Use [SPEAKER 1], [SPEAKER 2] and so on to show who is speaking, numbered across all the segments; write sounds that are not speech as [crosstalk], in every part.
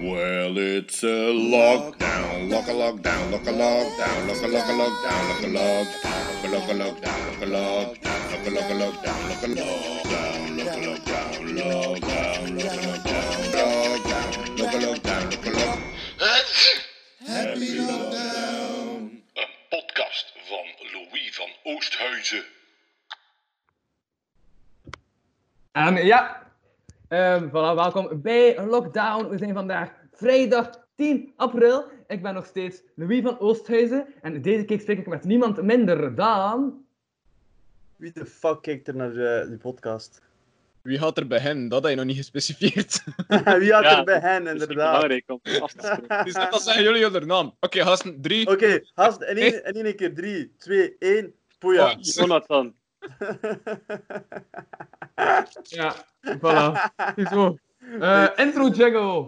[SPEAKER 1] Well, it's a lockdown, lock a lockdown, lock a lockdown, lock a lock a lockdown, lock a lockdown, lock a lockdown, lock a lockdown, lock a lockdown, lock a lockdown, lock a lockdown, lockdown, lock a lockdown, lockdown, lock a lockdown, lock a lock. Happy lockdown.
[SPEAKER 2] Een podcast van Louis van Oosthuizen.
[SPEAKER 3] En ja, ehm, voilà, welkom bij Lockdown. We zijn vandaag vrijdag 10 april. Ik ben nog steeds Louis van Oosthuizen. En deze keer spreek ik met niemand minder dan...
[SPEAKER 4] Wie de fuck kijkt er naar eh, die podcast? [laughs]
[SPEAKER 5] Wie gaat er bij hen? Dat had je nog niet gespecificeerd. [laughs]
[SPEAKER 4] Wie had
[SPEAKER 6] Ja,
[SPEAKER 4] er bij hen,
[SPEAKER 6] Het is niet
[SPEAKER 4] inderdaad?
[SPEAKER 6] belangrijk om af te spreken.
[SPEAKER 5] dus dat zijn jullie onder naam. Oké, gasten, drie.
[SPEAKER 4] Oké, haast in één, in één keer. 3, 2, 1. Poeja.
[SPEAKER 5] Oh, sorry.
[SPEAKER 6] [laughs] Jonathan,
[SPEAKER 3] Ja, voilà. Zo. Eh, intro jingle.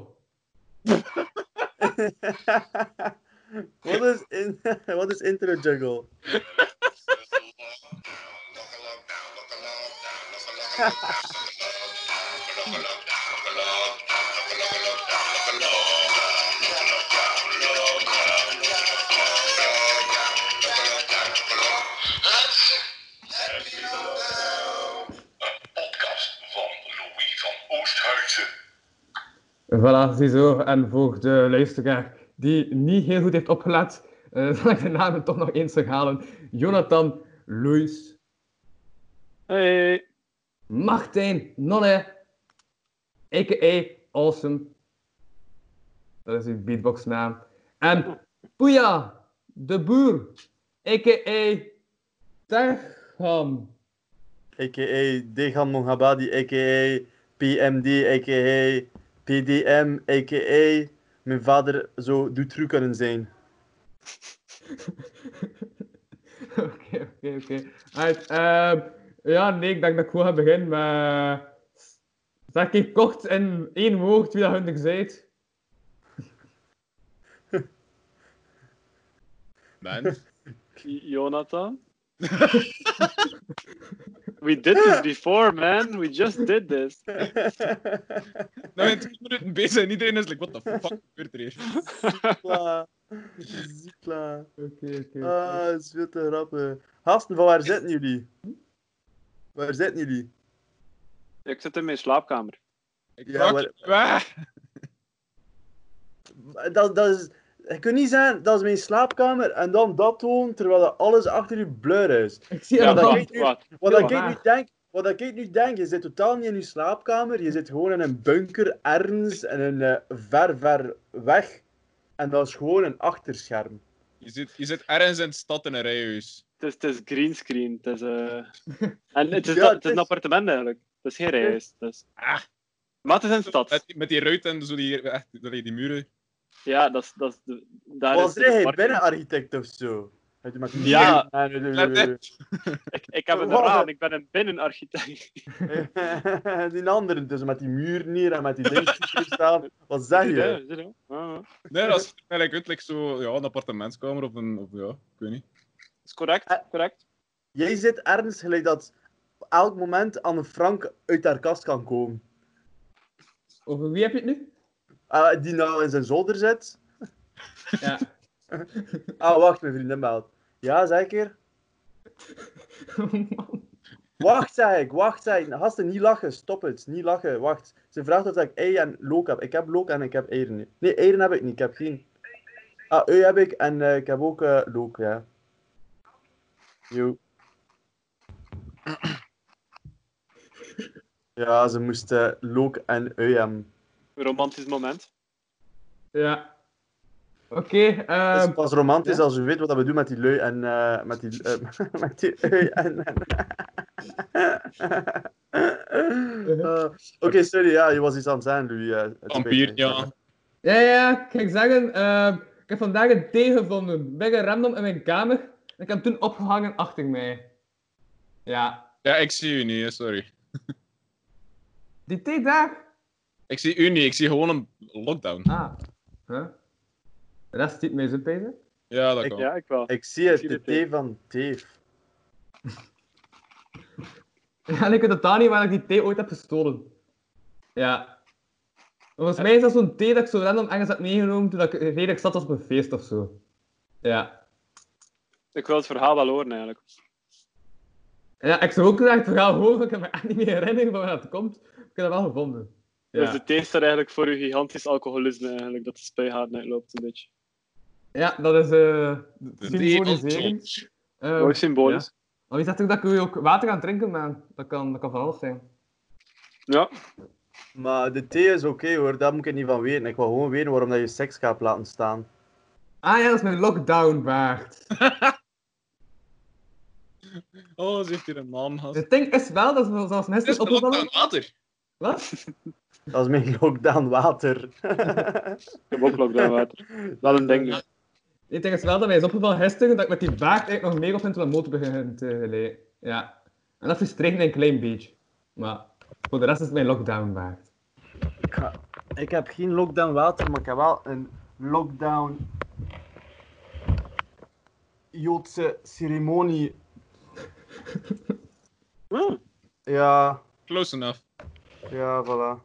[SPEAKER 4] [laughs] wat, is in, [laughs] wat is intro juggle?
[SPEAKER 2] Podcast van Louis van Oosthuizen.
[SPEAKER 3] Voilà, ziezo. En voor de luisteraar die niet heel goed heeft opgelet, eh, [laughs] zal ik de namen toch nog eens herhalen. Jonathan, Louis,
[SPEAKER 6] hey,
[SPEAKER 3] Martijn Nonne, a.k.a. Awesome. Dat is uw beatboxnaam. En Poeja, de boer, a.k.a. Tergham.
[SPEAKER 4] A.k.a. Degan Mongabadi, a.k.a. PMD, a.k.a. PDM, a.k.a. Mijn vader zou Dutroux kunnen zijn.
[SPEAKER 3] [laughs]
[SPEAKER 4] [laughs]
[SPEAKER 3] Oké, oké, oké. Alright, ehm, Ja, nee, ik denk dat ik gewoon ga beginnen met... Zeg ik kort in één woord wie dat hundig zijt.
[SPEAKER 5] Man.
[SPEAKER 4] [laughs]
[SPEAKER 6] Jonathan. We did this before, man. We just did this.
[SPEAKER 5] We zijn 20 Nou, minuten bezig en iedereen is like, what the fuck gebeurt er hier?
[SPEAKER 4] Zikla. Zikla.
[SPEAKER 3] Oké, oké. oké.
[SPEAKER 4] Ah, dat is veel te grappig. Hasten, van waar zitten jullie? Waar zitten jullie?
[SPEAKER 6] Ik zit in mijn slaapkamer.
[SPEAKER 5] Ik
[SPEAKER 4] Ja,
[SPEAKER 5] raak
[SPEAKER 4] maar-
[SPEAKER 5] je weg.
[SPEAKER 4] Dat, dat is... Je kunt niet zeggen, dat is mijn slaapkamer, en dan dat doen, terwijl dat alles achter je blur is.
[SPEAKER 3] Ik zie
[SPEAKER 4] Ja,
[SPEAKER 3] hem
[SPEAKER 4] dat
[SPEAKER 3] al.
[SPEAKER 4] weet-
[SPEAKER 6] wat- wat?
[SPEAKER 4] Wat,
[SPEAKER 3] Heel
[SPEAKER 4] dat ik,
[SPEAKER 3] waar.
[SPEAKER 4] nu denk, wat dat ik nu denk, je zit totaal niet in je slaapkamer, je zit gewoon in een bunker ergens, in een eh, ver, ver weg. En dat is gewoon een achterscherm.
[SPEAKER 5] Je zit, je zit ergens in de stad in een rijhuis.
[SPEAKER 6] Het is, het is greenscreen. Het is, eh, En het is,
[SPEAKER 4] Ja,
[SPEAKER 6] dat-
[SPEAKER 4] het
[SPEAKER 6] het is een
[SPEAKER 4] is-
[SPEAKER 6] appartement eigenlijk. Het is geen rijhuis. Het is-
[SPEAKER 5] Ah.
[SPEAKER 6] Maar het is een stad.
[SPEAKER 5] Met, die- met die ruit en zo die, echt, dat die die muren.
[SPEAKER 6] Ja, dat is... Dat is de- daar
[SPEAKER 4] Was
[SPEAKER 6] is
[SPEAKER 4] er
[SPEAKER 6] de
[SPEAKER 4] geen
[SPEAKER 6] parking.
[SPEAKER 4] binnenarchitect of zo? Hij maakt-
[SPEAKER 6] Ja.
[SPEAKER 4] En-
[SPEAKER 6] Ik, ik heb een
[SPEAKER 4] Wat?
[SPEAKER 6] raam. Ik ben een binnenarchitect.
[SPEAKER 4] [laughs] die anderen, dus met die muur neer en met die dingen die hier staan. Wat zeg
[SPEAKER 6] [laughs] Ja,
[SPEAKER 4] je?
[SPEAKER 6] is het zo? Ah, ah.
[SPEAKER 5] Nee, dat is eigenlijk uit, like zo, ja, een appartementskamer of een, of ja, ik weet niet.
[SPEAKER 6] Is correct, correct.
[SPEAKER 4] Jij zit ergens gelijk dat elk moment aan Frank uit haar kast kan komen.
[SPEAKER 3] Over wie heb je het nu? [laughs]
[SPEAKER 4] Eh, die nou in zijn zolder zit.
[SPEAKER 3] Ja.
[SPEAKER 4] [laughs] Ah, wacht, mijn vriendin belt. Ja, zeker. Wacht, zei ik, wacht, zei ik. Gasten, niet lachen, stop het, niet lachen, wacht. Ze vraagt of dat ik ei en look heb. Ik heb look en ik heb eieren. niet. Nee, eieren heb ik niet, ik heb geen. Ah, ui heb ik en eh, ik heb ook eh look, ja. Yo. [clears throat] Ja, ze moesten look en ui hebben.
[SPEAKER 6] Een romantisch moment.
[SPEAKER 3] ja. Oké,
[SPEAKER 4] Het
[SPEAKER 3] ehm,
[SPEAKER 4] is pas romantisch als je weet wat dat we doen met die lui en eh, met die, eh, [laughs] met die ui en... Eh, Oké, sorry, ja, je was iets aan het zeggen, Louis. eh, het spijt
[SPEAKER 5] Vampier,
[SPEAKER 4] me.
[SPEAKER 5] ja.
[SPEAKER 3] ja, ja, ik ga zeggen, ehm, ik heb vandaag een thee gevonden. Bij een random in mijn kamer. En ik heb hem toen opgehangen achter mij. Ja.
[SPEAKER 5] Ja, ik zie u niet, hè, sorry.
[SPEAKER 3] Die thee daar?
[SPEAKER 5] Ik zie u niet, ik zie gewoon een lockdown.
[SPEAKER 3] Ah. Huh? Dat is niet mee zo [laughs] bezig.
[SPEAKER 5] Ja, dat
[SPEAKER 4] Ik-
[SPEAKER 5] kan.
[SPEAKER 6] Ja, ik wel.
[SPEAKER 4] Ik zie het,
[SPEAKER 6] zie
[SPEAKER 4] de
[SPEAKER 6] het ook.
[SPEAKER 4] T van Dave.
[SPEAKER 3] En ik weet totaal niet waar ik die thee ooit heb gestolen. Ja. Oké, Volgens mij is dat zo'n thee dat ik zo random ergens had meegenomen toen ik eh, redelijk zat was op een feest of zo. Ja.
[SPEAKER 6] Ik wil het verhaal wel horen eigenlijk.
[SPEAKER 3] Ja, ik zou ook graag het verhaal horen, maar ik kan me echt niet meer herinneren van waar dat komt. Ik heb dat wel gevonden.
[SPEAKER 6] Dus
[SPEAKER 3] Ja,
[SPEAKER 6] de thee staat eigenlijk voor uw gigantisch alcoholisme eigenlijk, dat de spuigaten uitloopt een beetje.
[SPEAKER 3] ja dat is eh
[SPEAKER 5] De
[SPEAKER 3] symbolisering. Eh,
[SPEAKER 6] Mooi symbolisch.
[SPEAKER 3] maar wie zegt ook dat ik u ook water aan het drinken ben? Dat kan, dat kan van alles zijn.
[SPEAKER 6] Ja.
[SPEAKER 4] Maar de thee is oké hoor, daar moet ik niet van weten. Ik wil gewoon weten waarom dat je seks gaat laten staan.
[SPEAKER 3] Ah ja, dat is mijn lockdown baard.
[SPEAKER 5] Oh, ze heeft hier een naam gehad.
[SPEAKER 3] Het ding is wel, dat is zoals
[SPEAKER 5] Dit is
[SPEAKER 3] mensen
[SPEAKER 5] de lockdown
[SPEAKER 3] opgevallen.
[SPEAKER 5] water.
[SPEAKER 3] Wat?
[SPEAKER 4] Dat is mijn [laughs] lockdown water. [laughs]
[SPEAKER 6] Ik heb ook lockdown [laughs] water. Wel een ding.
[SPEAKER 5] Ja.
[SPEAKER 3] Het ding is wel dat mij is opgevallen gisteren dat ik met die baard eigenlijk nog meer op mijn motor begin te geleiden. Ja. En dat frustreert mij een klein beetje. Maar voor de rest is het mijn lockdown baard.
[SPEAKER 4] Ik, ga- ik heb geen lockdown water, maar ik heb wel een lockdown Joodse ceremonie.
[SPEAKER 6] Ah,
[SPEAKER 4] Ja,
[SPEAKER 5] Close enough.
[SPEAKER 4] ja, voilà.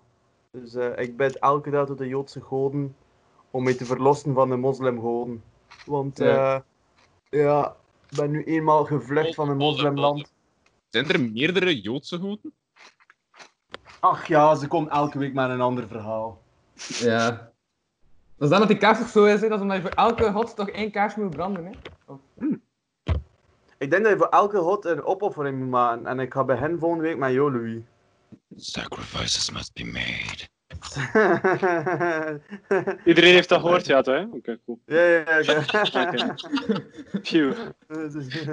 [SPEAKER 4] Dus eh, ik bid elke dag tot de Joodse goden om mij te verlossen van de moslimgoden. Want eh,
[SPEAKER 3] Ja.
[SPEAKER 4] ja, ik ben nu eenmaal gevlucht van een moslimland.
[SPEAKER 5] Zijn er meerdere Joodse goden?
[SPEAKER 4] Ach ja, ze komt elke week met een ander verhaal.
[SPEAKER 3] Ja. Dat is dan dat die kaars toch zo is, hè? dat is omdat je voor elke hot toch één kaars moet branden. Hè?
[SPEAKER 4] Ik denk dat je voor elke god een opoffering moet maken. En ik ga bij hen volgende week met jou, Louis. [laughs]
[SPEAKER 7] Sacrifices must be made.
[SPEAKER 6] Iedereen heeft dat gehoord, ja, toch? hè? Oké, cool.
[SPEAKER 4] ja, ja, ja.
[SPEAKER 6] Oké. Phew.
[SPEAKER 4] [laughs] dus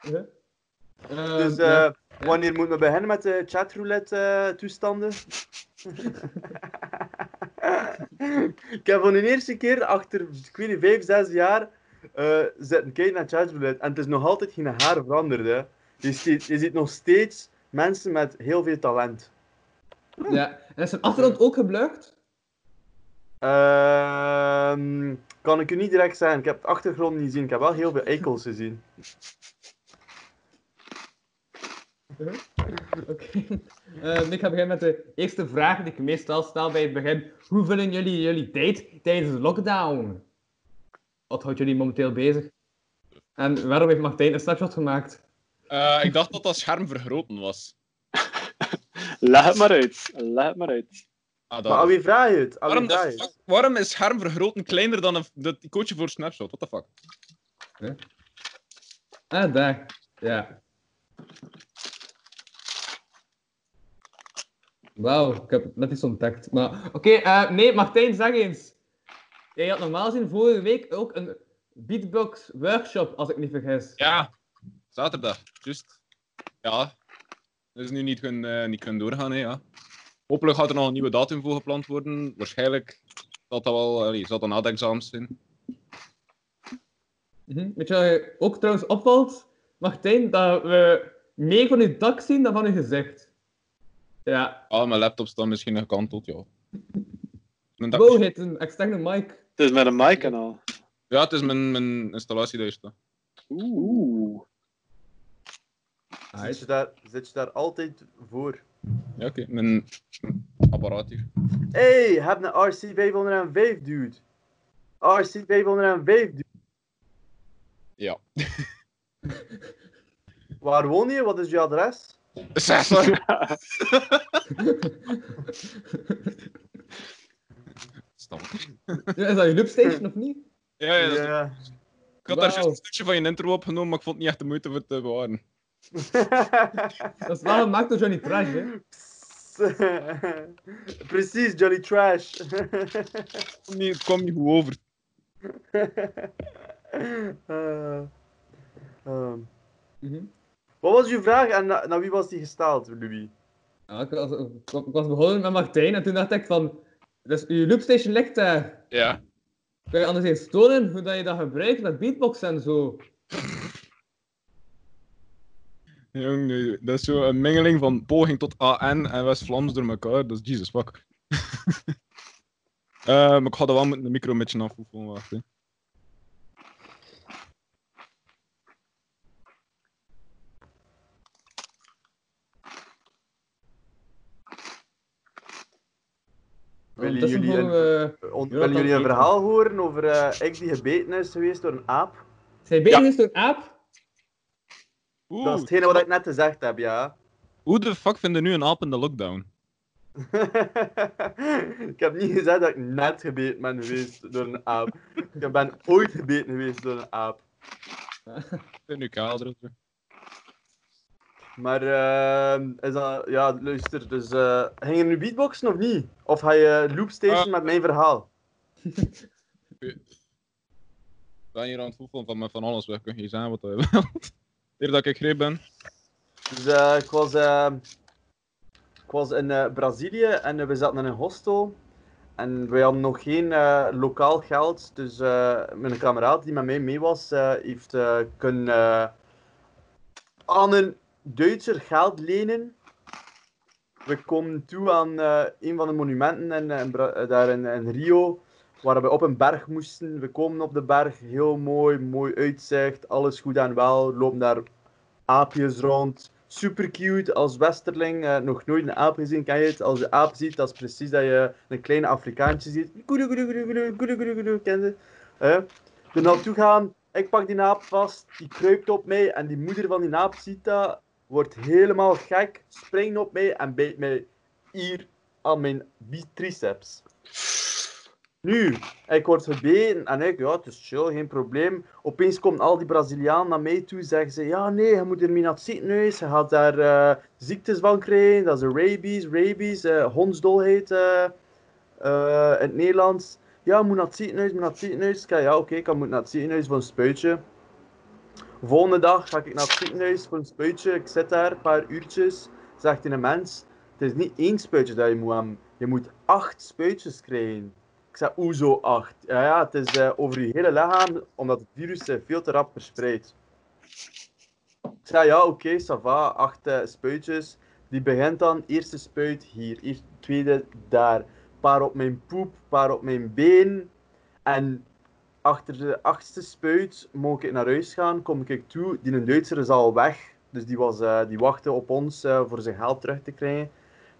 [SPEAKER 3] Ja. Eh,
[SPEAKER 4] dus eh,
[SPEAKER 3] ja.
[SPEAKER 4] wanneer moeten we beginnen met de chatroulette eh, toestanden? [laughs] ik heb voor de eerste keer achter, ik weet niet, vijf, zes jaar eh zitten kijken naar chatroulette. En het is nog altijd geen haar veranderd. Hè. Je, ziet, je ziet nog steeds mensen met heel veel talent.
[SPEAKER 3] ja. En is zijn achtergrond ook geblukt?
[SPEAKER 4] Ehm, kan ik u niet direct zeggen. Ik heb het achtergrond niet gezien. Ik heb wel heel veel eikels gezien.
[SPEAKER 3] Oké. Eh, ik ga beginnen met de eerste vraag die ik meestal stel bij het begin. Hoe vullen jullie jullie date tijdens de lockdown? Wat houdt jullie momenteel bezig? En waarom heeft Martijn een snapshot gemaakt?
[SPEAKER 5] Eh, ik dacht dat dat scherm vergroten was.
[SPEAKER 6] Leg het maar uit. Leg het maar uit.
[SPEAKER 5] Ah,
[SPEAKER 4] Maar aan
[SPEAKER 5] dat...
[SPEAKER 4] wie vraag je het? Aan wie
[SPEAKER 5] waarom,
[SPEAKER 4] vraag je
[SPEAKER 5] de
[SPEAKER 4] het?
[SPEAKER 5] fuck- waarom is scherm vergroten kleiner dan een, dat coachje voor snapshot? What the fuck?
[SPEAKER 3] Ah, daar. Ja. Wauw, ik heb het net iets ontdekt. Maar oké, eh, nee, Martijn, zeg eens. Jij had normaal gezien vorige week ook een beatbox workshop, als ik me niet vergis.
[SPEAKER 5] Ja, zaterdag. Juist. Ja. Dat is nu niet kunnen, eh, niet kunnen doorgaan, hè, ja. Hopelijk gaat er nog een nieuwe datum voor gepland worden. Waarschijnlijk zal dat wel... Allee, zal dat na de examens zijn.
[SPEAKER 3] Mhm. Weet je wat je ook trouwens opvalt, Martijn, dat we meer van uw dak zien dan van uw gezicht. Ja,
[SPEAKER 5] Ah, mijn laptop staat misschien gekanteld, ja. Mijn dak-
[SPEAKER 3] wow, het is een externe mic.
[SPEAKER 6] Het is met een mic en al.
[SPEAKER 5] Ja, het is mijn, mijn installatie daar staat.
[SPEAKER 6] Oeh.
[SPEAKER 4] Zit je, daar, zit je daar altijd voor?
[SPEAKER 5] Ja, oké. Mijn mijn apparaat hier.
[SPEAKER 4] Hey, heb een RC 505 dude. RC 505 dude.
[SPEAKER 5] Ja.
[SPEAKER 4] [laughs] Waar woon je? Wat is je adres? [laughs]
[SPEAKER 5] Stamp.
[SPEAKER 3] Ja, is dat je loopstation of niet?
[SPEAKER 5] Ja, ja, dat is-
[SPEAKER 4] Ja.
[SPEAKER 5] Ik had daar
[SPEAKER 3] Wauw.
[SPEAKER 5] juist een stukje van je intro opgenomen, maar ik vond het niet echt de moeite om het te bewaren.
[SPEAKER 3] Dat is wel gemaakt door Johnny Trash, hè?
[SPEAKER 4] [laughs] Precies, Johnny Trash. [laughs]
[SPEAKER 5] Het kwam niet, het kwam niet goed over.
[SPEAKER 4] [laughs] Eh, ehm,
[SPEAKER 3] Mhm.
[SPEAKER 4] Wat was uw vraag en na- naar wie was die gesteld, Louis?
[SPEAKER 3] Ja, ik, was, ik was- ik was begonnen met Martijn en toen dacht ik van, dus uw loopstation ligt daar.
[SPEAKER 5] Ja.
[SPEAKER 3] Kun je anders eens tonen hoe dat je dat gebruikt met beatboxen en zo?
[SPEAKER 5] Jong, nee, dat is zo een mengeling van poging tot AN en West-Vlaams door elkaar. Dat is Jesus fuck. [laughs] Eh, maar ik ga dat wel met de micro een beetje afvoegen. Wacht, hè.
[SPEAKER 4] Willen
[SPEAKER 3] Ondertussen
[SPEAKER 4] jullie, een,
[SPEAKER 3] horen we-
[SPEAKER 4] Eh, on-
[SPEAKER 3] Jonathan
[SPEAKER 4] willen jullie een
[SPEAKER 3] eten.
[SPEAKER 4] verhaal horen over eh ik die gebeten is geweest door een aap?
[SPEAKER 3] Zijn benen is door een aap.
[SPEAKER 4] Dat is
[SPEAKER 5] Oeh,
[SPEAKER 4] hetgene wat ik net gezegd heb, ja. [laughs]
[SPEAKER 5] hoe de fuck vinden nu een aap in de lockdown?
[SPEAKER 4] ik heb niet gezegd dat ik net gebeten ben geweest door een aap. ik ben ooit gebeten geweest door een aap.
[SPEAKER 5] In uw kelder of zo.
[SPEAKER 4] Maar ehm, is dat, ja, luister, dus eh ging je nu beatboxen of niet? Of ga je loopstation
[SPEAKER 5] Eh.
[SPEAKER 4] met mijn verhaal?
[SPEAKER 5] Ik ben hier aan het voelen van, van alles weg. Kun je zijn wat je [laughs] wilt. Hier dat ik greep ben.
[SPEAKER 4] Dus eh, ik, was, eh, ik was in eh, Brazilië en eh, we zaten in een hostel. En wij hadden nog geen eh, lokaal geld. Dus eh, mijn kameraad die met mij mee was, eh, heeft eh, kunnen eh, aan een Duitser geld lenen. We komen toe aan eh, een van de monumenten in, eh, in Bra- eh, daar in, in Rio, waar we op een berg moesten. We komen op de berg, heel mooi, mooi uitzicht, alles goed en wel. We lopen daar aapjes rond. Super cute als Westerling. eh, nog nooit een aap gezien, kan je het? Als je aap ziet, dat is precies dat je een kleine Afrikaantje ziet. Goedoe, goedoe, goedoe, goedoe, goedoe, goedoe, goedoe, ken je? Eh, er naartoe gaan, ik pak die aap vast, die kruipt op mij en die moeder van die aap ziet dat, wordt helemaal gek, springt op mij en bijt mij hier aan mijn biceps. Nu, ik word gebeten en ik, ja, het is chill, geen probleem. Opeens komen al die Brazilianen naar mij toe, zeggen ze, ja nee, je moet ermee naar het ziekenhuis, je gaat daar eh, ziektes van krijgen, dat is rabies, rabies, eh hondsdolheid eh, eh, in het Nederlands. Ja, je moet naar het ziekenhuis, je moet naar het ziekenhuis. Ik zei, ja oké, ik moet naar het ziekenhuis voor een spuitje. Volgende dag ga ik naar het ziekenhuis voor een spuitje, ik zit daar een paar uurtjes, zegt een mens, het is niet één spuitje dat je moet hebben, je moet acht spuitjes krijgen. Ik zei, hoezo 8? Ja, ja, het is eh, over je hele lichaam, omdat het virus zich veel te rap verspreidt. Ik zei, ja, oké, ça va, 8 spuitjes. Die begint dan, eerste spuit hier, eerst, tweede daar. Paar op mijn poep, paar op mijn been. En achter de achtste spuit mocht ik naar huis gaan, kom ik toe. Die Duitser is al weg, dus die, was, eh, die wachtte op ons eh, voor zijn geld terug te krijgen.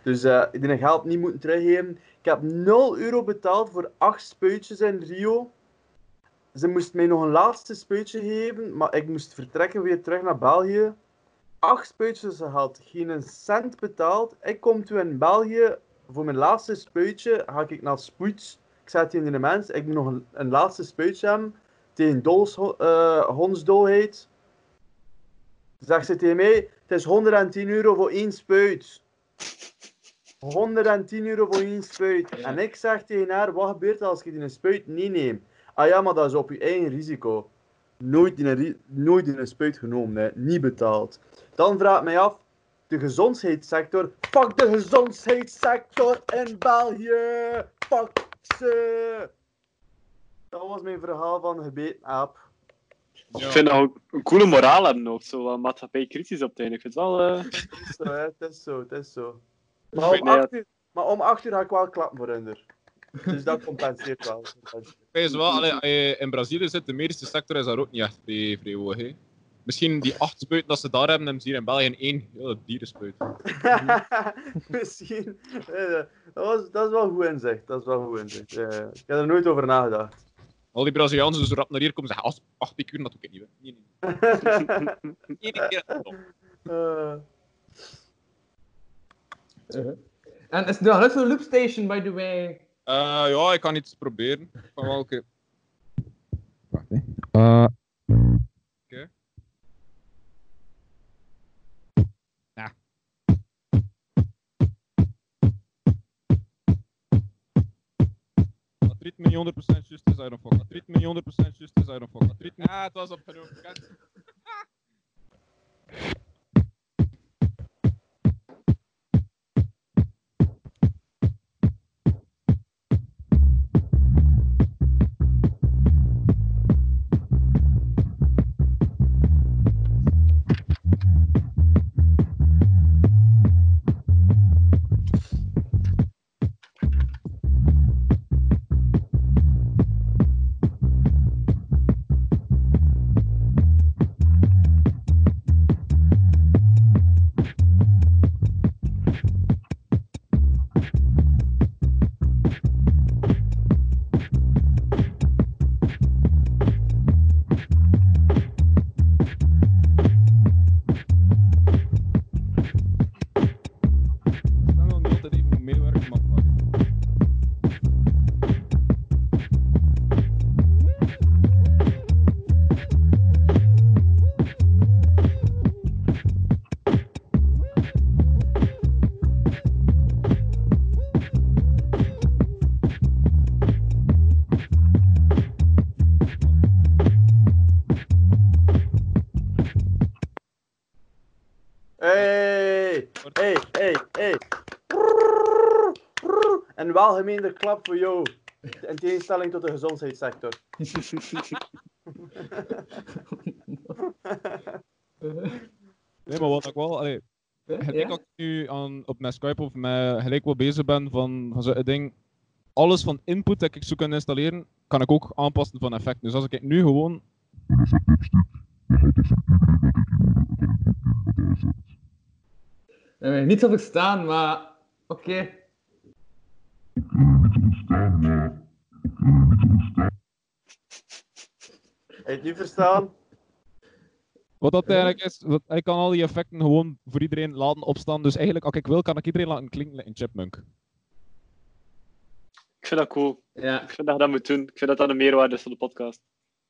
[SPEAKER 4] Dus eh die geld niet moeten teruggeven. Ik heb 0 euro betaald voor 8 spuitjes in Rio. Ze moest mij nog een laatste spuitje geven, maar ik moest vertrekken weer terug naar België. 8 spuitjes gehad, geen een cent betaald. Ik kom toen in België voor mijn laatste spuitje. Ga ik naar Spoed. Ik zei tegen de mens: Ik moet nog een, een laatste spuitje hebben tegen dols, eh hondsdolheid. Zegt ze tegen mij: Het is 110 euro voor één spuit. 110 euro voor één spuit.
[SPEAKER 5] Ja.
[SPEAKER 4] En ik zeg tegen haar, wat gebeurt er als je die een spuit niet neemt? Ah ja, maar dat is op je eigen risico. Nooit die, een ri- nooit die een spuit genomen, hè. niet betaald. Dan vraag ik mij af, de gezondheidssector. Fuck de gezondheidssector in België! Fuck ze! Dat was mijn verhaal van gebeten aap.
[SPEAKER 5] Ja.
[SPEAKER 6] Ik vind dat ook een coole moraal hebben ook, zo wat maatschappij kritisch op het einde. Ik vind het wel... eh,
[SPEAKER 4] Het is zo, hè. het is zo, het is zo.
[SPEAKER 6] Ik
[SPEAKER 4] Maar
[SPEAKER 6] weet
[SPEAKER 4] om
[SPEAKER 6] niet,
[SPEAKER 4] 8 uur, maar om acht uur ga ik wel klappen voor onder. Dus dat compenseert wel.
[SPEAKER 5] Wees wel, allee, als je in Brazilië zit, de medische sector is daar ook niet echt vrij vrij hoog, hè. Misschien die acht spuiten dat ze daar hebben, hebben ze hier in België in één hele dierenspuit.
[SPEAKER 4] [laughs] Misschien. eh, dat, was, dat is wel goed inzicht. Dat is wel goed inzicht. Eh, ik heb er nooit over nagedacht.
[SPEAKER 5] Al die Braziliaanse die zo rap naar hier komen zeggen, "Ah, acht piekuren, dat doe ik niet. hè." Nee, nee, nee. Eén
[SPEAKER 6] [laughs]
[SPEAKER 5] keer. en stop.
[SPEAKER 4] Eh,
[SPEAKER 3] En is het nog net zo'n loopstation, by the way?
[SPEAKER 5] Eh, ja, ik kan iets proberen. Van welke? Wacht, hè. Eh. Oké. Ja. Dat ritme niet 100% juist is, I don't fuck. Dat ritme niet 100% juist is, I don't fuck. Dat ritme... Ah, het was opgenomen. Kijk.
[SPEAKER 4] hey, hey, hey, hey. En welgemeende klap voor jou. In tegenstelling tot de gezondheidssector.
[SPEAKER 5] Nee, maar wat ik wel... Allee, gelijk
[SPEAKER 3] Ja?
[SPEAKER 5] dat ik nu aan, op mijn Skype of met gelijk wel bezig ben van, van zo'n ding... Alles van input dat ik zo kan installeren, kan ik ook aanpassen van effect. Dus als ik nu gewoon...
[SPEAKER 3] Dat heb ik niet zo verstaan, maar oké.
[SPEAKER 4] Heb je het nu verstaan?
[SPEAKER 5] Wat dat eigenlijk is, dat, ik kan al die effecten gewoon voor iedereen laten opstaan. Dus eigenlijk, als ik wil, kan ik iedereen laten klinken like een chipmunk.
[SPEAKER 6] Ik vind dat cool.
[SPEAKER 3] Ja,
[SPEAKER 6] Ik vind dat je dat moet doen. Ik vind dat dat een meerwaarde is voor de podcast.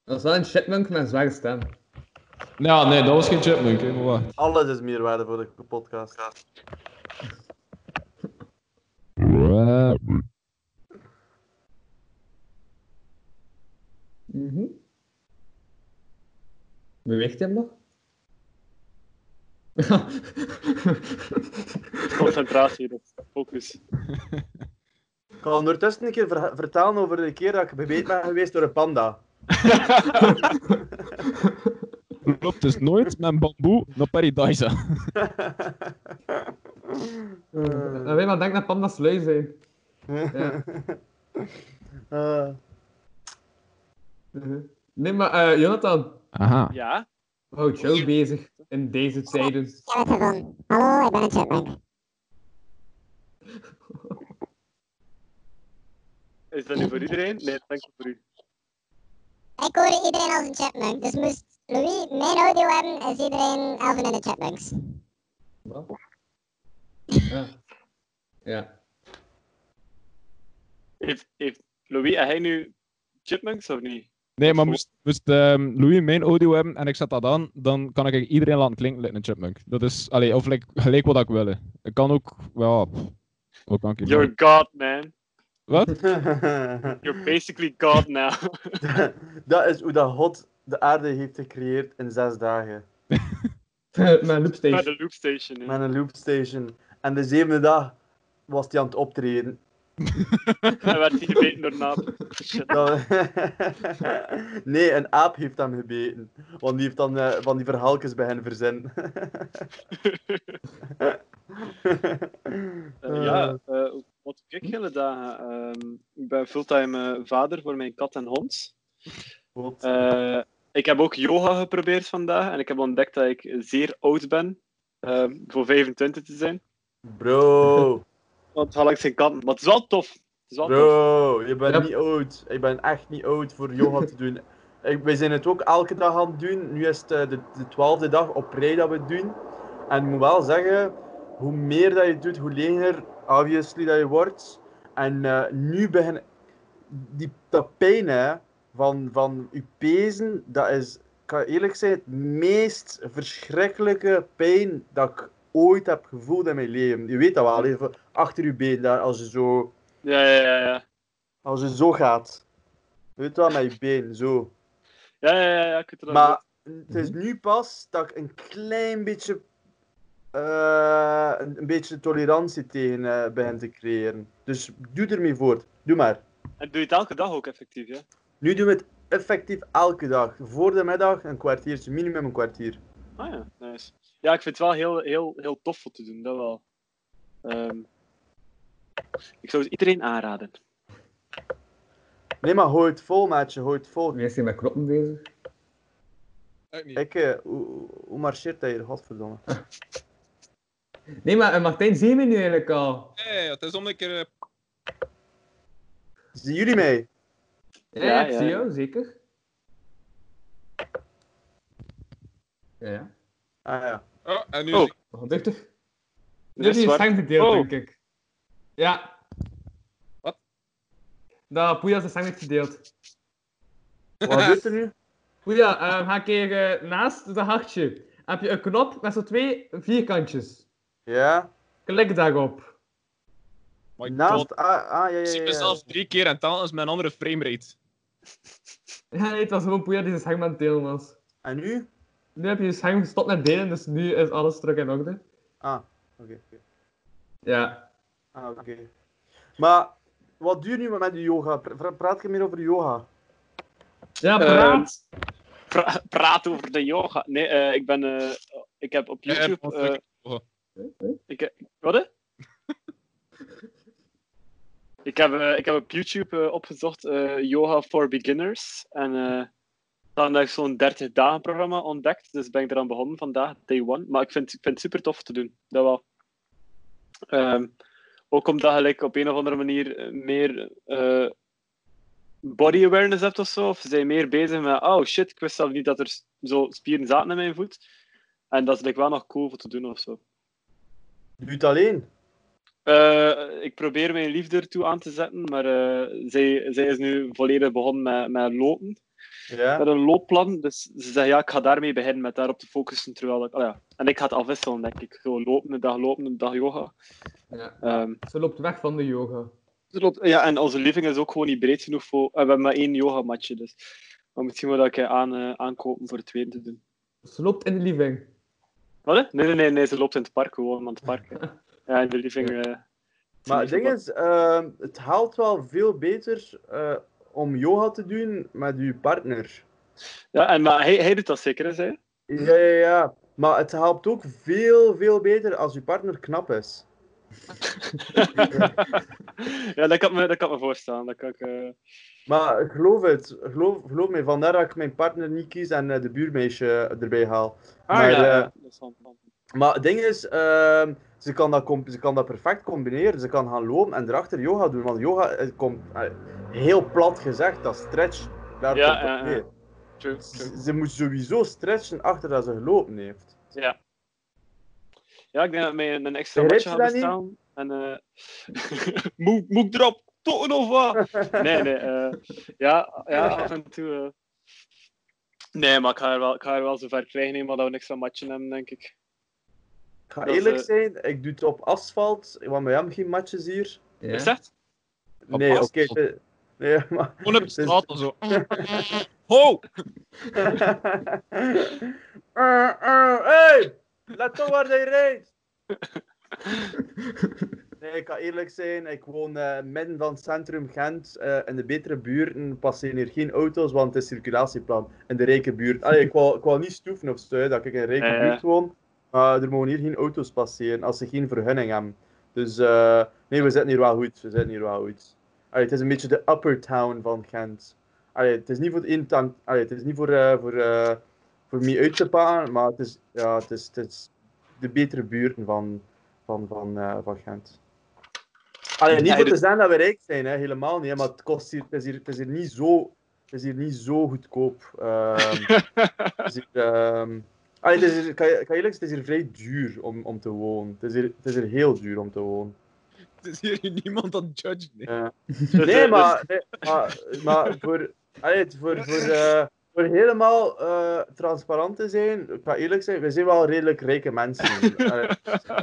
[SPEAKER 3] dat is wel een chipmunk met een zware stem.
[SPEAKER 5] Ja, nee, dat was geen chipmunk, hè, maar wacht.
[SPEAKER 4] Alles is meerwaarde voor de podcast.
[SPEAKER 3] Mhm. Beweegt hij hem nog?
[SPEAKER 6] Concentratie, dat focus.
[SPEAKER 4] Ik ga ondertussen een keer verha- vertellen over de keer dat ik bebeet ben geweest door een panda.
[SPEAKER 5] Er loopt dus nooit met een bamboe naar Paradise.
[SPEAKER 3] Dan weet je wat, denk naar panda's lui zijn. Ja.
[SPEAKER 4] [laughs] Eh,
[SPEAKER 3] Mhm. Nee, maar eh, Jonathan,
[SPEAKER 5] Aha.
[SPEAKER 6] Ja?
[SPEAKER 3] houd jou bezig in deze tijden.
[SPEAKER 8] Ja, gewoon. Hallo, ik ben een chipmunk.
[SPEAKER 6] Is dat nu voor iedereen? Nee, dat denk ik voor u.
[SPEAKER 8] Ik hoor iedereen als een chipmunk, dus moest Louis mijn audio hebben, is iedereen Elvin en de chipmunks.
[SPEAKER 3] Ja. ja. [laughs]
[SPEAKER 6] Heeft, heeft Louis en hij nu chipmunks of niet?
[SPEAKER 5] Nee, maar moest, moest ehm, Louis mijn audio hebben en ik zet dat aan, dan kan ik iedereen laten klinken like een chipmunk. Dat is, allee, of like, gelijk wat ik wil. hè. Ik kan ook, ja, pff, wat kan ik hier
[SPEAKER 6] You're God, man.
[SPEAKER 5] Wat?
[SPEAKER 6] You're basically God now.
[SPEAKER 4] [laughs] dat is hoe dat God de aarde heeft gecreëerd in zes dagen.
[SPEAKER 3] Mijn
[SPEAKER 6] Naar
[SPEAKER 3] loopstage.
[SPEAKER 6] de loop station. hè.
[SPEAKER 4] Met een loopstation. En de zevende dag was hij aan het optreden.
[SPEAKER 6] [laughs] Hij werd hij gebeten door
[SPEAKER 4] [laughs]
[SPEAKER 6] Eh, een aap. Shit.
[SPEAKER 4] Dat- [laughs] nee, een aap heeft hem gebeten. Want die heeft dan eh, van die verhaaltjes bij hen [laughs] verzinnen.
[SPEAKER 6] Eh, ja, eh, wat doe ik hele dagen? Ehm, ik ben fulltime eh, vader voor mijn kat en hond.
[SPEAKER 4] Wat?
[SPEAKER 6] Eh, ik heb ook yoga geprobeerd vandaag en ik heb ontdekt dat ik zeer oud ben. ehm, voor 25 te zijn.
[SPEAKER 4] Bro,
[SPEAKER 6] Want haal ik zijn kant. Maar het is wel tof. Het is wel tof.
[SPEAKER 4] bro, je bent
[SPEAKER 3] Ja.
[SPEAKER 4] niet oud. Ik ben echt niet oud voor yoga te doen. [laughs] Ik, wij zijn het ook elke dag aan het doen. Nu is het eh, de, de twaalfde dag op rij dat we het doen. En ik moet wel zeggen, hoe meer dat je doet, hoe leger obviously dat je wordt. En eh, nu begin die, dat pijn hè, van, van je pezen, dat is, ik kan eerlijk zijn, het meest verschrikkelijke pijn dat ik ooit heb gevoeld in mijn leven. Je weet dat wel, even achter je been daar, als je zo,
[SPEAKER 6] Ja, ja, ja, ja.
[SPEAKER 4] als je zo gaat. Je weet wel, met je been, zo.
[SPEAKER 6] Ja, ja, ja, ja. Ik weet het wel.
[SPEAKER 4] Maar het
[SPEAKER 5] Mhm.
[SPEAKER 4] is nu pas dat ik een klein beetje, eh, een, een beetje tolerantie tegen eh begin te creëren. Dus doe ermee voort. Doe maar.
[SPEAKER 6] En doe je het elke dag ook effectief, ja?
[SPEAKER 4] Nu doen we het effectief elke dag. Voor de middag een kwartiertje, minimum een kwartier.
[SPEAKER 6] Ah ja, nice. Ja, ik vind het wel heel, heel, heel tof om te doen, dat wel. Ehm, ik zou het iedereen aanraden.
[SPEAKER 4] Nee, maar hou het vol, maatje, hou het vol.
[SPEAKER 3] Wees hier met knoppen bezig.
[SPEAKER 4] Kijk, eh, hoe, hoe marcheert hij hier, godverdomme.
[SPEAKER 3] Nee, maar eh, Martijn, zien we nu eigenlijk al?
[SPEAKER 5] Nee, het is om een keer... eh,
[SPEAKER 4] Zien jullie mij?
[SPEAKER 3] Ja,
[SPEAKER 6] Ja,
[SPEAKER 3] ik
[SPEAKER 6] ja.
[SPEAKER 3] zie jou, zeker. Ja, ja.
[SPEAKER 4] Ah ja.
[SPEAKER 5] Oh, en nu
[SPEAKER 6] Oh. zie
[SPEAKER 3] Geduchtig.
[SPEAKER 6] Dat
[SPEAKER 3] Dit
[SPEAKER 6] is
[SPEAKER 3] is
[SPEAKER 6] waar.
[SPEAKER 3] streng verdeeld,
[SPEAKER 6] Oh.
[SPEAKER 3] denk ik. Ja.
[SPEAKER 5] Wat?
[SPEAKER 3] Dat Poeja is streng verdeeld.
[SPEAKER 5] [laughs]
[SPEAKER 4] Wat gebeurt er nu?
[SPEAKER 3] Poeja, eh, ga een keer eh, naast het hartje. Heb je een knop met zo'n twee vierkantjes.
[SPEAKER 4] Ja?
[SPEAKER 3] Klik daarop.
[SPEAKER 4] Naast... Ah, ah, ja, ja,
[SPEAKER 5] Ik zie
[SPEAKER 6] eh,
[SPEAKER 4] ja,
[SPEAKER 5] mezelf
[SPEAKER 4] ja.
[SPEAKER 5] drie keer en telkens met een andere framerate.
[SPEAKER 3] Ja, nee, het was gewoon Poeja die zijn scherm aan het delen was.
[SPEAKER 4] En nu?
[SPEAKER 3] Nu heb je je scherm gestopt met delen, dus nu is alles terug in orde.
[SPEAKER 4] Ah. Oké.
[SPEAKER 3] Ja.
[SPEAKER 4] Ah, oké. Maar wat duurt nu met die yoga? Pra- praat je meer over yoga?
[SPEAKER 3] Ja,
[SPEAKER 6] Ehm.
[SPEAKER 3] praat.
[SPEAKER 6] Pra- praat over de yoga. Nee, eh, ik ben... eh, ik heb op
[SPEAKER 5] Ja,
[SPEAKER 6] YouTube...
[SPEAKER 5] dat was
[SPEAKER 6] eh,
[SPEAKER 5] leuk. Oh.
[SPEAKER 6] ik, heb- wat? [laughs] hè? ik, heb, eh, ik heb op YouTube eh, opgezocht eh, Yoga for Beginners. En eh dan heb ik zo'n 30 dagen programma ontdekt. Dus ben ik eraan begonnen vandaag, day one. Maar ik vind, ik vind het super tof te doen. Dat wel. Ehm, ook omdat je like, op een of andere manier eh, meer eh, body awareness hebt of zo. Of ze zijn meer bezig met, oh shit, ik wist zelf niet dat er s- zo spieren zaten in mijn voet. En dat is like, wel nog cool voor te doen of zo.
[SPEAKER 4] Doe je het alleen?
[SPEAKER 6] Eh, ik probeer mijn liefde ertoe aan te zetten, maar eh, zij, zij is nu volledig begonnen met, met lopen,
[SPEAKER 4] Ja.
[SPEAKER 6] met een loopplan. Dus ze zegt, ja, ik ga daarmee beginnen, met daarop te focussen. Terwijl ik, ah ja. En ik ga het afwisselen, denk ik. Zo lopen, een dag lopen, een dag yoga.
[SPEAKER 3] Ja.
[SPEAKER 6] Ehm,
[SPEAKER 3] Ze loopt weg van de yoga.
[SPEAKER 6] ze loopt- ja, en onze living is ook gewoon niet breed genoeg voor... en we hebben maar één yogamatje, dus... Maar misschien moet ik eh, aan, eh, aankopen voor het tweede te doen.
[SPEAKER 3] Ze loopt in de living.
[SPEAKER 6] Wat, hè? Nee, nee, nee, nee, ze loopt in het park gewoon, aan het [laughs] park. hè. Ja, in de living... eh, is
[SPEAKER 4] Maar het ding
[SPEAKER 6] niet verboden.
[SPEAKER 4] is, ehm, het haalt wel veel beter eh, om yoga te doen met je partner.
[SPEAKER 6] Ja, en, maar hij, hij doet dat zeker, hè, zij?
[SPEAKER 4] Ja, ja, ja. Maar het helpt ook veel, veel beter als je partner knap
[SPEAKER 6] [laughs]
[SPEAKER 4] is.
[SPEAKER 6] [laughs] ja, dat kan, me, dat kan me voorstellen. Dat kan ik, eh,
[SPEAKER 4] Maar geloof het, geloof, geloof me, vandaar dat ik mijn partner niet kies en eh, de buurmeisje erbij haal. Maar,
[SPEAKER 6] Ah, ja,
[SPEAKER 4] eh,
[SPEAKER 6] dat is wel- wel-
[SPEAKER 4] Maar het ding is, ehm, ze, kan dat com- ze kan dat perfect combineren. Ze kan gaan lopen en erachter yoga doen. Want yoga eh, komt, eh, heel plat gezegd, dat stretch. Daar
[SPEAKER 6] Ja,
[SPEAKER 4] komt het
[SPEAKER 6] ja, ja.
[SPEAKER 4] neer.
[SPEAKER 6] true, true.
[SPEAKER 4] Ze, ze moet sowieso stretchen achter dat ze gelopen heeft.
[SPEAKER 6] Ja. ja, ik denk dat mij een een extra
[SPEAKER 4] Begrijp je
[SPEAKER 6] matje gaat
[SPEAKER 4] dat
[SPEAKER 6] bestaan. En, eh moet, moet ik erop? Toon
[SPEAKER 5] [laughs]
[SPEAKER 6] of wat? Nee, nee. eh, ja, ja, af en toe. eh. Nee, maar ik ga er wel, ik ga er wel zover krijgen, hè, maar dat we een extra matje hebben, denk ik.
[SPEAKER 4] Ik ga
[SPEAKER 6] Dat is,
[SPEAKER 4] eerlijk
[SPEAKER 6] eh,
[SPEAKER 4] zijn, ik doe het op asfalt, want we hebben geen matjes hier.
[SPEAKER 3] Ja.
[SPEAKER 6] Is dat?
[SPEAKER 5] Op
[SPEAKER 4] nee, oké.
[SPEAKER 5] asfalt?
[SPEAKER 4] eh, nee, [laughs] maar...
[SPEAKER 5] Gewoon op de
[SPEAKER 4] het is-
[SPEAKER 5] straat of zo. Ho!
[SPEAKER 4] Eh, eh, hey! Let op waar hij rijdt! Nee, ik kan eerlijk zijn, ik woon eh, midden van het centrum Gent. eh, in de betere buurten passeren hier geen auto's, want het is circulatieplan. In de rijke buurt. Allee, ik wou, ik wou niet stoeven of zo, hè, dat ik in een rijke
[SPEAKER 6] Ja, ja.
[SPEAKER 4] buurt woon. Maar er mogen hier geen auto's passeren als ze geen vergunning hebben. Dus eh, nee, we zitten hier wel goed. We zitten hier wel goed. Allee, het is een beetje de upper town van Gent. Allee, het is niet voor het in tank. Allee, het is niet voor, eh, voor, eh, voor mij uit te palen, maar het is, ja, het is, het is de betere buurten van, van, van, eh, van Gent. Allee, niet
[SPEAKER 6] Ja,
[SPEAKER 4] voor te
[SPEAKER 6] dus-
[SPEAKER 4] zeggen dat we rijk zijn, hè, helemaal niet. hè, Maar het, kost hier, het, is hier, het, is hier niet zo, het is hier niet zo goedkoop. Ehm, het is hier, ehm, allee, het is hier- ik kan, je- ik kan eerlijk zeggen, het is hier vrij duur om, om te wonen. Het is, hier, het is hier heel duur om te wonen.
[SPEAKER 5] Het is hier niemand dat judge. Nee.
[SPEAKER 4] Ja.
[SPEAKER 6] Dus, eh,
[SPEAKER 4] [laughs] Nee,
[SPEAKER 6] [laughs] dus-
[SPEAKER 4] maar, nee, maar, maar voor, allee, het- voor, voor, eh, voor helemaal eh, transparant te zijn, ik ga eerlijk zijn, we zijn wel redelijk rijke
[SPEAKER 6] [laughs]
[SPEAKER 4] mensen. Allee, dus, eh,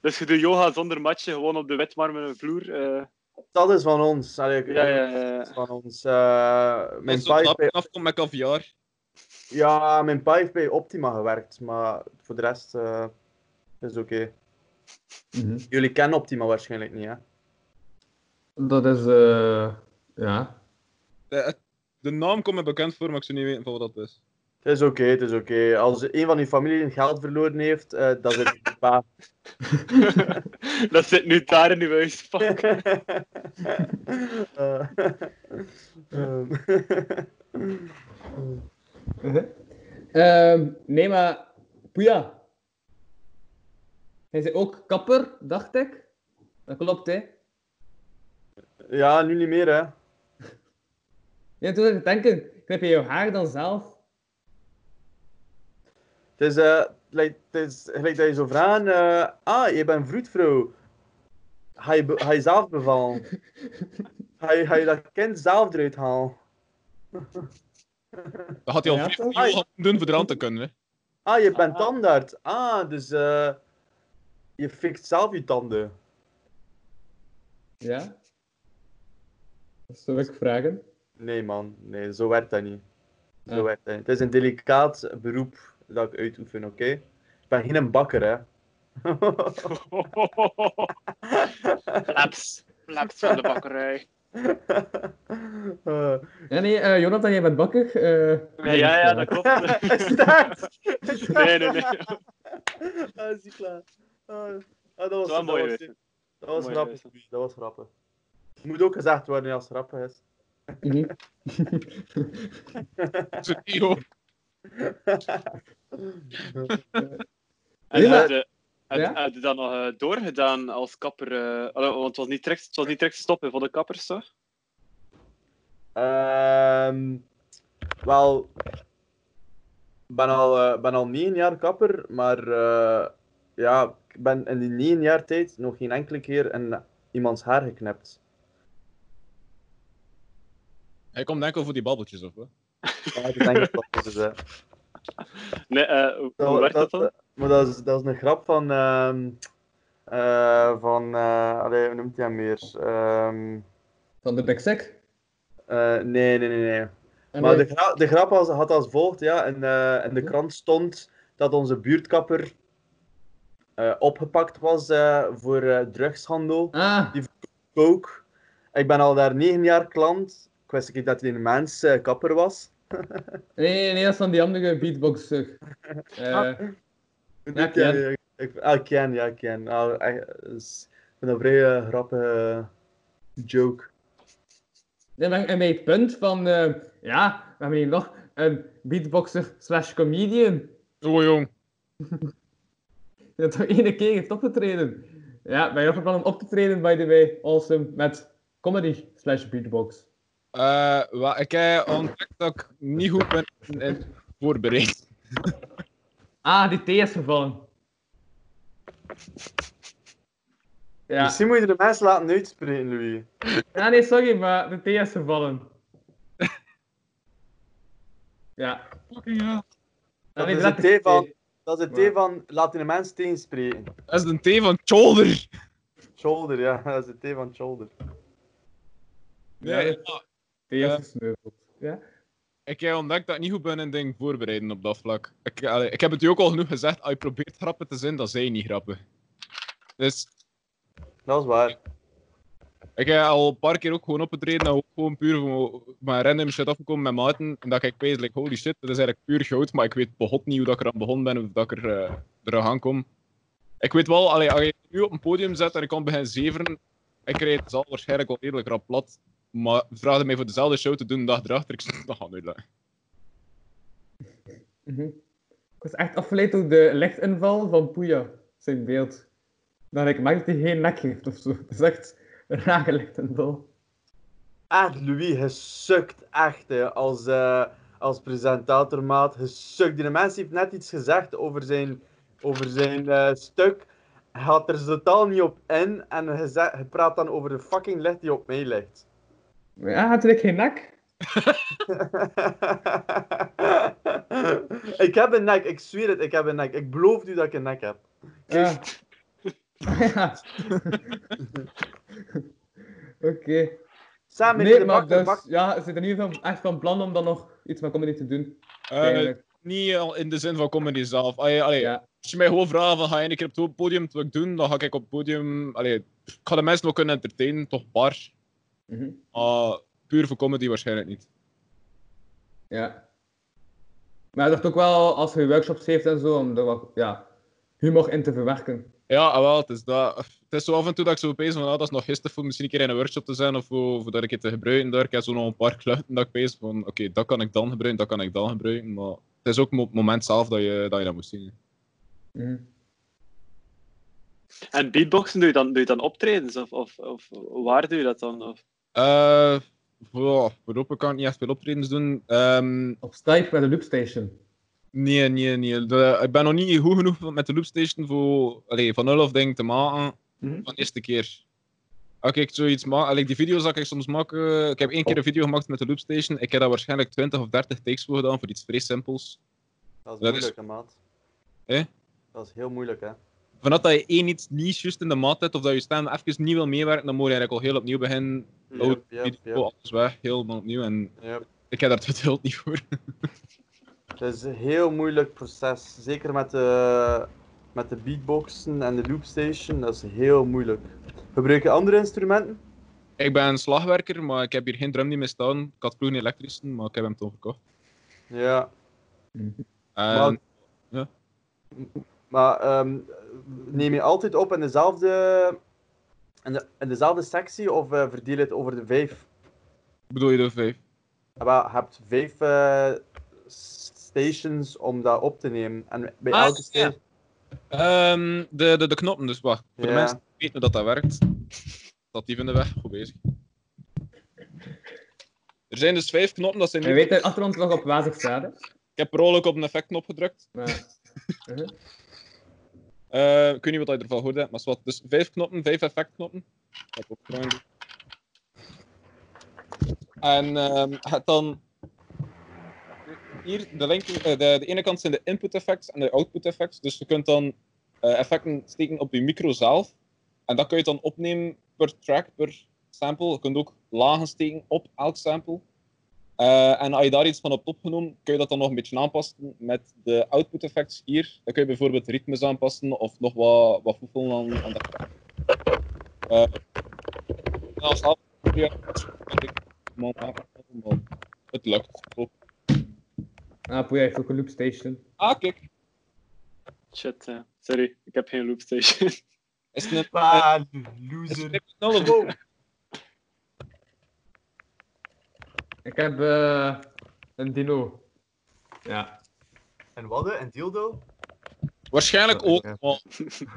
[SPEAKER 6] Dus je doet yoga zonder matje, gewoon op de witmarmeren vloer. eh.
[SPEAKER 4] dat is van ons. Allee, ik-
[SPEAKER 6] ja, ja, ja.
[SPEAKER 4] dat is van ons. eh, mijn
[SPEAKER 5] Als
[SPEAKER 4] pa heeft bij,
[SPEAKER 5] het afkomt met caviar.
[SPEAKER 4] ja, mijn pa heeft bij Optima gewerkt, maar voor de rest eh, is het oké.
[SPEAKER 3] Mhm.
[SPEAKER 4] Jullie kennen Optima waarschijnlijk niet, hè?
[SPEAKER 3] Dat is, eh ja.
[SPEAKER 5] De, de naam komt me bekend voor, maar ik zou niet weten van wat dat is.
[SPEAKER 4] Het is oké, het is oké. Als een van uw familie geld verloren heeft, eh dat is het pa.
[SPEAKER 6] [laughs] dat zit nu daar in uw huis. [laughs] Fuck.
[SPEAKER 4] Eh, ehm.
[SPEAKER 3] Mhm. Ehm, nee, maar Poeja. Hij zei ook kapper, dacht ik. Dat klopt, hè?
[SPEAKER 4] [laughs] ja, nu niet meer, hè.
[SPEAKER 3] Ja, toen ik denken, knip je jouw haar dan zelf?
[SPEAKER 4] Het is, eh, gelijk- het is gelijk dat je zo vraagt, eh, ah, je bent vroedvrouw. Ga je, be- ga je zelf bevallen? Ga je, ga je dat kind zelf eruit halen?
[SPEAKER 5] Dat had hij al
[SPEAKER 3] Ja,
[SPEAKER 5] veel
[SPEAKER 3] toch?
[SPEAKER 5] veel gaan doen voor de rand te kunnen. Hè.
[SPEAKER 4] Ah, je bent tandarts. Ah, dus eh, je fixt zelf je tanden.
[SPEAKER 3] Ja. Dat zou ik vragen.
[SPEAKER 4] Nee, man. Nee, zo werkt dat niet. Zo
[SPEAKER 3] Ja.
[SPEAKER 4] werkt dat niet. Het is een delicaat beroep dat ik uitoefen, oké? ben geen bakker,
[SPEAKER 6] [laughs]
[SPEAKER 4] hè.
[SPEAKER 6] Flaps. Flaps van de bakkerij.
[SPEAKER 4] Eh,
[SPEAKER 3] Ja, nee, eh, Jonathan, jij bent bakker. eh,
[SPEAKER 6] Ja, ja, ja, dat klopt.
[SPEAKER 4] [laughs] Staart!
[SPEAKER 6] Nee, nee, nee.
[SPEAKER 4] [laughs] Ah, is die klaar. Ah, ah, dat was,
[SPEAKER 6] wel
[SPEAKER 4] dat
[SPEAKER 6] mooi
[SPEAKER 4] was,
[SPEAKER 6] weten.
[SPEAKER 4] dat was
[SPEAKER 6] Mooi
[SPEAKER 4] grappig.
[SPEAKER 6] weten.
[SPEAKER 4] Dat was grappig. Het moet ook gezegd worden als het grappig is.
[SPEAKER 3] [laughs] mhm.
[SPEAKER 5] [laughs] Trio.
[SPEAKER 6] En
[SPEAKER 3] Ja.
[SPEAKER 6] heb je- heb-
[SPEAKER 3] Ja?
[SPEAKER 6] heb je dat nog eh, doorgedaan als kapper? eh, allee, want het was niet direct, het was niet direct stoppen voor de kappers, toch?
[SPEAKER 4] Ehm, wel, ik ben al, eh, ben al negen jaar kapper, maar eh, ja, ik ben in die negen jaar tijd nog geen enkele keer een, iemands haar geknipt.
[SPEAKER 5] Hij komt enkel voor die babbeltjes, of wat?
[SPEAKER 4] Ja, dat denk ik wel, dus, eh,
[SPEAKER 6] Nee, eh, hoe hoe werkt dat dan?
[SPEAKER 4] Maar dat is, dat is een grap van. ehm, eh, van eh, allee, hoe noemt hij hem weer? Ehm,
[SPEAKER 3] Van de Big Sick.
[SPEAKER 4] eh, nee, nee, nee. nee.
[SPEAKER 3] En eh,
[SPEAKER 4] Maar
[SPEAKER 3] nee,
[SPEAKER 4] de, gra- de grap was, had als volgt, ja. In, eh, in de krant stond dat onze buurtkapper eh, opgepakt was eh, voor eh, drugshandel,
[SPEAKER 3] Ah,
[SPEAKER 4] coke. Ik ben al daar negen jaar klant. Ik wist niet dat hij een mens eh, kapper was.
[SPEAKER 3] nee, nee, dat is van die andere beatboxer. Eh, Ja,
[SPEAKER 4] ken
[SPEAKER 3] Ken.
[SPEAKER 4] Ik, ik, ah, Ken, ja, Ken. Nou, echt, is- ik vind dat een vrij eh, grappige joke.
[SPEAKER 3] nee, maar- en bij het punt van, eh, ja, we hebben hier nog een beatboxer slash comedian.
[SPEAKER 5] Zo jong.
[SPEAKER 3] Dat toch [laughs] ene keer heeft opgetreden. Ja, ben je nog van plan om op te treden, by the way, awesome, met comedy slash beatbox.
[SPEAKER 5] Eh, wat ik heb ontdekt dat ik niet goed ben in- in voorbereid.
[SPEAKER 3] Ah, die thee is gevallen. Ja,
[SPEAKER 4] Misschien moet je de mensen laten uitspreken, Louis.
[SPEAKER 3] ja nee, sorry, maar de thee is gevallen. Ja.
[SPEAKER 5] Fucking ja.
[SPEAKER 4] Dat
[SPEAKER 3] nee,
[SPEAKER 4] is
[SPEAKER 3] dat
[SPEAKER 4] de thee van,
[SPEAKER 3] thee.
[SPEAKER 4] dat is de
[SPEAKER 3] Ja.
[SPEAKER 4] thee van laat die de mens tegenspreken.
[SPEAKER 5] Dat is de T van shoulder.
[SPEAKER 4] Shoulder, ja, [laughs] dat is de thee van shoulder.
[SPEAKER 5] Nee,
[SPEAKER 3] Ja.
[SPEAKER 5] ja,
[SPEAKER 3] Thee is
[SPEAKER 5] Ja.
[SPEAKER 3] gesneuveld. Ja?
[SPEAKER 5] ik heb ontdekt dat ik niet goed ben in dingen voorbereiden op dat vlak. Ik, allee, ik heb het u ook al genoeg gezegd, als je probeert grappen te zijn, dan zijn niet grappen. Dus
[SPEAKER 4] Dat is waar.
[SPEAKER 5] ik heb al een paar keer ook gewoon opgetreden en ook gewoon puur van mijn random shit afgekomen met maten. En dat ik weet, like, holy shit, dat is eigenlijk puur goud, maar ik weet begot niet hoe dat ik eraan begonnen ben of dat ik er, eh eraan kom. Ik weet wel, allee, als je nu op een podium zet en ik kan beginnen zeveren, ik krijg het zal waarschijnlijk wel redelijk rap plat. Maar vraagde mij voor dezelfde show te doen de dag erachter, ik zeg, dat gaat nooit lukken.
[SPEAKER 3] Mhm. Ik was echt afgeleid door de lichtinval van Poeja, zijn beeld. Dan ik merk dat hij geen nek heeft of zo. [laughs] Dat is echt een rare lichtinval.
[SPEAKER 4] Echt, Louis, gesukt echt hè, als, eh, als presentatormaat. Gesukt. Die mens heeft net iets gezegd over zijn, over zijn eh, stuk. Hij gaat er totaal niet op in en hij ze- hij praat dan over de fucking licht die op mij ligt. [laughs]
[SPEAKER 3] Maar Ja, had ik geen nek?
[SPEAKER 4] ik heb een nek, ik zweer het, ik heb een nek. Ik beloof u dat ik een nek heb.
[SPEAKER 3] Ja. [laughs] ja. [laughs] Oké.
[SPEAKER 4] Samen met
[SPEAKER 3] Nee,
[SPEAKER 4] de
[SPEAKER 3] maar
[SPEAKER 4] bakker,
[SPEAKER 3] dus,
[SPEAKER 4] bakker-
[SPEAKER 3] ja, ze zijn in ieder geval echt van plan om dan nog iets met comedy te doen.
[SPEAKER 5] Eh,
[SPEAKER 3] Eigenlijk.
[SPEAKER 5] niet al in de zin van comedy zelf. Allee, allee,
[SPEAKER 3] Ja.
[SPEAKER 5] Als je mij gewoon vraagt van ga je een keer op het podium het wil ik doen, dan ga ik op het podium. Allee, pff, ik ga de mensen nog kunnen entertainen, toch bar.
[SPEAKER 3] Mhm.
[SPEAKER 5] Maar Ah, puur voor comedy waarschijnlijk niet.
[SPEAKER 3] Ja. Maar dat ook wel als je workshops heeft en zo, om er wat ja, humor in te verwerken.
[SPEAKER 5] Ja, ah, wel, het is dat. Het is zo af en toe dat ik zo opeens van, ah, dat is nog gisteren voor misschien een keer in een workshop te zijn of voor, voor dat ik het te gebruiken daar. Ik heb zo nog een paar [laughs] kluiten dat ik wees van, oké, dat kan ik dan gebruiken, dat kan ik dan gebruiken. Maar het is ook mo- het moment zelf dat je dat, je dat moet zien.
[SPEAKER 3] Mhm.
[SPEAKER 6] En beatboxen, doe je dan, doe je dan optredens? Of, of, of waar doe je dat dan? Of...
[SPEAKER 5] Eh, wow, voorop, ik kan ik niet echt veel optredens doen. Ehm,
[SPEAKER 3] Op Skype met de Loopstation.
[SPEAKER 5] Nee, nee, nee. De- ik ben nog niet goed genoeg met de loopstation voor, allee, van nul af ding te maken.
[SPEAKER 3] Mhm.
[SPEAKER 5] Van de eerste keer. Als ik zoiets maak, allee, die video's dat ik soms maak. eh, ik heb één
[SPEAKER 4] Oh.
[SPEAKER 5] keer een video gemaakt met de loopstation. Ik heb daar waarschijnlijk 20 of 30 takes voor gedaan voor iets vrij simpels.
[SPEAKER 4] Dat is
[SPEAKER 5] is-
[SPEAKER 4] moeilijk, hè, maat.
[SPEAKER 5] Eh?
[SPEAKER 4] Dat is heel moeilijk, hè.
[SPEAKER 5] Vanaf dat je één iets niet juist in de maat hebt of dat je stem even niet wil meewerken, dan moet je eigenlijk al heel opnieuw beginnen.
[SPEAKER 4] Yep,
[SPEAKER 5] Oud
[SPEAKER 4] yep,
[SPEAKER 5] video,
[SPEAKER 4] yep,
[SPEAKER 5] alles weg, helemaal opnieuw. En
[SPEAKER 4] yep.
[SPEAKER 5] ik heb daar het geduld niet voor.
[SPEAKER 4] Het is een heel moeilijk proces. Zeker met de, met de beatboxen en de loopstation, dat is heel moeilijk. Gebruik je andere instrumenten?
[SPEAKER 5] Ik ben slagwerker, maar ik heb hier geen drum die mee staan. Ik had vroeger een elektrische, maar ik heb hem toen verkocht.
[SPEAKER 4] Ja,
[SPEAKER 5] En
[SPEAKER 4] Maar-
[SPEAKER 5] ja.
[SPEAKER 4] maar ehm, neem je altijd op in dezelfde, in de, in dezelfde sectie of eh, verdeel je het over de vijf?
[SPEAKER 5] bedoel je de vijf?
[SPEAKER 4] Ja, wel, Je hebt vijf eh, s- stations om dat op te nemen. En bij
[SPEAKER 5] Ah,
[SPEAKER 4] elke
[SPEAKER 5] ja.
[SPEAKER 4] station...
[SPEAKER 5] Ehm, de, de, de knoppen, dus wacht. Voor
[SPEAKER 4] Ja.
[SPEAKER 5] de mensen die niet weten hoe dat dat werkt, dat die van de weg. Goed bezig. Er zijn dus vijf knoppen, dat zijn
[SPEAKER 3] Je
[SPEAKER 5] nu...
[SPEAKER 3] weet dat achter ons nog op wazig staat, hè?
[SPEAKER 5] Ik heb per ongeluk op een effectknop gedrukt.
[SPEAKER 3] Maar... Uh-huh.
[SPEAKER 5] Eh, ik weet niet wat je ervan hoorde, maar zwart. Dus vijf knoppen, vijf effectknoppen. Ik heb ook gewoon- En ehm, je hebt dan. Hier, de, linker, eh, de, de ene kant zijn de input effects en de output effects. Dus je kunt dan eh, effecten steken op je micro zelf. En dat kun je dan opnemen per track, per sample. Je kunt ook lagen steken op elk sample. Eh, en als je daar iets van hebt opgenomen, kun je dat dan nog een beetje aanpassen met de output effects hier. Dan kun je bijvoorbeeld ritmes aanpassen of nog wat, wat voegen aan, aan dat. Eh, en als dat- ja, kan ik- maar- maar- maar- Het lukt.
[SPEAKER 3] Ah, poeie, heeft ook een loopstation.
[SPEAKER 5] Ah, kijk.
[SPEAKER 6] Shit, eh, sorry, ik heb geen loopstation. [laughs]
[SPEAKER 5] Is het een
[SPEAKER 4] Ah,
[SPEAKER 5] is
[SPEAKER 4] loser.
[SPEAKER 5] het een knal of niet?
[SPEAKER 3] Ik heb eh, een dino. Ja.
[SPEAKER 4] En wat, hè? een dildo?
[SPEAKER 5] Waarschijnlijk ook, maar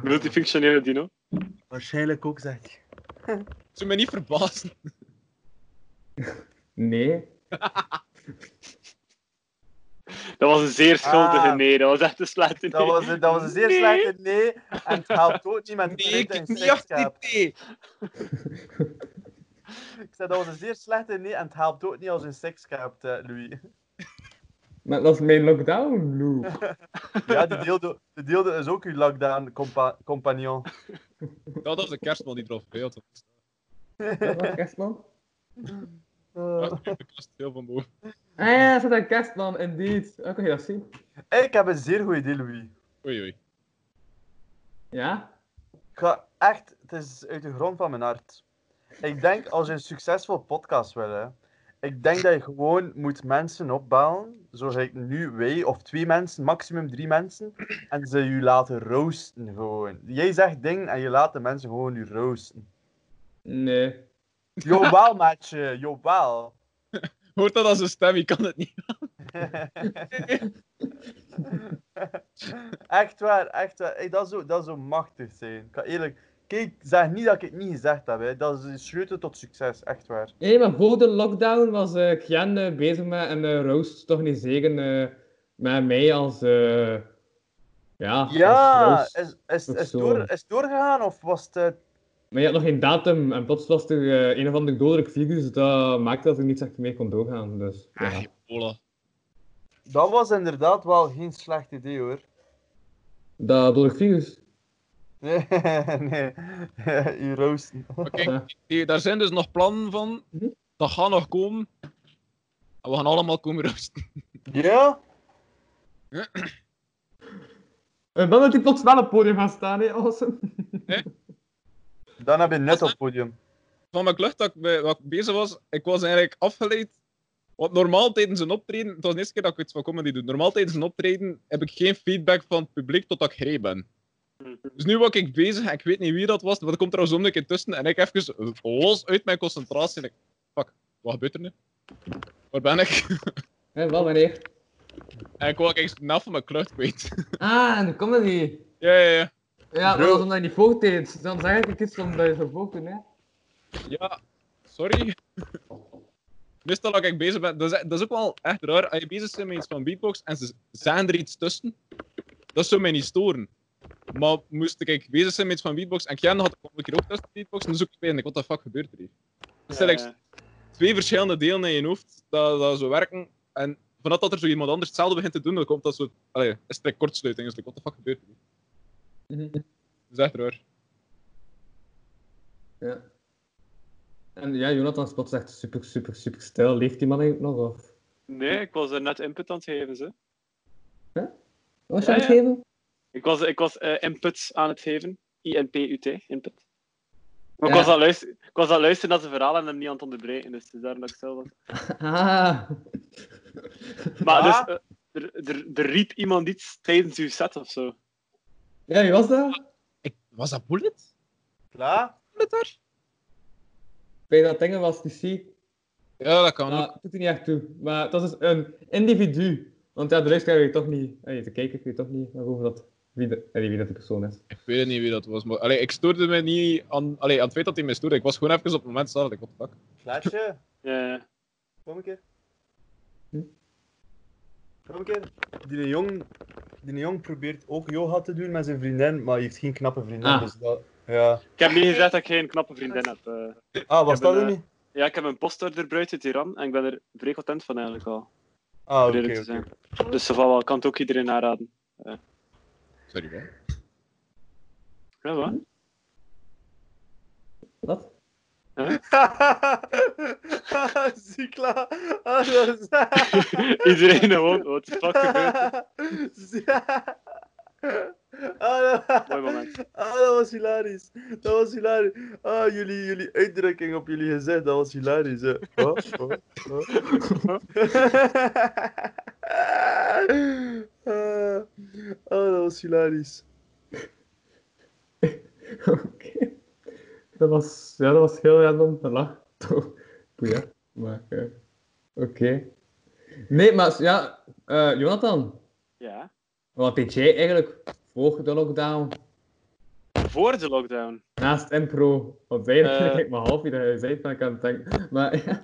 [SPEAKER 6] Multifunctionele dino.
[SPEAKER 4] Waarschijnlijk ook, zeg ik.
[SPEAKER 5] ze me niet verbazen.
[SPEAKER 3] Nee.
[SPEAKER 6] Dat was een zeer schuldige
[SPEAKER 4] Ah.
[SPEAKER 6] nee, dat was echt een slechte nee.
[SPEAKER 4] Dat was, dat was een zeer
[SPEAKER 6] Nee.
[SPEAKER 4] slechte nee. En het helpt ook niet met
[SPEAKER 5] Nee, ik
[SPEAKER 4] fruit en
[SPEAKER 5] heb niet achter
[SPEAKER 4] sekschaap.
[SPEAKER 5] die thee.
[SPEAKER 4] Ik zei, dat was een zeer slechte nee en het helpt ook niet als je een sekschaap, hebt, eh, Louis.
[SPEAKER 3] Maar dat is mijn lockdown loop.
[SPEAKER 4] Ja, die deelde, die deelde is ook uw lockdown compa compagnon.
[SPEAKER 5] Dat was de kerstman die erop veel te
[SPEAKER 3] Dat was kerstman.
[SPEAKER 4] Eh,
[SPEAKER 5] Ik was heel van boven.
[SPEAKER 3] Ah ja, er zit een kerstman, indeed. Ah, kon je dat zien?
[SPEAKER 4] ik heb een zeer goed idee, Louis.
[SPEAKER 5] Oei, oei.
[SPEAKER 3] Ja?
[SPEAKER 4] Ik ga echt, het is uit de grond van mijn hart. Ik denk als je een succesvol podcast wil, hè, ik denk dat je gewoon moet mensen opbellen, zoals ik nu wij of twee mensen, maximum drie mensen, en ze je laten roosten gewoon. Jij zegt dingen en je laat de mensen gewoon je roosten.
[SPEAKER 3] Nee.
[SPEAKER 4] Jawel, maatje, jawel.
[SPEAKER 5] Hoort dat als een stem? Ik kan het niet.
[SPEAKER 4] [laughs] echt waar, echt waar. Ey, dat, zou, dat zou machtig zijn. Ik ga eerlijk... Kijk, zeg niet dat ik het niet gezegd heb. Hè. Dat is schuten tot succes, echt waar.
[SPEAKER 3] Hé, maar voor de lockdown was eh Gian eh, bezig met een eh, roast toch niet zeggen eh, met mij als... eh, ja, als
[SPEAKER 4] Ja,
[SPEAKER 3] roast.
[SPEAKER 4] is, is,
[SPEAKER 3] Of
[SPEAKER 4] is,
[SPEAKER 3] zo.
[SPEAKER 4] door, is het doorgegaan of was het... eh,
[SPEAKER 3] Maar je had nog geen datum en plots was er eh, een of ander dodelijk virus dat maakte dat er niets echt meer kon doorgaan. Dus, ja.
[SPEAKER 5] Ah, Ebola.
[SPEAKER 4] Dat was inderdaad wel geen slecht idee hoor. [laughs]
[SPEAKER 3] Dat dodelijk virus.
[SPEAKER 4] Nee, nee. [laughs] Je roosten.
[SPEAKER 5] Oké,
[SPEAKER 3] Ja.
[SPEAKER 5] die- daar zijn dus nog plannen van.
[SPEAKER 3] Mhm.
[SPEAKER 5] Dat gaat nog komen. En we gaan allemaal komen roosten. [laughs]
[SPEAKER 4] Ja?
[SPEAKER 3] En dan dat hij plots wel op het podium gaat staan, hè, [laughs] awesome.
[SPEAKER 4] Dan heb je net op het podium.
[SPEAKER 5] Van mijn klucht dat ik, bij- wat ik bezig was, ik was eigenlijk afgeleid. Want normaal tijdens een optreden, het was de eerste keer dat ik iets van comedy doe. Normaal tijdens een optreden heb ik geen feedback van het publiek totdat ik gereed ben. Dus nu was ik bezig en ik weet niet wie dat was, want er komt trouwens om een keer tussen en ik even los uit mijn concentratie. en ik, fuck, wat gebeurt er nu? Waar ben ik? [laughs]
[SPEAKER 3] Hé, wel meneer.
[SPEAKER 5] En ik wou ik snel van mijn klucht kwijt. [laughs]
[SPEAKER 3] Ah, en comedy.
[SPEAKER 5] Ja, ja, ja.
[SPEAKER 3] Ja, maar
[SPEAKER 4] Bro.
[SPEAKER 3] dat is omdat je niet voortdeed. Dan zeg ik iets omdat je zo voortdeed, hè.
[SPEAKER 5] Ja, sorry. [laughs] Meestal als ik bezig ben, dat is, dat is ook wel echt raar. Als je bezig bent met iets van beatbox en ze zijn er iets tussen, dat zou mij niet storen. Maar moest ik bezig zijn met iets van beatbox en Kian had ik een keer ook tussen beatbox, dan zoek ik bij en ik, wat de fuck gebeurt er hier? Dus stel
[SPEAKER 6] Eh,
[SPEAKER 5] ik twee verschillende delen in je hoofd dat, dat zo werken en vanaf dat er zo iemand anders hetzelfde begint te doen, dan komt dat zo, allee, is het een kortsluiting, dus ik, wat de fuck gebeurt er hier? Mhm. Dat is echt raar.
[SPEAKER 3] Ja. En ja, Jonathan is plots echt super, super, super stijl. Leeft die man eigenlijk nog? Of...
[SPEAKER 6] Nee, ik was er net input aan het geven, ze.
[SPEAKER 3] Wat was je
[SPEAKER 6] Ja,
[SPEAKER 3] aan het
[SPEAKER 6] ja.
[SPEAKER 3] geven?
[SPEAKER 6] Ik was, ik was eh, input aan het geven. I-N-P-U-T, input. Maar
[SPEAKER 3] Ja.
[SPEAKER 6] ik, was aan luister- ik was aan het luisteren naar zijn verhaal en hem niet aan het onderbreken, dus het is daarom dat ik stil was.
[SPEAKER 3] [laughs] Ah.
[SPEAKER 6] Maar
[SPEAKER 4] Ah.
[SPEAKER 6] dus, eh, er, er, er riep iemand iets tijdens uw set of zo.
[SPEAKER 3] Ja, wie was dat?
[SPEAKER 5] Ik, was dat Bullet?
[SPEAKER 4] Klaar?
[SPEAKER 5] Bullet daar?
[SPEAKER 3] Bij dat dingen was DC.
[SPEAKER 5] Ja, dat kan
[SPEAKER 6] Ah.
[SPEAKER 5] ook.
[SPEAKER 3] Maar het doet er niet echt toe. Maar het was dus een individu. Want ja, de luisteraar weet toch niet... Allee, de kijker weet toch niet waarover dat... Wie, de, allee, wie dat de persoon is. [laughs]
[SPEAKER 5] Ik weet niet wie dat was, maar allee, ik stoorde me niet aan, allee, aan het feit dat hij mij stoorde. Ik was gewoon even op het moment zelf, ik, what the fuck.
[SPEAKER 4] Klaasje?
[SPEAKER 6] Ja, ja.
[SPEAKER 4] Kom een keer.
[SPEAKER 3] Hm?
[SPEAKER 4] Kom een keer. Die jong, die jong probeert ook yoga te doen met zijn vriendin, maar hij heeft geen knappe vriendin.
[SPEAKER 3] Ah.
[SPEAKER 4] Dus dat, ja.
[SPEAKER 6] Ik heb niet gezegd dat ik geen knappe vriendin heb. eh.
[SPEAKER 4] Ah, was
[SPEAKER 6] Ik heb
[SPEAKER 4] dat
[SPEAKER 6] een,
[SPEAKER 4] er
[SPEAKER 6] eh,
[SPEAKER 4] niet?
[SPEAKER 6] Ja, ik heb een postorder buiten Tiran en ik ben er vrij content van eigenlijk al.
[SPEAKER 4] Ah,
[SPEAKER 6] om
[SPEAKER 4] oké.
[SPEAKER 6] eerlijk
[SPEAKER 4] oké. [laughs]
[SPEAKER 6] te zijn. Dus zo van wel, kan het ook iedereen aanraden.
[SPEAKER 5] Sorry, man.
[SPEAKER 6] Ja, wat?
[SPEAKER 3] Wat?
[SPEAKER 6] [laughs]
[SPEAKER 4] Zie klaar. Ah, dat is...
[SPEAKER 6] iedereen gewoon, wat de fuck gebeurt er?
[SPEAKER 4] [laughs] Zie- Ah, dat-
[SPEAKER 6] Mooi moment.
[SPEAKER 4] Ah, dat was hilarisch. Dat was hilarisch. Ah, jullie, jullie uitdrukking op jullie gezicht, dat was hilarisch.
[SPEAKER 6] [laughs]
[SPEAKER 4] Hè. Oh, oh, oh. [laughs] Ah, oh, dat was hilarisch.
[SPEAKER 3] Oké. Dat was... Ja, dat was heel random. Een lach. Toch. Boeia. Maar... eh, Oké. Nee, maar... Ja, eh, Jonathan.
[SPEAKER 6] Ja.
[SPEAKER 3] Wat deed jij eigenlijk voor de lockdown?
[SPEAKER 6] Voor de lockdown.
[SPEAKER 3] Naast impro. Want eigenlijk
[SPEAKER 6] Eh.
[SPEAKER 3] kijk ik maar half wie dat je zei, maar ik aan het denken. Maar [laughs]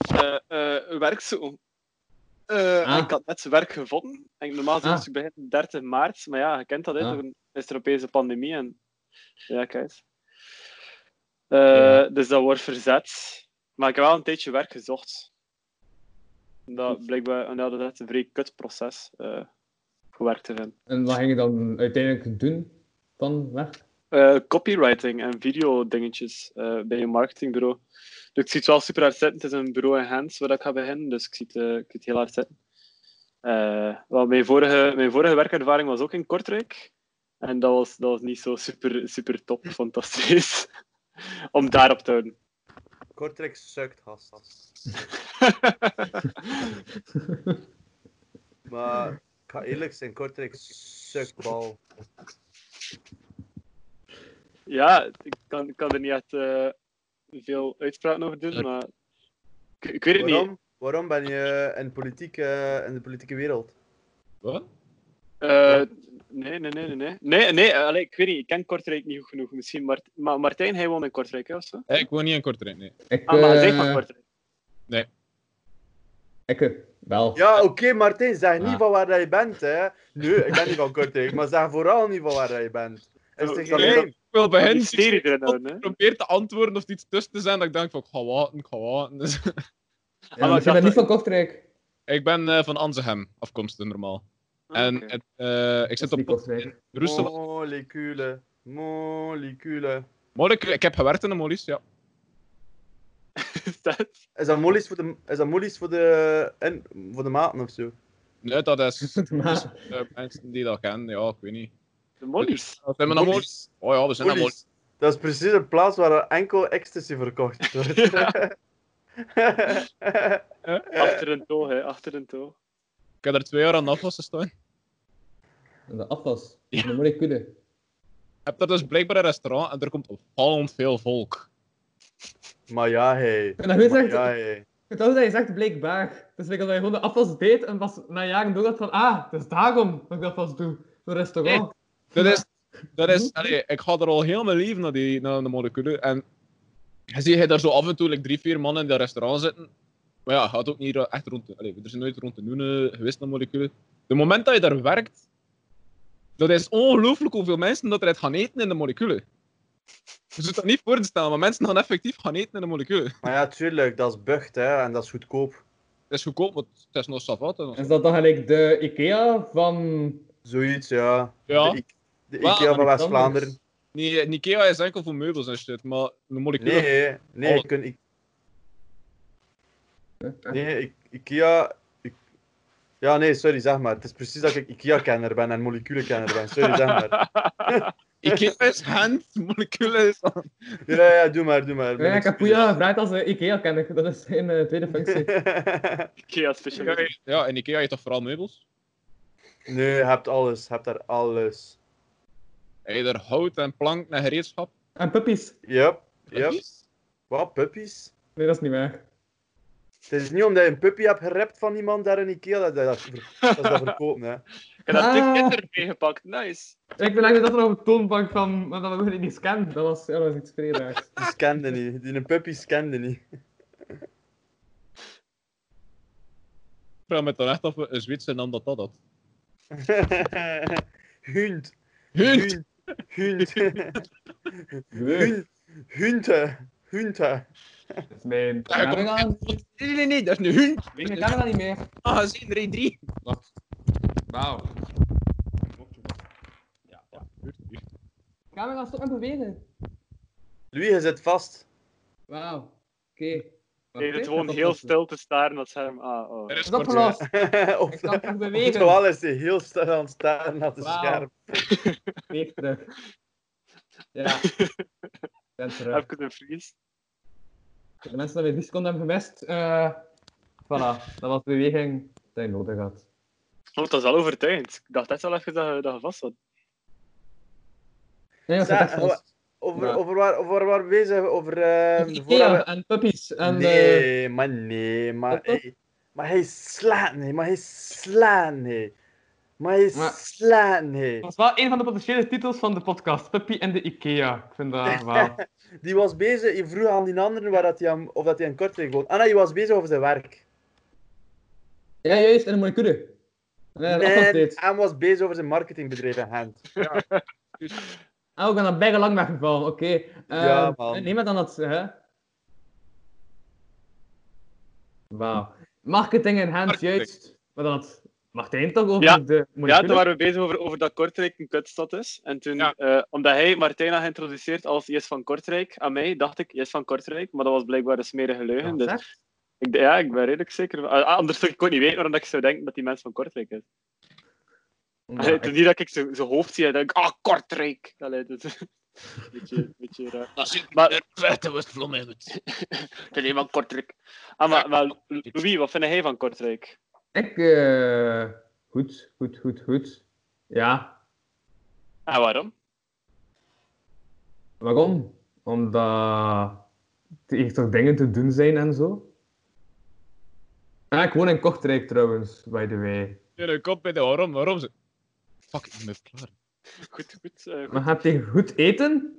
[SPEAKER 3] ja.
[SPEAKER 6] eh eh, werk zo. Eh,
[SPEAKER 3] Ah.
[SPEAKER 6] Ik had net werk gevonden. En normaal
[SPEAKER 3] Ah.
[SPEAKER 6] moest ik beginnen 30 maart. Maar ja, je kent dat, hè.
[SPEAKER 3] Ah.
[SPEAKER 6] Toen is er opeens een pandemie. En... Ja, kijk. eens. Eh,
[SPEAKER 3] Ja.
[SPEAKER 6] Dus dat wordt verzet. Maar ik heb wel een tijdje werk gezocht. Dat blijkbaar en ja, dat is echt een vrij kut proces. eh, om werk te vinden.
[SPEAKER 3] En wat ging je dan uiteindelijk doen van weg?
[SPEAKER 6] Eh, copywriting en videodingetjes eh bij een marketingbureau. Dus ik zie het wel super hard zitten. Het is een bureau in Gent waar ik ga beginnen, dus ik zie het, eh, ik zie het heel hard zitten. Eh, wel, mijn, vorige, mijn vorige werkervaring was ook in Kortrijk. En dat was, dat was niet zo super, super top, fantastisch. [laughs] Om daarop te houden.
[SPEAKER 4] Kortrijk sukt,
[SPEAKER 6] [laughs]
[SPEAKER 4] gast. Maar ik ga eerlijk zijn, Kortrijk sukt bal.
[SPEAKER 6] ja, ik kan, ik kan er niet echt eh, veel uitspraken over doen, maar ik, ik weet het niet.
[SPEAKER 4] Waarom? Waarom ben je in, politiek, eh, in de politieke wereld?
[SPEAKER 5] Wat?
[SPEAKER 6] Eh, nee, nee, nee, nee, nee. Nee, nee eh, allee, ik weet niet, ik ken Kortrijk niet goed genoeg. Misschien Mart maar Martijn, hij woont in Kortrijk, hè, of zo?
[SPEAKER 5] Eh, ik woon niet in Kortrijk, nee.
[SPEAKER 3] Ik,
[SPEAKER 6] Ah, maar hij zegt
[SPEAKER 3] eh,
[SPEAKER 6] van Kortrijk.
[SPEAKER 3] Ik eh, wel.
[SPEAKER 4] Ja, oké, Martijn, zeg niet
[SPEAKER 3] Ah.
[SPEAKER 4] van waar dat je bent, hè. Nee, ik ben niet van Kortrijk, maar zeg vooral niet van waar dat je bent. Is
[SPEAKER 6] Oh,
[SPEAKER 4] het
[SPEAKER 6] dat-
[SPEAKER 4] geen
[SPEAKER 5] Ik wil bij
[SPEAKER 6] Een
[SPEAKER 5] hen
[SPEAKER 6] mysterie erin
[SPEAKER 5] dat-
[SPEAKER 6] houden, hè?
[SPEAKER 5] probeer te antwoorden of er iets tussen te zijn dat ik denk van, ik ga wachten, ik ga waten. Dus, [laughs]
[SPEAKER 3] Ja, maar
[SPEAKER 6] maar
[SPEAKER 3] ik ben
[SPEAKER 6] dat-
[SPEAKER 3] niet van Kortrijk.
[SPEAKER 5] ik ben eh, van Anzegem afkomstig normaal. En
[SPEAKER 6] Ah, Oké. [laughs]
[SPEAKER 5] het, eh, ik
[SPEAKER 3] Dat
[SPEAKER 5] zit
[SPEAKER 3] is niet
[SPEAKER 5] op
[SPEAKER 3] Kortrijk. [laughs]
[SPEAKER 5] Roesel.
[SPEAKER 4] Moleculen. Moleculen.
[SPEAKER 5] Moeilijk, ik heb gewerkt in de Mollies, ja.
[SPEAKER 6] Is dat-
[SPEAKER 4] Is dat molies voor de, is dat molies voor de, en, voor de maten of zo?
[SPEAKER 5] Nee, dat
[SPEAKER 3] [laughs]
[SPEAKER 5] is
[SPEAKER 3] Maar,
[SPEAKER 5] eh, mensen die dat kennen, ja, ik weet niet.
[SPEAKER 6] De mollies.
[SPEAKER 5] Wat zijn we naar Mollies? Oh ja, we zijn naar Mollies.
[SPEAKER 4] Molies. Dat is precies een plaats waar er enkel ecstasy
[SPEAKER 5] [laughs]
[SPEAKER 4] verkocht wordt. [laughs]
[SPEAKER 5] Eh.
[SPEAKER 6] Achter een toog, hè, achter een toog.
[SPEAKER 5] Ik heb er twee jaar aan afwassen staan.
[SPEAKER 3] de afwas. Dan moet ik kunnen.
[SPEAKER 5] Je hebt daar dus blijkbaar een restaurant en er komt opvallend veel volk.
[SPEAKER 4] maar ja, hey.
[SPEAKER 3] En dan weet je
[SPEAKER 4] Maar
[SPEAKER 3] echt,
[SPEAKER 4] ja, hey.
[SPEAKER 3] het was dat je zegt blijkbaar. Dus ik had gewoon de afwas deed en pas na jaren door dat van, ah, het is daarom dat ik dat pas doe. Een restaurant.
[SPEAKER 5] Dat is, dat is, allee, ik ga er al heel mijn leven naar, die, naar de molecule. En je ziet je daar zo af en toe like, drie, vier mannen in dat restaurant zitten. Maar ja, je gaat ook niet echt rond. de- Allee, er zijn nooit rond de noenen geweest naar molecule. De moment dat je daar werkt, dat is ongelooflijk hoeveel mensen dat er uit gaan eten in de molecule. Je zult dat niet voor te stellen, maar mensen gaan effectief gaan eten in de molecule.
[SPEAKER 4] maar ja, tuurlijk, dat is bucht, hè, en dat is goedkoop.
[SPEAKER 5] Het is goedkoop, want het is nog savat. en nog-
[SPEAKER 3] Is dat dan gelijk de Ikea van...
[SPEAKER 4] Zoiets, ja.
[SPEAKER 5] Ja.
[SPEAKER 4] De, I- de
[SPEAKER 5] Wel,
[SPEAKER 4] IKEA van
[SPEAKER 3] iets
[SPEAKER 4] West-Vlaanderen.
[SPEAKER 3] anders?
[SPEAKER 5] Nee, Ikea is enkel voor meubels en shit, maar de molecule...
[SPEAKER 4] Nee, nee,
[SPEAKER 5] Alles.
[SPEAKER 4] ik kun, ik, nee ik, IKEA. Ik, Ja, nee, sorry, zeg maar. Het is precies dat ik IKEA-kenner ben en moleculenkenner ben. Sorry, zeg
[SPEAKER 3] [laughs]
[SPEAKER 4] maar.
[SPEAKER 5] Ik heb eens hand, moleculen is aan.
[SPEAKER 4] Ja, ja, doe maar, doe maar.
[SPEAKER 3] Ja, ik heb Puya
[SPEAKER 4] [laughs]
[SPEAKER 3] gevraagd als eh, IKEA-kenner. Dat is zijn eh, tweede [laughs] functie.
[SPEAKER 6] Ikea specialist.
[SPEAKER 5] Ja, en Ikea heeft toch vooral meubels?
[SPEAKER 4] Nee, je hebt alles. Je hebt daar alles.
[SPEAKER 5] Heb je daar hout en plank en gereedschap?
[SPEAKER 3] En puppies.
[SPEAKER 4] Yep, yep. Wat, puppies?
[SPEAKER 3] Nee, dat is niet waar.
[SPEAKER 4] Het is niet omdat je een puppy hebt gerept van iemand daar in Ikea, dat dat, dat, dat, is dat verkopen, hè.
[SPEAKER 6] Ik heb dat dik
[SPEAKER 3] Ah.
[SPEAKER 6] kinder meegepakt, nice.
[SPEAKER 3] Ik belegde dat er op de toonbank van, maar dat we niet scannen. Dat was, ja, dat was iets vreemdaars.
[SPEAKER 4] Die scande niet. Die een puppy scande niet. [laughs]
[SPEAKER 5] Ik vraag me toch echt af een Zwitser nam dat dat had.
[SPEAKER 4] Hund.
[SPEAKER 5] Hund!
[SPEAKER 4] Hund. [laughs] Hund. Hund. Hunte. Hunte.
[SPEAKER 3] Dat is mijn.
[SPEAKER 5] Ja,
[SPEAKER 3] Ken
[SPEAKER 5] kom.
[SPEAKER 3] ik dat?
[SPEAKER 5] Nee, nee, nee, dat is een hund!
[SPEAKER 3] Ik ken dat niet meer.
[SPEAKER 5] Ah, gezien, 3
[SPEAKER 3] Wauw. Camera, stop met bewegen.
[SPEAKER 4] Louis, je zit vast.
[SPEAKER 3] Wauw. Oké.
[SPEAKER 6] Nee,
[SPEAKER 3] Wacht,
[SPEAKER 6] het
[SPEAKER 3] hè,
[SPEAKER 6] gewoon
[SPEAKER 3] dat
[SPEAKER 6] heel
[SPEAKER 3] was-
[SPEAKER 6] stil te staren naar het scherm. Ah, oh.
[SPEAKER 5] Er
[SPEAKER 3] Dat
[SPEAKER 5] is
[SPEAKER 3] is
[SPEAKER 5] kort,
[SPEAKER 3] opgelost.
[SPEAKER 4] [laughs] Op
[SPEAKER 3] Ik
[SPEAKER 4] [laughs]
[SPEAKER 3] kan toch
[SPEAKER 4] Moet
[SPEAKER 3] bewegen.
[SPEAKER 4] wel eens heel stil aan het staren naar het
[SPEAKER 3] Wauw.
[SPEAKER 4] scherm.
[SPEAKER 3] Weer terug. Ja. Ik ben terug.
[SPEAKER 6] Heb ik het in Fries?
[SPEAKER 3] Voor De mensen die weer 10 seconden hebben gemist, eh voilà, dat was de beweging die je nodig had.
[SPEAKER 6] Oh, dat is wel overtuigend. Ik dacht echt wel even dat je, dat je vast zat.
[SPEAKER 3] Nee, dat
[SPEAKER 4] Ja,
[SPEAKER 3] zit echt vast.
[SPEAKER 4] Over,
[SPEAKER 3] Ja.
[SPEAKER 4] over, waar, over waar we bezig zijn, over... ehm, voordat
[SPEAKER 3] Ikea
[SPEAKER 4] we-
[SPEAKER 3] en puppies en... eh,
[SPEAKER 4] Nee, maar nee, maar...
[SPEAKER 3] Wat dan?
[SPEAKER 4] hey, maar hij slaat nee, maar hij slaat nee. Maar hij
[SPEAKER 3] Maar-
[SPEAKER 4] slaat nee.
[SPEAKER 3] dat is wel een van de potentiële titels van de podcast, Puppy en de Ikea. Ik vind dat wel...
[SPEAKER 4] Die was bezig, je vroeg aan die anderen waar dat hij hem, of dat hij een korting woont. Ah nee, die was bezig over zijn werk.
[SPEAKER 3] Ja, juist, en een molecule. Nee, dat was
[SPEAKER 4] Nee,
[SPEAKER 3] dit.
[SPEAKER 4] hij was bezig over zijn marketingbedrijf in Gent.
[SPEAKER 5] Dus,
[SPEAKER 3] Oh, ik ben dan bijna lang weggevallen, oké.
[SPEAKER 4] Ja,
[SPEAKER 3] Eh,
[SPEAKER 4] man.
[SPEAKER 3] Niemand dan dat... Hè? Wauw. Marketing en hands,
[SPEAKER 5] Marketing.
[SPEAKER 3] juist. Maar dan had Martijn toch over
[SPEAKER 6] Ja.
[SPEAKER 3] de
[SPEAKER 6] Ja,
[SPEAKER 3] molecule?
[SPEAKER 6] toen waren we bezig over, over dat Kortrijk een kutstad is. En toen,
[SPEAKER 5] Ja.
[SPEAKER 6] eh, omdat hij Martijn had geïntroduceerd als Jes van Kortrijk, aan mij dacht ik Jes van Kortrijk, maar dat was blijkbaar een smerige leugen.
[SPEAKER 3] Ja,
[SPEAKER 6] dus
[SPEAKER 3] zeg.
[SPEAKER 6] ik, d- ja, ik ben redelijk zeker. van- Ah, anders zou ik ook niet weten waarom dat ik zou denken dat die mens van Kortrijk is.
[SPEAKER 3] Ja,
[SPEAKER 6] Allee, [laughs] het is niet dat ik zijn zijn hoofd zie en denk, ah, Kortrijk! Allee, dat is een [laughs] beetje, een beetje raar.
[SPEAKER 7] Dat is
[SPEAKER 6] Maar-
[SPEAKER 7] een vette West-Vlaming.
[SPEAKER 6] [laughs] Ik ben helemaal Kortrijk. Ah, maar, maar Louis, wat vind jij van Kortrijk?
[SPEAKER 3] Ik, eh, goed, goed, goed, goed. Ja,
[SPEAKER 6] En waarom?
[SPEAKER 3] waarom? Omdat er hier toch dingen te doen zijn en zo. Ah, ik woon in Kortrijk trouwens, by the way.
[SPEAKER 5] Jullie dus, kop bij de waarom, waarom ze... Fuck, ik ben klaar.
[SPEAKER 6] Goed, goed. eh, goed.
[SPEAKER 3] Maar heb je goed eten?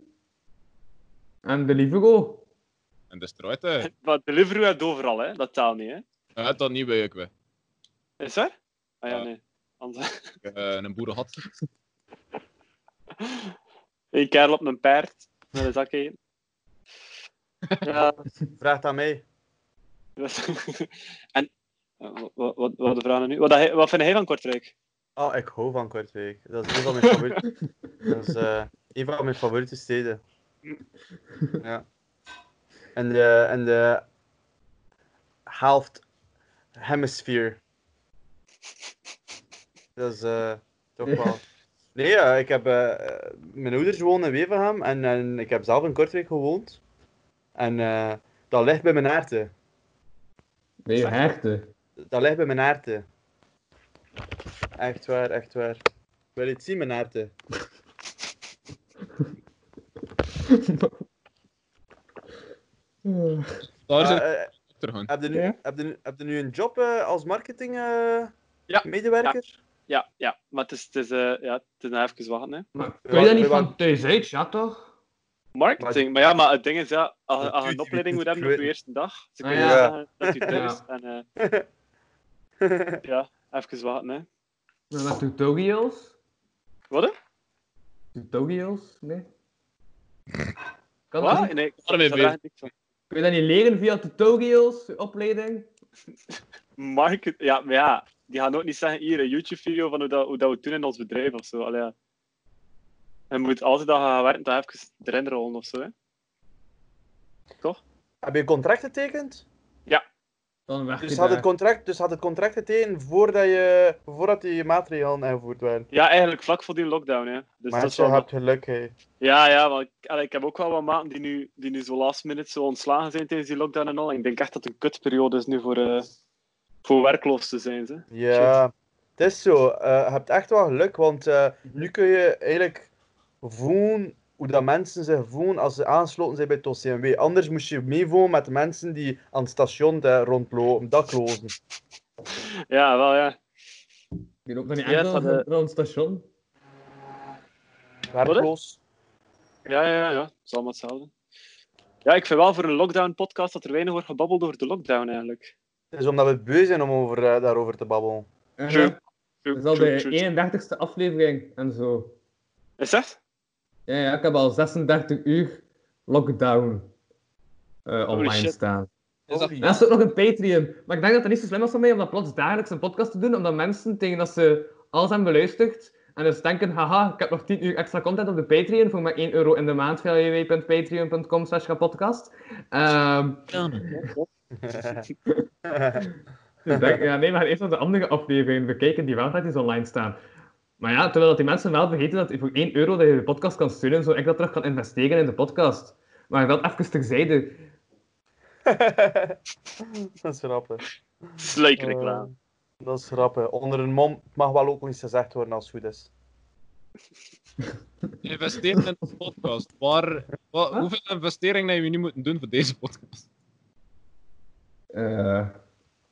[SPEAKER 3] En de Livigo?
[SPEAKER 5] En de struit, hè.
[SPEAKER 6] Maar Deliveroo had overal, hè? Dat taal niet, hè?
[SPEAKER 5] Hij had dat niet bij ik weer.
[SPEAKER 6] Is dat? Ah ja,
[SPEAKER 5] Ja.
[SPEAKER 6] nee. [laughs] Anders...
[SPEAKER 5] Eh, een boerenhat.
[SPEAKER 6] Een kerel op een paard. Met een zak eten. Ja.
[SPEAKER 4] Vraag dat aan mij.
[SPEAKER 6] dat is- [laughs] en... eh, Wat, wat, wat de vragen nu? Wat, dat hij- wat vind jij van Kortrijk?
[SPEAKER 4] Oh, ik hou van Kortrijk. Dat is een van mijn favoriete, dat is, eh, een van mijn favoriete steden. Ja. En de, en de halft hemisphere. Dat is eh, toch wel... Nee, ja, ik heb, eh, eh, mijn ouders wonen in Wevenham en, en ik heb zelf in Kortrijk gewoond. En eh, dat ligt bij mijn aarde.
[SPEAKER 3] Nee, je hechten.
[SPEAKER 4] Dat ligt bij mijn aarde. Echt waar, echt waar. Wil je het zien, mijn aarde?
[SPEAKER 5] Daar
[SPEAKER 4] Maar,
[SPEAKER 5] zijn
[SPEAKER 4] eh,
[SPEAKER 5] we terug aan.
[SPEAKER 4] heb, je nu,
[SPEAKER 3] Ja.
[SPEAKER 4] heb, je, nu- heb je nu een job eh, als marketing eh,
[SPEAKER 6] Ja.
[SPEAKER 4] medewerker?
[SPEAKER 6] Ja, ja. Maar het is, het is, eh, ja, het is nog even wachten, hè.
[SPEAKER 3] Maar kun je
[SPEAKER 4] Ja,
[SPEAKER 3] dat niet
[SPEAKER 4] we
[SPEAKER 3] van
[SPEAKER 4] waren-
[SPEAKER 3] thuis uit, ja toch?
[SPEAKER 6] Marketing. Maar ja, maar het ding is, ja, als, je- als je een
[SPEAKER 4] Natuurlijk,
[SPEAKER 6] opleiding moet hebben op
[SPEAKER 4] natuurlijk.
[SPEAKER 6] je eerste dag, ze
[SPEAKER 3] Ah,
[SPEAKER 6] kunnen
[SPEAKER 4] ja.
[SPEAKER 6] zeggen dat u thuis... En, eh, [laughs] ja, even wachten, hè.
[SPEAKER 3] Met tutorials?
[SPEAKER 6] Wat, hè?
[SPEAKER 3] Tutorials? Nee. Kan dat
[SPEAKER 6] Wat?
[SPEAKER 3] niet?
[SPEAKER 6] Nee, ik
[SPEAKER 5] Waarom heb je-
[SPEAKER 6] vraag ik niks van.
[SPEAKER 3] Kun je dat niet leren via tutorials, je opleiding?
[SPEAKER 6] Market... Ja, maar ja, die gaan ook niet zeggen, hier, een YouTube-video van hoe dat, hoe dat we het doen in ons bedrijf of zo. Allee, ja. Je moet altijd dat gaan werken, dat even erin rollen of zo, hè.
[SPEAKER 4] Heb je een contract getekend?
[SPEAKER 6] Ja.
[SPEAKER 3] Dan werk
[SPEAKER 4] Dus
[SPEAKER 3] je
[SPEAKER 4] had, het
[SPEAKER 3] daar.
[SPEAKER 4] contract, dus had het contract getekend voordat, je, voordat die maatregelen ingevoerd werden.
[SPEAKER 6] Ja, eigenlijk vlak voor die lockdown, hè. Dus
[SPEAKER 4] maar
[SPEAKER 6] dat is
[SPEAKER 4] je
[SPEAKER 6] wel...
[SPEAKER 4] hebt geluk, hè.
[SPEAKER 6] Ja, ja, want ik, allee, ik heb ook wel wat maten die nu, die nu zo last minute zo ontslagen zijn tijdens die lockdown en al. En ik denk echt dat het een kutperiode is nu voor, eh, voor werkloos te zijn, ze.
[SPEAKER 4] Ja, het is zo. Eh, je hebt echt wel geluk, want eh,
[SPEAKER 5] Mhm.
[SPEAKER 4] nu kun je eigenlijk voelen hoe dat mensen zich voelen als ze aansloten zijn bij het OCMW. Anders moest je meevoelen met de mensen die aan het station daar rondlopen, daklozen.
[SPEAKER 6] Ja, wel, ja.
[SPEAKER 3] Die loopt dan niet
[SPEAKER 6] Ja,
[SPEAKER 3] enkel
[SPEAKER 6] dat, eh,
[SPEAKER 3] rond het station.
[SPEAKER 4] Werkloos.
[SPEAKER 6] Ja, ja, ja. Het is allemaal hetzelfde. Ja, ik vind wel voor een lockdown-podcast dat er weinig wordt gebabbeld over de lockdown, eigenlijk.
[SPEAKER 4] Het is omdat we beu zijn om over, eh, daarover te babbelen.
[SPEAKER 3] En,
[SPEAKER 6] True.
[SPEAKER 3] eh,
[SPEAKER 6] True,
[SPEAKER 3] Dat is al
[SPEAKER 6] true,
[SPEAKER 3] de
[SPEAKER 6] true.
[SPEAKER 3] 31ste aflevering en zo.
[SPEAKER 6] Is dat?
[SPEAKER 3] Ja, ja, ik heb al 36 uur lockdown eh, online
[SPEAKER 6] shit.
[SPEAKER 3] staan.
[SPEAKER 5] Is dat
[SPEAKER 3] En dat is ook nog een Patreon. Maar ik denk dat dat niet zo slim was van mij om dat plots dagelijks een podcast te doen, omdat mensen tegen dat ze alles hebben beluisterd en dus denken, haha, ik heb nog 10 uur extra content op de Patreon voor maar 1 euro in de maand via www.patreon.com slash kapodcast. Ehm, dus denk, ja, nee, maar eerst nog de andere afleveringen bekijken die wel gratis online staan. Maar ja, terwijl dat die mensen wel vergeten dat voor 1 euro dat je de podcast kan steunen, zo ik dat terug kan investeren in de podcast. Maar dat even terzijde.
[SPEAKER 4] [laughs] dat is grappig.
[SPEAKER 6] Sluikreclame.
[SPEAKER 4] Eh, dat is grappig. Onder een mom mag wel ook iets gezegd worden als het goed is. [laughs]
[SPEAKER 5] Investeren in een podcast. Waar, wa-
[SPEAKER 3] Huh?
[SPEAKER 5] Hoeveel investering hebben we nu moeten doen voor deze podcast?
[SPEAKER 3] Eh,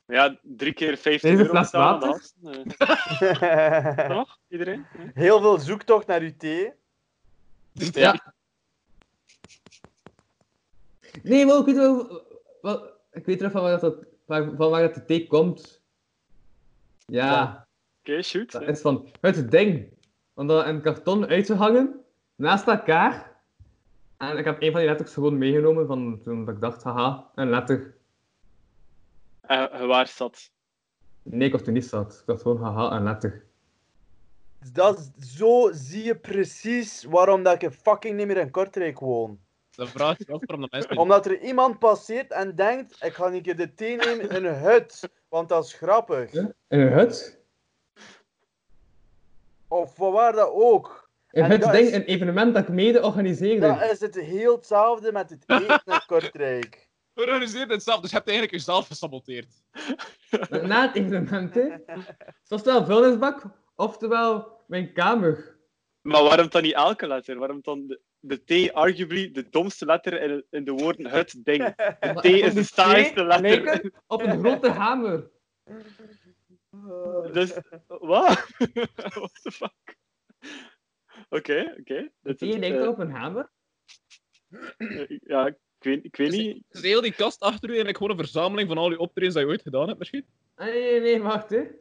[SPEAKER 6] Ja, drie keer 15
[SPEAKER 3] Deze
[SPEAKER 6] euro
[SPEAKER 3] fles
[SPEAKER 6] betalen aan de
[SPEAKER 3] water?
[SPEAKER 6] hand. Eh, Nog? Iedereen? Ja.
[SPEAKER 4] Heel veel zoektocht naar uw thee.
[SPEAKER 3] ja. Nee, maar ik weet wel... wel- ik weet terug van waar dat, waar- van waar dat de thee komt. ja.
[SPEAKER 6] Oké, shoot. Eh,
[SPEAKER 3] Dat is van het ding. Om dat in karton uit te hangen, naast elkaar. En ik heb een van die letters gewoon meegenomen, van, toen ik dacht, haha, een letter.
[SPEAKER 6] Eh, je waar zat.
[SPEAKER 3] Nee, ik was toen niet zat. Ik dacht gewoon, haha, een letter.
[SPEAKER 4] Dat is, zo zie je precies waarom dat ik fucking niet meer in Kortrijk woon.
[SPEAKER 5] Dan vraag je je af waarom de mensen...
[SPEAKER 4] Omdat er iemand passeert en denkt, ik ga een keer de thee nemen in een hut. Want dat is grappig.
[SPEAKER 3] In een hut?
[SPEAKER 4] Of van waar dat ook.
[SPEAKER 3] Een
[SPEAKER 4] En
[SPEAKER 3] hut
[SPEAKER 4] dat
[SPEAKER 3] ding,
[SPEAKER 4] is-
[SPEAKER 3] een evenement dat ik mede organiseerde.
[SPEAKER 4] Dat is het heel hetzelfde met het eten in Kortrijk.
[SPEAKER 5] Organiseer het zelf, dus je hebt eigenlijk jezelf gesaboteerd.
[SPEAKER 3] Na het evenement,
[SPEAKER 4] [laughs]
[SPEAKER 3] hè. Het was wel vuilnisbak, oftewel mijn kamer.
[SPEAKER 6] Maar waarom dan niet elke letter? Waarom dan de, de T, arguably de domste letter in, in de woorden het [laughs] ding? De T
[SPEAKER 3] Omdat
[SPEAKER 6] is de
[SPEAKER 3] die
[SPEAKER 6] saaiste
[SPEAKER 3] twee
[SPEAKER 6] letter.
[SPEAKER 4] [laughs]
[SPEAKER 3] lijken op een grote hamer.
[SPEAKER 6] Dus, wat? [laughs] What the fuck? Oké, oké.
[SPEAKER 3] De
[SPEAKER 6] Dat is,
[SPEAKER 3] thee lijkt
[SPEAKER 6] eh,
[SPEAKER 3] op een hamer.
[SPEAKER 6] eh, Ja, ik weet, ik weet niet.
[SPEAKER 5] Dus heel die kast achter u eigenlijk gewoon een verzameling van al die optredens dat je ooit gedaan hebt misschien?
[SPEAKER 3] Ah, nee, nee, nee, wacht, hè. Het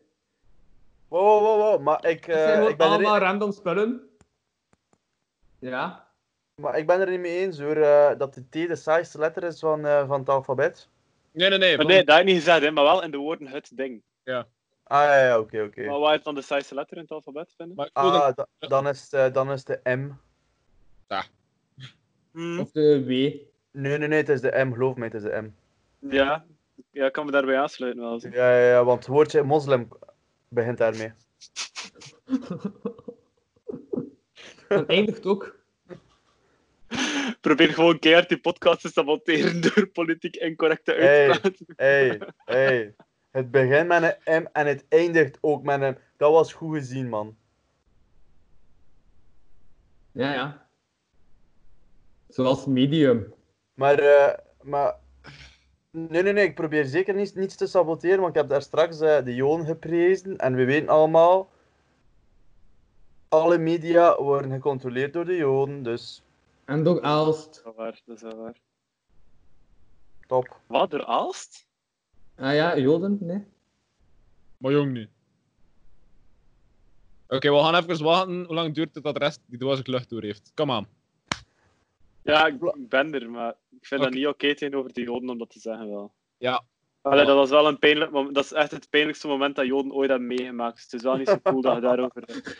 [SPEAKER 4] Wow, wow, wow, wow. Maar ik, eh,
[SPEAKER 3] zijn
[SPEAKER 4] ik,
[SPEAKER 3] gewoon
[SPEAKER 4] ben er,
[SPEAKER 3] allemaal
[SPEAKER 4] niet-
[SPEAKER 3] random spullen. Ja.
[SPEAKER 4] maar ik ben er niet mee eens hoor, eh, dat de T de saaiste letter is van, eh, van het alfabet.
[SPEAKER 5] Nee, nee, nee.
[SPEAKER 6] Maar
[SPEAKER 5] van-
[SPEAKER 6] Oh, nee, dat heb ik niet gezegd, hè, maar wel in de woorden het ding.
[SPEAKER 4] Ah ja, ja, oké, oké.
[SPEAKER 6] Maar waar is dan de saaiste letter in het alfabet vinden?
[SPEAKER 5] maar ik wil dan-
[SPEAKER 4] Ah, da- dan, is het, eh, dan is het de M.
[SPEAKER 6] Hmm,
[SPEAKER 4] Hm?
[SPEAKER 3] Of de W.
[SPEAKER 4] Nee, nee, nee, het is de M, geloof me, het is de M.
[SPEAKER 6] ja. ja, ik kan me daarbij aansluiten wel. eens.
[SPEAKER 4] Ja, ja, ja, want het woordje moslim begint daarmee.
[SPEAKER 3] Dan eindigt ook.
[SPEAKER 6] Probeer gewoon keihard die podcast te saboteren [laughs] door politiek incorrecte
[SPEAKER 4] Hey.
[SPEAKER 6] uitspraken.
[SPEAKER 4] Hey, hey. Het begint met een M en het eindigt ook met een M. Dat was goed gezien, man.
[SPEAKER 3] Ja, ja. Zoals medium.
[SPEAKER 4] Maar, eh, maar... Nee, nee, nee, ik probeer zeker niets, niets te saboteren, want ik heb daar straks eh, de Joon geprezen en we weten allemaal... Alle media worden gecontroleerd door de Joden, dus
[SPEAKER 3] En door Aalst.
[SPEAKER 6] Dat is wel waar, dat is wel waar.
[SPEAKER 4] top.
[SPEAKER 6] Wat, door Aalst?
[SPEAKER 3] Ah ja, Joden, nee.
[SPEAKER 5] Maar jong nu. Oké, we gaan even wachten. Hoe lang duurt het dat de rest die doos lucht door heeft? Kom aan.
[SPEAKER 6] Ja, ik ik ben er, maar ik vind dat
[SPEAKER 5] Oké.
[SPEAKER 6] niet oké tegenover de Joden om dat te zeggen wel.
[SPEAKER 5] Ja.
[SPEAKER 6] Allee, dat was wel een pijnlijk moment. Dat is echt het pijnlijkste moment dat Joden ooit hebben meegemaakt. Dus het is wel niet zo cool
[SPEAKER 5] [laughs]
[SPEAKER 6] dat je
[SPEAKER 4] [laughs]
[SPEAKER 6] daarover dat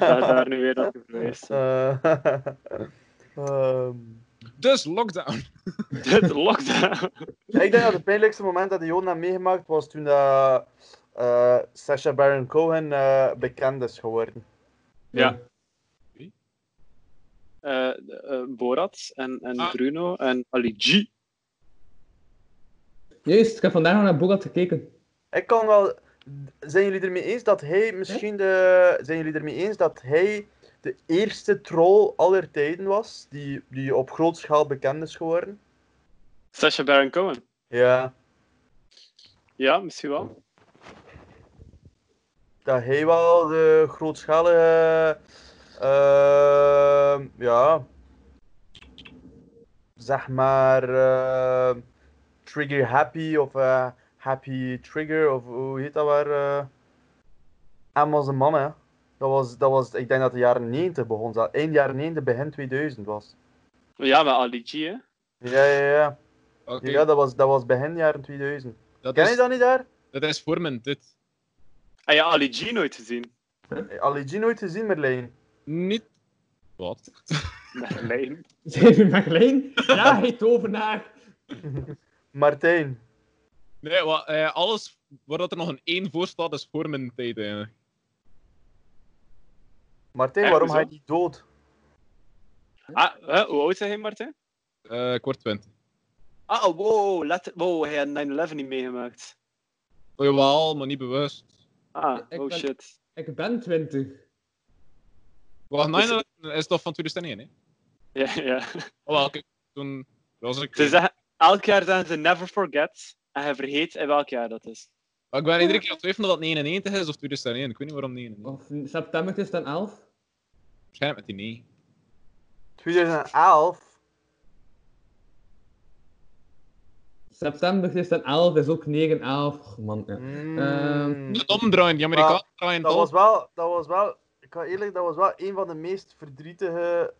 [SPEAKER 6] je daar nu weer naar verwijst.
[SPEAKER 4] Eh, [laughs] ehm,
[SPEAKER 5] Dus lockdown.
[SPEAKER 6] Dit lockdown.
[SPEAKER 4] Ja, ik denk dat het pijnlijkste moment dat de Joden heeft meegemaakt was toen dat, eh, Sacha Baron Cohen eh, bekend is geworden.
[SPEAKER 6] Ja. Eh, eh, Borat en, en
[SPEAKER 5] Ah.
[SPEAKER 6] Bruno en Ali G.
[SPEAKER 3] Juist, ik heb vandaag nog naar Bogat gekeken. [laughs]
[SPEAKER 4] Ik kan wel. Zijn jullie ermee eens dat hij misschien de. Zijn jullie ermee eens dat hij de eerste troll aller tijden was die, die op groot schaal bekend is geworden?
[SPEAKER 6] Sacha Baron Cohen.
[SPEAKER 4] Ja.
[SPEAKER 6] Ja, misschien wel.
[SPEAKER 4] Dat hij wel de grootschalige. eh, ja. Zeg maar. eh, trigger happy of eh, happy trigger of hoe heet dat waar? eh en was een man, hè? Dat was, dat was, ik denk dat de jaren 90 begon. Dat eind jaren 90, begin 2000 was.
[SPEAKER 6] Ja, maar Ali G, hè.
[SPEAKER 4] Ja, ja, ja.
[SPEAKER 5] Oké,
[SPEAKER 4] ja dat, was, dat was begin jaren 2000.
[SPEAKER 5] dat,
[SPEAKER 4] Ken je
[SPEAKER 5] is,
[SPEAKER 4] dat niet daar?
[SPEAKER 5] dat is voor mijn dit.
[SPEAKER 6] En Ah ja, Ali G nooit [laughs] gezien.
[SPEAKER 4] Ali G nooit gezien, Merlijn.
[SPEAKER 5] Niet. Wat? [laughs]
[SPEAKER 6] Merlijn.
[SPEAKER 3] Zeven McLean?
[SPEAKER 4] [laughs]
[SPEAKER 3] Ja, hij tovenaar.
[SPEAKER 4] Martijn.
[SPEAKER 5] Nee, wat, eh, alles waar dat er nog een 1 voor staat is voor mijn tijd eigenlijk.
[SPEAKER 4] Martijn,
[SPEAKER 6] Echt,
[SPEAKER 4] waarom
[SPEAKER 6] hoezo?
[SPEAKER 4] hij niet dood?
[SPEAKER 6] Ah, hè, hoe oud zijn hij, Martijn?
[SPEAKER 5] Eh, kwart 20.
[SPEAKER 6] Ah, oh, wow, let, wow, hij had 9-11 niet meegemaakt.
[SPEAKER 5] Jawel, maar niet bewust.
[SPEAKER 6] Ah,
[SPEAKER 3] Ik
[SPEAKER 6] oh
[SPEAKER 3] ben-
[SPEAKER 6] shit. [laughs]
[SPEAKER 3] Ik ben 20.
[SPEAKER 5] Wacht, 9 is toch van 2001, hè?
[SPEAKER 6] Ja, ja.
[SPEAKER 5] Oh, wel, kijk, toen was ik...
[SPEAKER 6] Ze zeggen, elk jaar zeggen ze never forget. En hij vergeet in welk jaar dat is.
[SPEAKER 5] Maar ik ben iedere keer aan het twijfelen dat het 99 is of 2001. Ik weet niet waarom 99.
[SPEAKER 3] Of september is dan 11.
[SPEAKER 5] Waarschijnlijk met die 9.
[SPEAKER 4] 2011.
[SPEAKER 3] September is dan 11, is ook 9, 11. Och, man, ja.
[SPEAKER 4] Mm,
[SPEAKER 3] Ehm,
[SPEAKER 5] Niet omdraaien, die Amerikanen draaien
[SPEAKER 4] dat,
[SPEAKER 5] dol.
[SPEAKER 4] was wel, dat was wel, ik ga eerlijk, dat was wel een van de meest verdrietige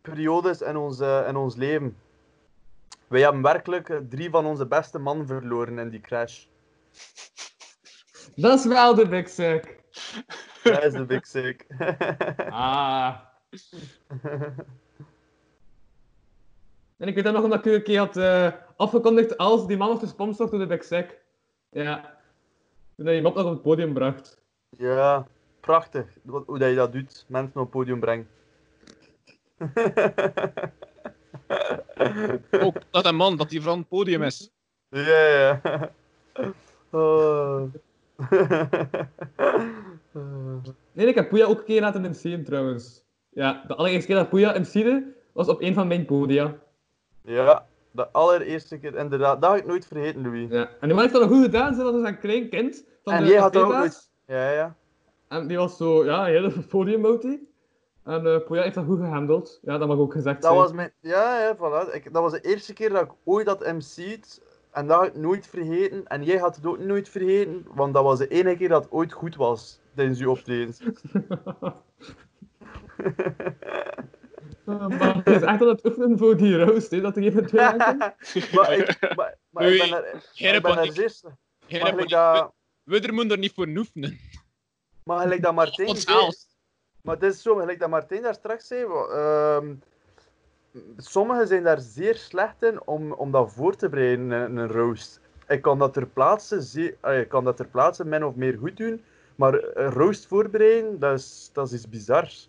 [SPEAKER 4] periodes in ons, eh, in ons leven. Wij hebben werkelijk eh, drie van onze beste mannen verloren in die crash.
[SPEAKER 3] Dat is wel de big suck.
[SPEAKER 4] Dat is de big sick.
[SPEAKER 3] Ah. [laughs] En ik weet dat nog omdat ik een keer had eh, afgekondigd als die man was gesponsord door de big suck. Ja. Toen hij hem op nog op het podium bracht.
[SPEAKER 4] [laughs] ja, prachtig wat- hoe dat je dat doet, mensen op het podium brengen. [laughs]
[SPEAKER 5] Ook dat een man, dat hij van het podium is.
[SPEAKER 4] Ja, ja. ja. [laughs] Oh. [laughs] Eh.
[SPEAKER 3] Nee, ik heb Poeja ook een keer laten MC'en trouwens. Ja, de allereerste keer dat Poeja MC'de was op een van mijn podia.
[SPEAKER 4] Ja, de allereerste keer, inderdaad. Dat ga ik nooit vergeten, Louis.
[SPEAKER 3] Ja. En die man heeft dat nog goed gedaan, zodat hij zijn klein kind van
[SPEAKER 4] en
[SPEAKER 3] de
[SPEAKER 4] jij had dat ook
[SPEAKER 3] Afeba-
[SPEAKER 4] nooit... Ja, ja.
[SPEAKER 3] En die was zo, ja, heel op het podium wou hij. En eh Poeja heeft dat goed gehandeld. Ja, dat mag ook gezegd
[SPEAKER 4] Dat
[SPEAKER 3] zijn.
[SPEAKER 4] was mijn... Ja, ja, voilà. Ik, dat was de eerste keer dat ik ooit dat MC'd. En dat ga ik nooit vergeten. En jij had het ook nooit vergeten. Want dat was de enige keer dat het ooit goed was. Tijdens je optredens. [laughs]
[SPEAKER 3] [laughs] Ah, maar het is echt aan het oefenen voor die roast, hè, dat er geen twee aankomt.
[SPEAKER 4] maar ik, maar, maar ik
[SPEAKER 5] Louis,
[SPEAKER 4] ben er...
[SPEAKER 5] Geen
[SPEAKER 4] Ik ben er
[SPEAKER 5] paniek,
[SPEAKER 4] zeer...
[SPEAKER 5] geen
[SPEAKER 4] Maar gelijk
[SPEAKER 5] paniek.
[SPEAKER 4] dat...
[SPEAKER 5] We er moeten er niet voor noeven.
[SPEAKER 4] Maar gelijk dat Martijn
[SPEAKER 5] Ons
[SPEAKER 4] zei...
[SPEAKER 5] haalt.
[SPEAKER 4] Maar het is zo, gelijk dat Martijn daar straks zei... wa- ehm, sommigen zijn daar zeer slecht in om, om dat voor te bereiden, een, een roast. Ik kan dat ter plaatse, zeer, ah, ik kan dat ter plaatse min of meer goed doen, maar een roast voorbereiden, dat is, dat is iets bizars.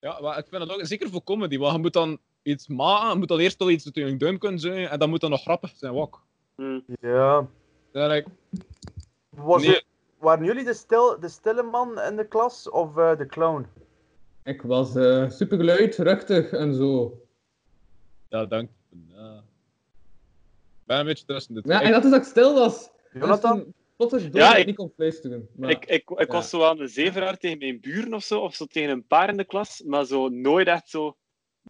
[SPEAKER 5] Ja, maar ik vind dat ook zeker voor comedy. Want je moet dan iets maken, je moet dan eerst al iets natuurlijk duim kunnen zijn en dan moet dat nog grappig zijn ook.
[SPEAKER 6] Hm.
[SPEAKER 4] Ja.
[SPEAKER 5] Dan denk ik,
[SPEAKER 4] Was
[SPEAKER 5] Nee.
[SPEAKER 4] het- waren jullie de, stil, de stille man in de klas of eh, de clown?
[SPEAKER 3] [laughs] Ik was eh super luid, ruchtig en zo.
[SPEAKER 5] ja, dank. Ja. Ik ben een beetje tussen dit.
[SPEAKER 3] Ja,
[SPEAKER 5] Ik-
[SPEAKER 3] en dat is dat ik stil was.
[SPEAKER 4] Jonathan?
[SPEAKER 3] Tot ik door
[SPEAKER 6] Ja,
[SPEAKER 3] dat ik
[SPEAKER 6] ik-
[SPEAKER 3] niet kon vlees te doen. Maar...
[SPEAKER 6] Ik, ik, ik
[SPEAKER 3] Ja.
[SPEAKER 6] was zo aan een zeveraar tegen mijn buren of zo, of zo tegen een paar in de klas, maar zo nooit echt zo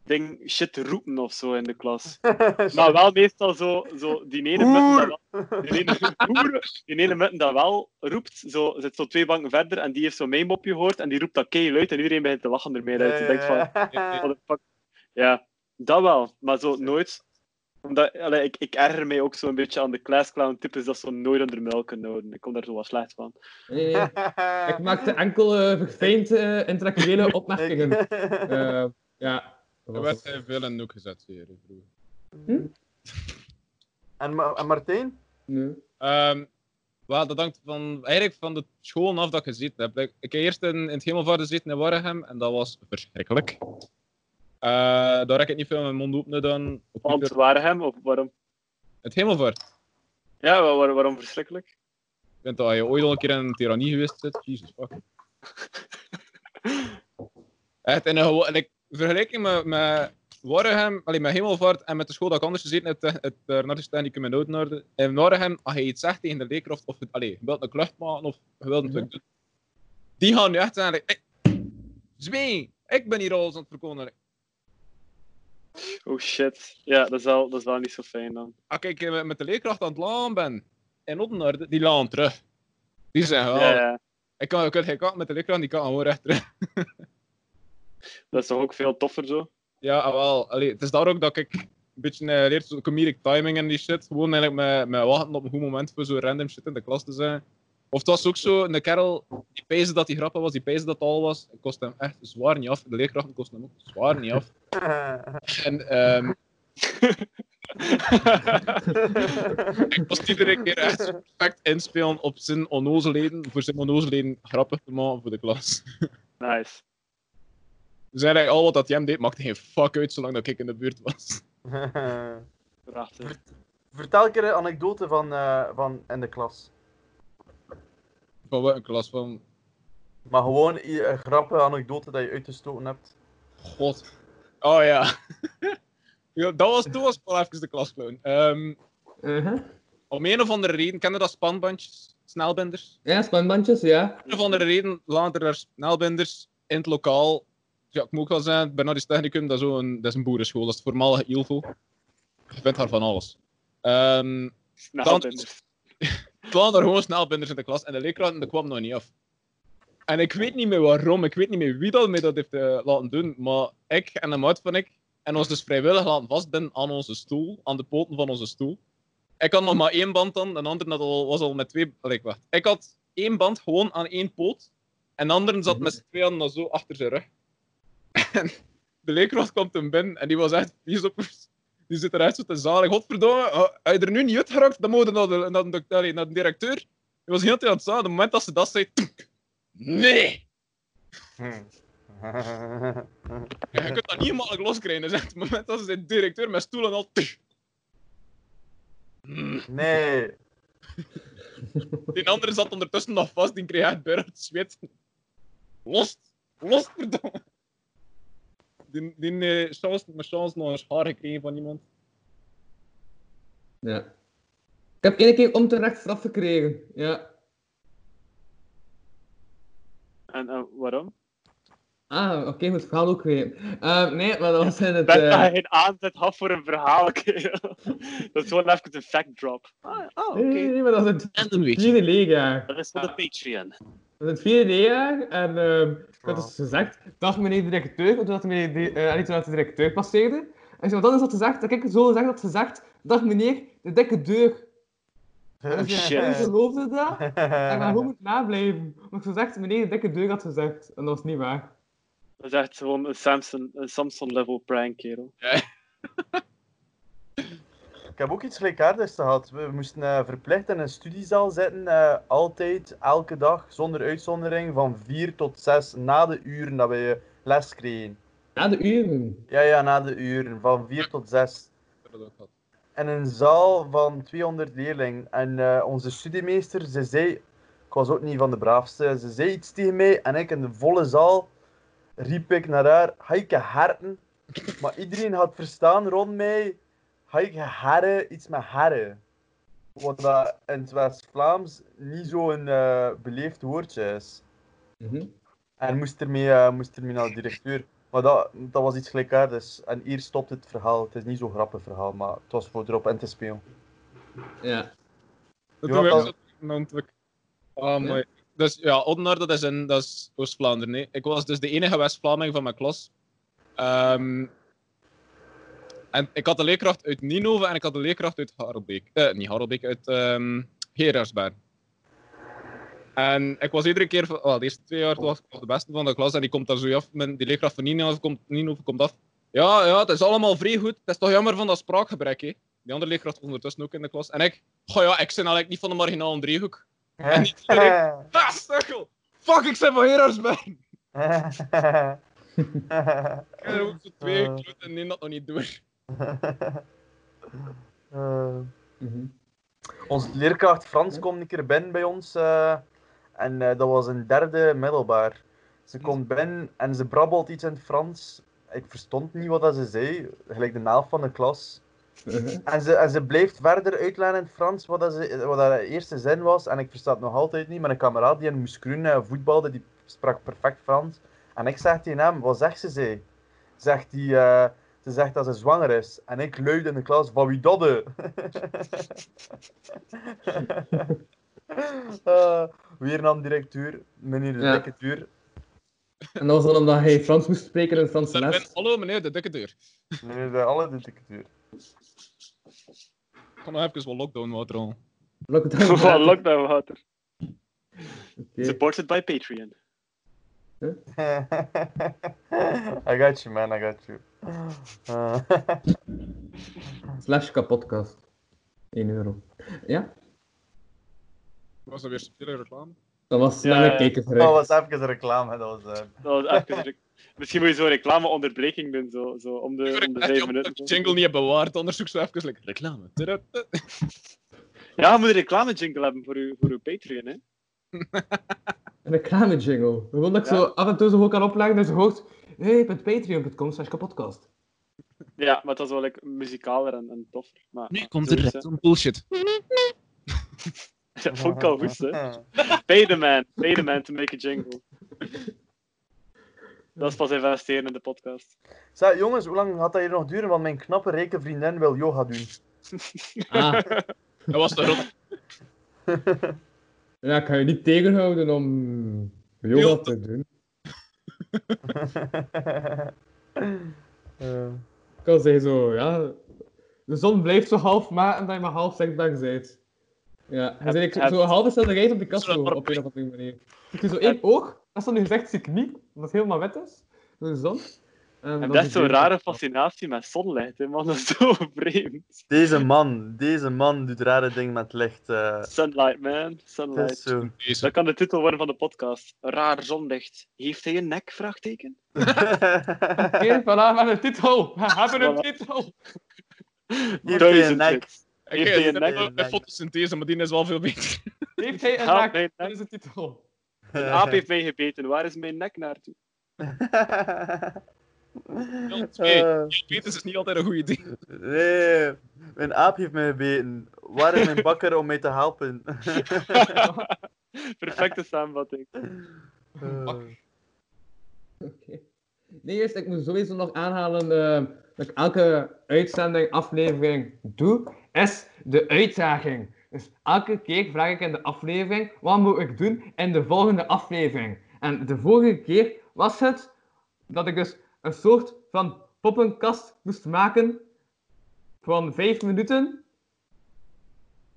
[SPEAKER 6] ding shit roepen of zo in de
[SPEAKER 4] [laughs]
[SPEAKER 6] klas. Maar Nou, wel meestal zo, zo die ene mutten dat wel, die ene, hoer, die ene mutten dat wel roept, zo, zit zo twee banken verder en die heeft zo mijn mopje gehoord en die roept dat kei luid en iedereen begint te lachen ermee uit. Ik denk van, what the fuck. Ja, dat wel, maar zo nooit. Omdat, allee, ik, ik erger mij ook zo'n beetje aan de classclown types dat zo nooit onder melk kunnen houden. Ik kom daar zo wat slecht van.
[SPEAKER 3] Nee, nee.
[SPEAKER 5] [laughs]
[SPEAKER 3] Ik maakte enkel eh verfijnd eh, interactuele opmerkingen.
[SPEAKER 4] Ik-
[SPEAKER 3] Eh, ja.
[SPEAKER 5] Er werd hij veel in noek gezet weer. Broer.
[SPEAKER 4] En, Ma- en Martijn?
[SPEAKER 3] Nee.
[SPEAKER 5] Ehm, wel, dat hangt van, eigenlijk van de school af dat ik gezeten heb. Ik, ik heb eerst in, in het Hemelvaart gezeten in Warregem en dat was verschrikkelijk. Eh, daar heb ik niet veel mijn mond openen dan. Ook niet
[SPEAKER 6] Want
[SPEAKER 5] door-
[SPEAKER 6] waren hem, of waarom?
[SPEAKER 5] Het Hemelvaart.
[SPEAKER 6] Ja, wa- waar- waarom verschrikkelijk?
[SPEAKER 5] Ik vind dat als je ooit al een keer in een tirannie geweest bent. Jezus, fuck. Echt, in, een, gewo- en ik vergelijking met, met Warregem, allee, met Hemelvaart en met de school dat ik anders gezeten heb, het, het eh, Nationaal Technicum in Oudenaarde. In Warregem, als je iets zegt tegen de leerkracht, of het- allee, je wilt een klucht maken, of je wilt een
[SPEAKER 6] Mhm.
[SPEAKER 5] truc doen, die gaan nu echt zeggen, like, "Hey, Zwee, ik ben hier alles aan het verkondigen.
[SPEAKER 6] Oh shit. Ja, dat is wel, dat is wel niet zo fijn dan.
[SPEAKER 5] Als ik eh, met de leerkracht aan het laan ben, in Oudenaarde, die laan terug. Die zeggen, wel.
[SPEAKER 6] Ja, ja.
[SPEAKER 5] ik kan, ik kan geen kant met de leerkracht, die kan gewoon recht terug.
[SPEAKER 6] Dat is toch ook veel toffer zo?
[SPEAKER 5] Ja, ah, wel. Allee, het is daar ook dat ik een beetje eh, leer zo- comedic timing en die shit. Gewoon eigenlijk met, met wachten op een goed moment voor zo random shit in de klas te zijn. Of het was ook zo, een kerel die pezen dat hij grappig was, die pezen dat het al was. Het kost hem echt zwaar niet af. De leerkrachten kosten hem ook zwaar niet af. En ehm ik was iedere keer echt perfect inspelen op zijn onnozelheden, voor zijn onnozelheden grappig te maken voor de klas.
[SPEAKER 6] Nice.
[SPEAKER 5] Dus eigenlijk al wat dat hem deed, maakte geen fuck uit zolang dat ik in de buurt was. [laughs]
[SPEAKER 6] Prachtig.
[SPEAKER 4] [laughs] Vertel een keer een anekdote van, eh, van in de klas.
[SPEAKER 5] Van wat een klas van
[SPEAKER 4] Maar gewoon i- een grappige anekdote dat je uitgestoten hebt.
[SPEAKER 5] God. Oh ja. [laughs] ja dat was, toen was ik wel even de klas clown. Ehm,
[SPEAKER 3] Uh-huh.
[SPEAKER 5] om een of andere reden, kende dat spanbandjes, snelbinders?
[SPEAKER 3] Ja, spanbandjes, ja.
[SPEAKER 5] Om een of andere reden later er snelbinders in het lokaal. Ja, ik moet ook wel zeggen, Bernardis Technicum, dat is, zo een, dat is een boerenschool, dat is het voormalige ILVO. Je vindt daar van alles. Ehm
[SPEAKER 6] Nou, binders.
[SPEAKER 5] het waren er gewoon snelbinders in de klas en de leerkrachten dat kwam nog niet af. En ik weet niet meer waarom, ik weet niet meer wie dat mij dat heeft eh, laten doen, maar ik en een maat van ik en ons dus vrijwillig laten vastbinden aan onze stoel, aan de poten van onze stoel. Ik had nog maar één band dan, een ander had al, was al met twee. Allee, wacht. Ik had één band gewoon aan één poot en de ander zat met z'n tweeën dan zo achter zijn rug. [laughs] En de leerkracht komt hem binnen en die was echt vies op ons. Die zit eruit zo te zalig. Godverdomme, eh, als je er nu niet uit geraakt, dan moet je naar de, naar de, allee, naar de directeur. Die was heel de tijd aan het zagen. Op het moment dat ze dat zei... tuk. nee! Ja, Je kunt dat niet makkelijk loskrijgen. Dus echt, op het moment dat ze de directeur met stoelen al... tuk.
[SPEAKER 4] nee.
[SPEAKER 5] Die andere zat ondertussen nog vast. Die kreeg echt bijna het zweet. Los! Los, verdomme! Die, die eh, chance, mijn chance nog eens haar gekregen van iemand.
[SPEAKER 3] ja. Ik heb één keer onterecht straf gekregen. Ja.
[SPEAKER 6] En eh, waarom?
[SPEAKER 3] Ah, oké, moet het verhaal ook weer. Ehm, nee, maar dat was in [laughs] het...
[SPEAKER 6] Ben
[SPEAKER 3] eh,
[SPEAKER 6] daar geen aanzet had voor een verhaal, [laughs] kerel. Dat is gewoon even een fact drop. Ah, oh, oké.
[SPEAKER 3] nee, [laughs] nee, nee, maar dat was in het
[SPEAKER 5] Random weetje.
[SPEAKER 3] vierde leerjaar.
[SPEAKER 6] Dat is voor de Patreon.
[SPEAKER 3] Dat is het vierde leerjaar en ehm ik had
[SPEAKER 4] Ja.
[SPEAKER 3] dus gezegd, dag meneer de directeur, want toen had de meneer de, eh, allee, toen had de directeur passeerde. En zo, dan is dat gezegd, dat ik zo gezegd had gezegd, dag meneer, de dikke deur.
[SPEAKER 4] [laughs]
[SPEAKER 3] En dus
[SPEAKER 6] Oh, shit.
[SPEAKER 3] mijn vriend geloofde
[SPEAKER 6] [laughs]
[SPEAKER 3] dat, en ik ben gewoon moeten nablijven. Maar ik zo gezegd, meneer de dikke deur had gezegd, en dat was niet waar.
[SPEAKER 6] Dat is echt gewoon een Samson, een Samson level
[SPEAKER 3] [laughs]
[SPEAKER 6] prank, kerel.
[SPEAKER 4] Ik heb ook iets gelijkaardigs gehad. We moesten eh, verplicht in een studiezaal zitten, eh, altijd, elke dag, zonder uitzondering, van 4 tot 6 na de uren dat wij eh, les kregen.
[SPEAKER 3] Na de uren.
[SPEAKER 4] Ja, ja, na de uren, van 4 tot 6.
[SPEAKER 5] Ik heb dat ook gehad.
[SPEAKER 4] In een zaal van 200 leerlingen. En eh, onze studiemeester, ze zei, ik was ook niet van de braafste, ze zei iets tegen mij en ik in de volle zaal riep ik naar haar, Heike Herten. Maar iedereen had verstaan rond mij, Heike Herre, iets met herre. Wat dat in het West-Vlaams niet zo'n eh, beleefd woordje is.
[SPEAKER 3] Mhm.
[SPEAKER 4] En moest ermee, eh, moest ermee naar de directeur. Maar dat, dat was iets gelijkaardigs. En hier stopt het verhaal. Het is niet zo'n grappig verhaal, maar het was voor erop in te spelen.
[SPEAKER 3] Ja.
[SPEAKER 5] Dat
[SPEAKER 4] Ja,
[SPEAKER 5] doen we
[SPEAKER 4] dat-
[SPEAKER 5] ook natuurlijk. Ah,
[SPEAKER 3] Ja.
[SPEAKER 5] mooi. Dus ja, Oddenaar, dat is, in- dat is Oost-Vlaanderen. hè. Ik was dus de enige West-Vlaming van mijn klas. Ehm, en ik had de leerkracht uit Ninove en ik had de leerkracht uit Harelbeek. Eh, niet Harelbeek, uit ehm Gerardsberg. En ik was iedere keer, van- wel, de eerste twee jaar was ik nog de beste van de klas en die komt daar zo af. Mijn, die leerkracht van Ninove komt, Ninove komt af Ja, ja, het is allemaal vrij goed. Het is toch jammer van dat spraakgebrek, hè? Die andere leerkracht was ondertussen ook in de klas. En ik, goh ja, ik zit eigenlijk niet van de marginale driehoek. En niet direct, [laughs] ah, stukkel! Fuck, ik zit van Herosberg! Ik heb er ook zo twee
[SPEAKER 4] Eh.
[SPEAKER 5] kloot en neem dat nog niet door.
[SPEAKER 4] Eh,
[SPEAKER 3] Mhm.
[SPEAKER 4] onze leerkracht Frans komt een keer binnen bij ons. eh, en eh, dat was een derde middelbaar. Ze komt binnen en ze brabbelt iets in het Frans. Ik verstond niet wat dat ze zei, gelijk de naam van de klas.
[SPEAKER 3] Mhm.
[SPEAKER 4] En ze, en ze blijft verder uitleggen in het Frans wat, dat ze, wat haar eerste zin was. En ik versta het nog altijd niet. Mijn kameraad die in Moeskroen eh, voetbalde, die sprak perfect Frans. En ik zeg tegen hem, wat zegt ze zei? Zegt die, eh, ze zegt dat ze zwanger is. En ik luid in de klas, van wie dat eh?" [laughs] Eh, Weer nam directeur, meneer de
[SPEAKER 3] Ja.
[SPEAKER 4] dikke duur.
[SPEAKER 3] En dat was dan omdat hij Frans moest spreken in het Franse
[SPEAKER 5] Daar ben,
[SPEAKER 3] les.
[SPEAKER 5] hallo meneer, de dikke deur.
[SPEAKER 4] Meneer de alle de dikke [laughs] duur.
[SPEAKER 5] Ik ga nog even wat lockdown water halen.
[SPEAKER 3] Lockdown.
[SPEAKER 6] [laughs] Van lockdown water.
[SPEAKER 3] Oké.
[SPEAKER 6] Supported by Patreon.
[SPEAKER 4] I got you man, I got you. Eh,
[SPEAKER 3] Slash kapotkast. 1 euro. Ja,
[SPEAKER 5] Was er weer subtiele reclame?
[SPEAKER 3] dat was
[SPEAKER 6] Ja,
[SPEAKER 3] naar mijn
[SPEAKER 6] ja.
[SPEAKER 3] kijken
[SPEAKER 4] dat
[SPEAKER 3] geweest.
[SPEAKER 4] was even een reclame, hè, dat was... eh,
[SPEAKER 6] Dat was even druk. Misschien moet je zo'n reclameonderbreking doen, zo, zo om de, om de
[SPEAKER 5] Echt,
[SPEAKER 6] vijf
[SPEAKER 5] jammer dat ik
[SPEAKER 6] minuten.
[SPEAKER 5] de jingle niet heb bewaard, anders zoek ze even like, reclame. Tudu, tudu.
[SPEAKER 6] Ja, je moet een reclamejingle hebben voor uw, voor uw Patreon, hè.
[SPEAKER 3] Een reclame jingle. Gewoon dat ik
[SPEAKER 6] Ja.
[SPEAKER 3] zo af en toe zo gewoon kan opleggen dat je hoort. Hey.patreon.com slash kapotkast.
[SPEAKER 6] Ja, maar dat is wel like, muzikaler en, en toffer. Maar,
[SPEAKER 7] Nu
[SPEAKER 6] maar
[SPEAKER 7] komt
[SPEAKER 6] zo
[SPEAKER 7] er
[SPEAKER 6] is,
[SPEAKER 7] direct zo'n bullshit.
[SPEAKER 6] [laughs] hè. Dat vond ik al goed, hè.
[SPEAKER 4] [laughs]
[SPEAKER 6] Pay the man. Pay the man to make a jingle. Dat is pas investeren in de podcast.
[SPEAKER 4] Zeg, jongens, hoe lang gaat dat hier nog duren? Want mijn knappe rijke vriendin wil yoga doen. [laughs]
[SPEAKER 3] Ah,
[SPEAKER 5] Dat was de rot.
[SPEAKER 3] ja, ik ga je niet tegenhouden om yoga te doen.
[SPEAKER 4] Eh,
[SPEAKER 3] Ik kan zeggen zo, ja. De zon blijft zo half maken dat je maar half zichtbaar bent. Ja, je
[SPEAKER 6] Heb-
[SPEAKER 3] bent
[SPEAKER 6] heb-
[SPEAKER 3] zo half snelheid op de kast
[SPEAKER 5] Zo'n
[SPEAKER 3] zo, op
[SPEAKER 5] dorp.
[SPEAKER 3] een of andere manier. Ik doe zo één oog, dat is dan nu gezegd, zie ik niet, omdat het helemaal wit is, door de zon. En dan
[SPEAKER 6] En dat
[SPEAKER 3] zie
[SPEAKER 6] is
[SPEAKER 3] ik
[SPEAKER 6] zo'n
[SPEAKER 3] weer-
[SPEAKER 6] rare fascinatie met zonlicht, hè, man. [laughs] Dat is zo vreemd.
[SPEAKER 4] deze man, deze man doet rare dingen met licht. eh.
[SPEAKER 6] Sunlight, man.
[SPEAKER 4] het is
[SPEAKER 6] Sunlight.
[SPEAKER 4] zo.
[SPEAKER 5] Deze.
[SPEAKER 6] Dat kan de titel worden van de podcast. Raar zonlicht. Heeft hij een nek? Vraagteken.
[SPEAKER 3] Oké, voilà, we hebben een titel! We hebben een
[SPEAKER 6] Voilà.
[SPEAKER 3] titel!
[SPEAKER 4] een
[SPEAKER 6] Duizend
[SPEAKER 4] nek?
[SPEAKER 6] hits.
[SPEAKER 5] Ik
[SPEAKER 6] Heeft
[SPEAKER 5] heb
[SPEAKER 6] hij
[SPEAKER 5] een
[SPEAKER 6] een nek?
[SPEAKER 5] de fotosynthese, maar die is wel veel beter.
[SPEAKER 3] Heeft hij een
[SPEAKER 6] Ja,
[SPEAKER 3] raak?
[SPEAKER 6] nee,
[SPEAKER 3] Dat is de titel.
[SPEAKER 6] Een
[SPEAKER 4] [laughs]
[SPEAKER 6] aap heeft mij gebeten. Waar is mijn nek naartoe? [laughs]
[SPEAKER 5] twee.
[SPEAKER 4] Eh,
[SPEAKER 5] Beter is niet altijd een goed idee.
[SPEAKER 4] nee, mijn aap heeft mij gebeten. Waar is mijn bakker om mij te helpen? [laughs]
[SPEAKER 6] Perfecte samenvatting.
[SPEAKER 4] Eh,
[SPEAKER 3] Oké. Nee, eerst, ik moet sowieso nog aanhalen eh, dat ik elke uitzending, aflevering doe, is de uitdaging. Dus elke keer vraag ik in de aflevering, wat moet ik doen in de volgende aflevering? En de vorige keer was het dat ik dus een soort van poppenkast moest maken van vijf minuten.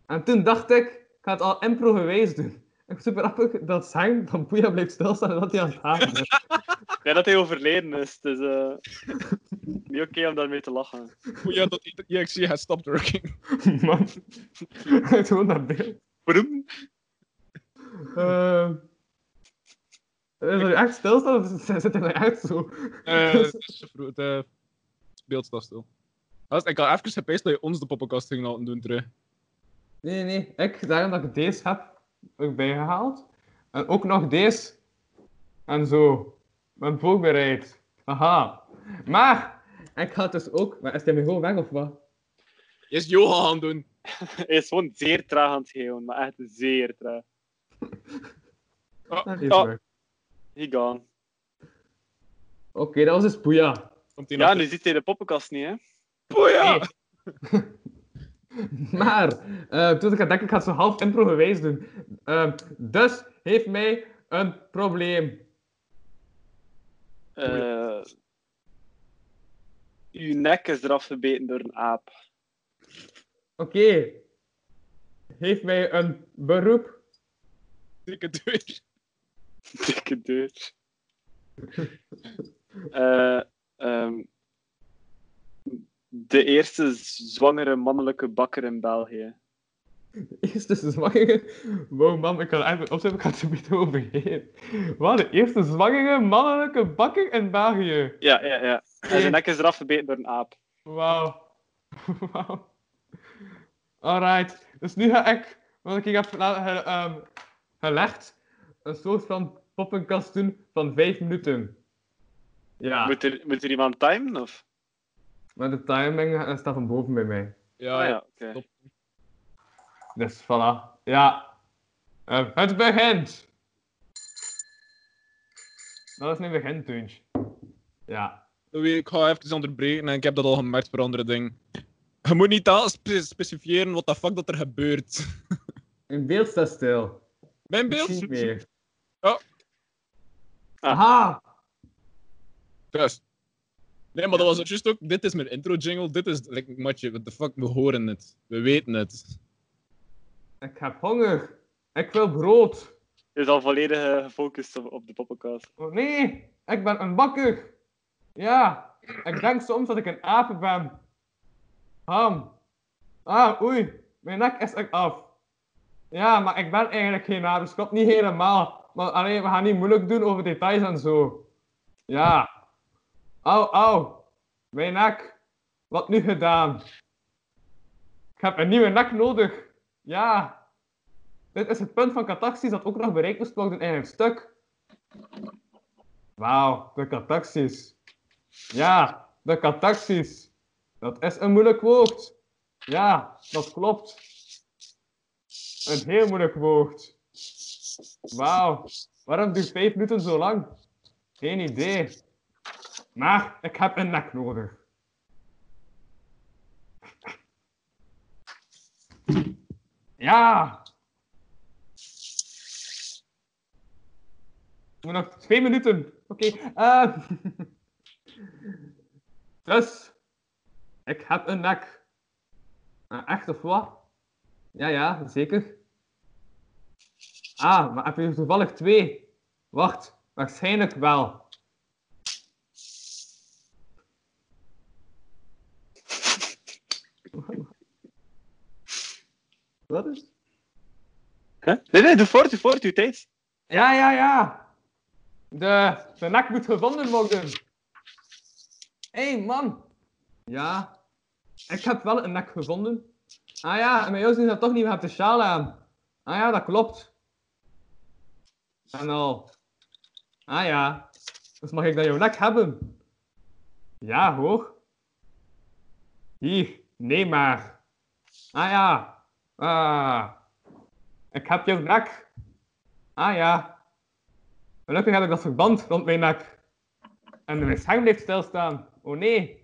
[SPEAKER 3] En toen dacht ik, ik ga het al impro geweest doen. Ik vind super grappig dat Zang van Poeja blijft stilstaan en dat hij aan het haken is.
[SPEAKER 6] Ja, dat hij overleden is. Dus eh, niet oké om daarmee te lachen.
[SPEAKER 5] Hoe ja, dat EXE has stopped working.
[SPEAKER 3] [laughs] Man. Hij gewoon naar beeld.
[SPEAKER 6] Broem.
[SPEAKER 3] Eh, Is er echt stilstaan [laughs] of z- zit hij er echt zo?
[SPEAKER 5] Eh, het is vro- het, eh, het beeld staat stil. Gast, Ik had even gepijst dat je ons de poppenkast ging laten doen terug.
[SPEAKER 3] Nee, nee, nee. Ik, daarom dat ik deze heb erbij gehaald. En ook nog deze. En zo. Mijn boek bereid. Aha. Maar, ik ga het dus ook... Maar is hij nu gewoon weg of wat?
[SPEAKER 5] Je is Johan gaan doen.
[SPEAKER 6] Hij is gewoon zeer traag aan het geven, maar echt zeer traag.
[SPEAKER 3] Ah,
[SPEAKER 5] Ah,
[SPEAKER 3] die is
[SPEAKER 5] ja,
[SPEAKER 3] weg.
[SPEAKER 6] He gone.
[SPEAKER 3] Oké, dat was dus Poeja.
[SPEAKER 5] komt hij
[SPEAKER 6] Ja,
[SPEAKER 5] nog
[SPEAKER 6] nu ziet hij de poppenkast niet, hè.
[SPEAKER 3] [laughs]
[SPEAKER 5] Boeia!
[SPEAKER 3] Maar, eh, toen ik aan denk, ik ga het zo half impro gewijs doen. Eh, dus heeft mij een probleem.
[SPEAKER 6] Eh, uw nek is eraf gebeten door een aap. [laughs]
[SPEAKER 3] Oké. Heeft mij een beroep. [laughs]
[SPEAKER 5] Dikke deur.
[SPEAKER 6] Dikke deur. Eh, ehm, de eerste zwangere mannelijke bakker in België.
[SPEAKER 3] Eerste zwangere... Wow, man, ik kan eigenlijk opzetten, ik ga het er niet overheen. Wat, de eerste zwangere mannelijke bakker in België?
[SPEAKER 6] Ja, ja, ja. En zijn nek is eraf gebeten door een aap.
[SPEAKER 3] Wauw. [laughs] Wauw. Alright. Dus nu ga ik, wat ik hier heb la- ge- ehm, gelegd, een soort van poppenkast doen van 5 minuten. Ja.
[SPEAKER 6] Moet, er, moet er iemand timen? Of?
[SPEAKER 3] Maar de timing eh, staat van boven bij mij.
[SPEAKER 5] Ja,
[SPEAKER 6] Ah ja,
[SPEAKER 5] ja.
[SPEAKER 6] oké.
[SPEAKER 5] Stop.
[SPEAKER 3] Dus voilà. Ja. Eh, het begint! Dat is nu begint, Tunch. Ja.
[SPEAKER 5] Louis, ik ga even onderbreken en ik heb dat al gemerkt voor andere dingen. Je moet niet aan spe- specifieren wat de fuck dat er gebeurt.
[SPEAKER 3] Mijn beeld staat stil.
[SPEAKER 5] Mijn
[SPEAKER 3] Ik
[SPEAKER 5] beeld.
[SPEAKER 3] zie het meer.
[SPEAKER 5] Ja.
[SPEAKER 3] Aha!
[SPEAKER 5] Juist. Nee, maar dat was het juist ook. Dit is mijn intro jingle. Dit is. Like, matje, what the fuck, we horen het. We weten het.
[SPEAKER 3] Ik heb honger. Ik wil brood.
[SPEAKER 6] Is al volledig eh, gefocust op, op de poppenkast.
[SPEAKER 3] Oh nee, ik ben een bakker. Ja, ik denk soms dat ik een aap ben. Ham. Ah, oei, mijn nek is er af. Ja, maar ik ben eigenlijk geen aap, dus klopt niet helemaal. Maar alleen, we gaan niet moeilijk doen over details en zo. Ja. Au, au. Mijn nek. Wat nu gedaan? Ik heb een nieuwe nek nodig. Ja. Dit is het punt van catharsis dat ook nog bereikt moest worden in een stuk. Wauw, de catharsis. Ja, de catharsis. Dat is een moeilijk woord. Ja, dat klopt. Een heel moeilijk woord. Wauw, waarom duurt vijf minuten zo lang? Geen idee. Maar ik heb een nek nodig. Ja! We nog twee minuten. Oké. eh. [laughs] dus, ik heb een nek. Eh, echt of wat? Ja, ja, zeker. Ah, maar heb je er toevallig twee? Wacht, waarschijnlijk wel. [laughs] Wat is?
[SPEAKER 6] Huh? Nee, nee, doe voort, doe voort, uw tijd.
[SPEAKER 3] Ja, ja, ja. De, de nek moet gevonden worden. Hé, hey, man. Ja. Ik heb wel een nek gevonden. Ah ja, en bij jou zien dat toch niet, we hebben de sjaal aan. Ah ja, dat klopt. En al. Ah ja. Dus mag ik dan jouw nek hebben? Ja, hoor. Hier, neem maar. Ah ja. Ah. Ik heb jouw nek. Ah ja. Gelukkig heb ik dat verband rond mijn nek. En mijn scherm blijft stilstaan. Oh nee.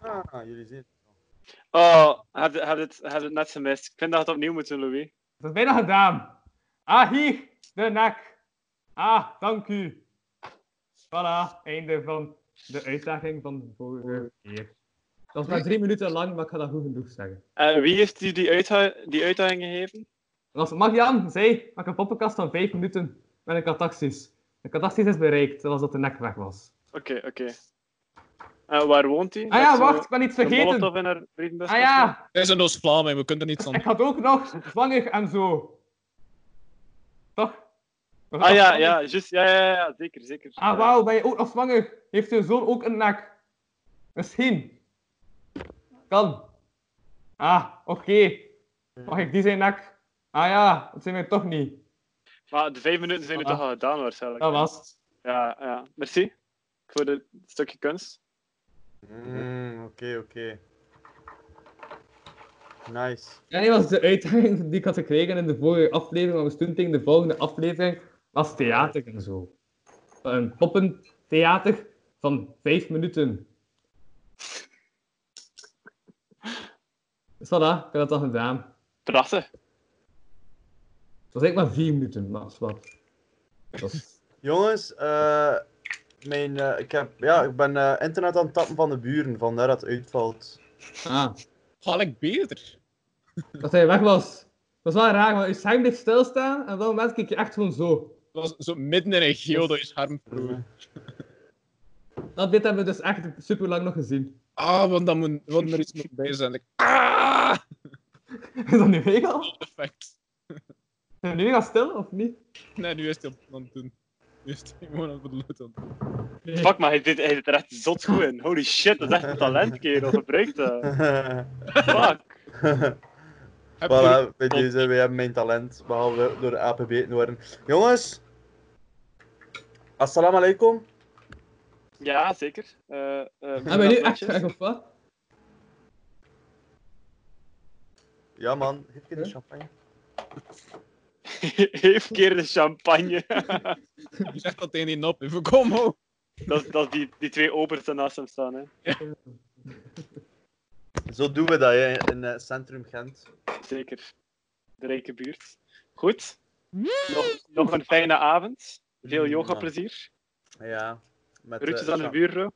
[SPEAKER 4] Ah, jullie zien.
[SPEAKER 6] Oh, heb je heb je het, heb je het net gemist. Ik vind dat het opnieuw moet doen, Louis.
[SPEAKER 3] Dat is bijna gedaan. Ah, hier. De nek. Ah, dank u. Voilà. Einde van de uitdaging van de vorige keer. Dat was maar drie minuten lang, maar ik ga dat goed genoeg zeggen.
[SPEAKER 6] En Eh, wie heeft u die, uitha- die uitdaging gegeven?
[SPEAKER 3] Dat was Marian, zei, maak een poppenkast van vijf minuten met een catharsis. De catharsis is bereikt, zoals dat de nek weg was.
[SPEAKER 6] Oké, oké. En waar woont hij?
[SPEAKER 3] Ah ja, wacht, ik ben iets
[SPEAKER 6] Een
[SPEAKER 3] vergeten.
[SPEAKER 6] molotov in haar brievenbus.
[SPEAKER 3] Ah ja.
[SPEAKER 5] Wij zijn dus Vlamingen, we kunnen er niets aan
[SPEAKER 3] Ik had ook nog zwanger en zo. Toch? Was
[SPEAKER 6] Ah
[SPEAKER 3] dat
[SPEAKER 6] ja,
[SPEAKER 3] zwanger?
[SPEAKER 6] ja, juist. Ja, ja, ja, zeker, zeker.
[SPEAKER 3] Ah, wauw, ben je ook nog zwanger? Heeft je zoon ook een nek? Misschien. Kan. Ah, oké. Mag ik die zijn nek? Ah ja, dat zijn wij toch niet.
[SPEAKER 6] Maar de vijf minuten zijn nu
[SPEAKER 3] Ah.
[SPEAKER 6] toch al gedaan, waarschijnlijk.
[SPEAKER 3] Dat was het.
[SPEAKER 6] Ja, ja. Merci voor dit stukje kunst.
[SPEAKER 4] Mm, Oké, oké. Nice.
[SPEAKER 3] Ja, nee, was de uitdaging die ik had gekregen in de vorige aflevering, maar we stonden tegen de volgende aflevering, was theater en zo. Een poppentheater van vijf minuten. Dus voilà, ik heb dat al gedaan.
[SPEAKER 6] Prachtig.
[SPEAKER 3] Het was eigenlijk maar vier minuten, maar dat is wat. Dat was-
[SPEAKER 4] Jongens, eh, mijn, eh, ik, heb, ja, ik ben eh, internet aan het tappen van de buren, vandaar dat het uitvalt. [laughs]
[SPEAKER 3] Ah,
[SPEAKER 5] Ga ik beter?
[SPEAKER 3] dat hij weg was. Dat was wel raar, want je scherm bleef stilstaan en op dat moment keek je echt gewoon zo.
[SPEAKER 5] Het was zo midden in een geel door je scherm.
[SPEAKER 3] Nou, dit hebben we dus echt super lang nog gezien. [laughs]
[SPEAKER 5] Ah, want dan moet, want er iets moet bij zijn. Like, ah,
[SPEAKER 3] Is dat nu mega?
[SPEAKER 5] perfect.
[SPEAKER 3] Zijn we nu gaan stil, of niet?
[SPEAKER 5] Nee, nu is hij op aan het doen. Nu is hij gewoon aan het beloot aan het doen.
[SPEAKER 6] Fuck, maar hij zit, hij zit er echt zot goed in. Holy shit, dat is echt een talent, kerel. Gebruik
[SPEAKER 3] [laughs]
[SPEAKER 6] dat. Fuck.
[SPEAKER 5] Heb je-
[SPEAKER 4] voilà, bij deze, wij hebben mijn talent, behalve door de APB te worden. Jongens, assalamu alaikum.
[SPEAKER 6] Ja, zeker. Eh, eh,
[SPEAKER 3] Hebben we nu
[SPEAKER 6] dat
[SPEAKER 3] echt
[SPEAKER 6] matches.
[SPEAKER 3] weg, of wat?
[SPEAKER 4] Ja man, geef je de
[SPEAKER 3] Huh?
[SPEAKER 4] champagne.
[SPEAKER 6] [laughs] Heeft keer de champagne.
[SPEAKER 5] Je zegt dat tegen die nop. Even kom ho.
[SPEAKER 6] dat is- dat is die, die twee obers die naast hem staan. Hè.
[SPEAKER 4] Zo doen we dat hè, in eh, centrum Gent.
[SPEAKER 6] Zeker. De rijke buurt. Goed. Nog, nog een fijne avond. Veel yoga plezier.
[SPEAKER 4] Ja. Met,
[SPEAKER 6] Groetjes
[SPEAKER 4] eh,
[SPEAKER 6] aan de
[SPEAKER 4] champ-
[SPEAKER 6] buurvrouw.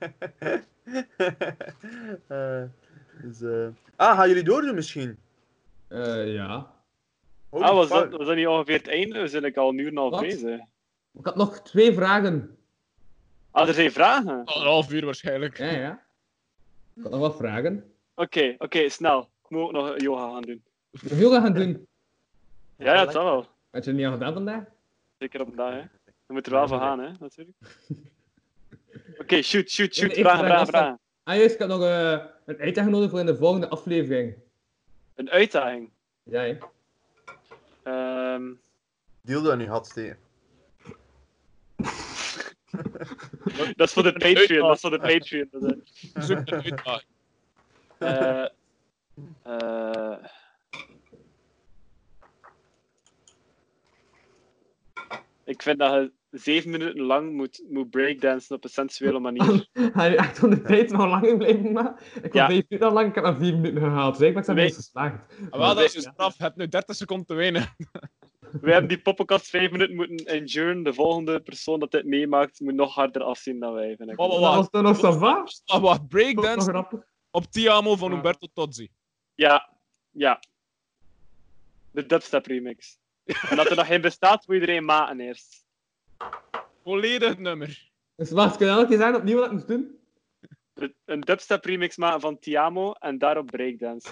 [SPEAKER 4] [laughs] Eh, dus, eh, Ah, gaan jullie doordoen misschien?
[SPEAKER 3] Eh, ja.
[SPEAKER 4] Holy
[SPEAKER 6] Ah, was
[SPEAKER 4] fuck.
[SPEAKER 6] dat, was dat niet ongeveer het einde? We zijn eigenlijk al een uur en een half
[SPEAKER 3] Wat?
[SPEAKER 6] bezig.
[SPEAKER 3] Ik had nog twee vragen.
[SPEAKER 6] Ah, er zijn vragen? Oké,
[SPEAKER 5] Al Een half uur waarschijnlijk.
[SPEAKER 3] Ja, ja. Ik had nog wat vragen.
[SPEAKER 6] oké, snel. Ik moet ook nog yoga gaan doen.
[SPEAKER 3] Nog yoga gaan doen.
[SPEAKER 6] Ja, ja, dat zal wel.
[SPEAKER 3] Had je het niet al gedaan vandaag?
[SPEAKER 6] Zeker op een dag, hè. Je moet er wel van gaan, hè, natuurlijk. Oké, shoot, shoot, shoot.
[SPEAKER 3] Nee, ik
[SPEAKER 6] Vragen,
[SPEAKER 3] vraag
[SPEAKER 6] vragen,
[SPEAKER 3] af dan.
[SPEAKER 6] vragen.
[SPEAKER 3] Ah, juist, ik heb nog eh, een uitdaging nodig voor in de volgende aflevering.
[SPEAKER 6] Een uitdaging.
[SPEAKER 3] Ja, [laughs] hè.
[SPEAKER 6] Ehm,
[SPEAKER 4] Deal dat nu had steken.
[SPEAKER 6] dat is voor de Patreon, dat is voor de Patreon. Dat is-
[SPEAKER 5] Zoek het uit. Ah,
[SPEAKER 6] Eh, eh. ik vind dat je zeven minuten lang moet, moet breakdansen op een sensuele manier.
[SPEAKER 3] Ga je echt van de tijd nog langer blijven maar Ik
[SPEAKER 6] Ja.
[SPEAKER 3] had vijf minuten al lang, ik heb maar vier minuten gehaald. Zeg, maar ik ben
[SPEAKER 6] Nee.
[SPEAKER 3] niet geslaagd.
[SPEAKER 5] Ah, Wel, dat is een straf. Je hebt nu 30 seconden te wenen.
[SPEAKER 6] We hebben die poppenkast vijf minuten moeten enduren. De volgende persoon dat dit meemaakt moet nog harder afzien dan wij, vind ik.
[SPEAKER 5] Wat, wat,
[SPEAKER 3] Dat was toch nog Sava?
[SPEAKER 5] Ah, wacht.
[SPEAKER 3] Dat was nog
[SPEAKER 5] Breakdance
[SPEAKER 3] grappig.
[SPEAKER 5] op Tiamo van Umberto Tozzi.
[SPEAKER 6] Ja, ja. De dubstep remix. En dat er nog geen bestaat, moet iedereen maken eerst.
[SPEAKER 5] Volledig nummer.
[SPEAKER 3] Dus wacht, kun je elke keer zeggen opnieuw wat ik moest doen?
[SPEAKER 6] De- Een dubstep remix maken van Tiamo en daarop breakdance.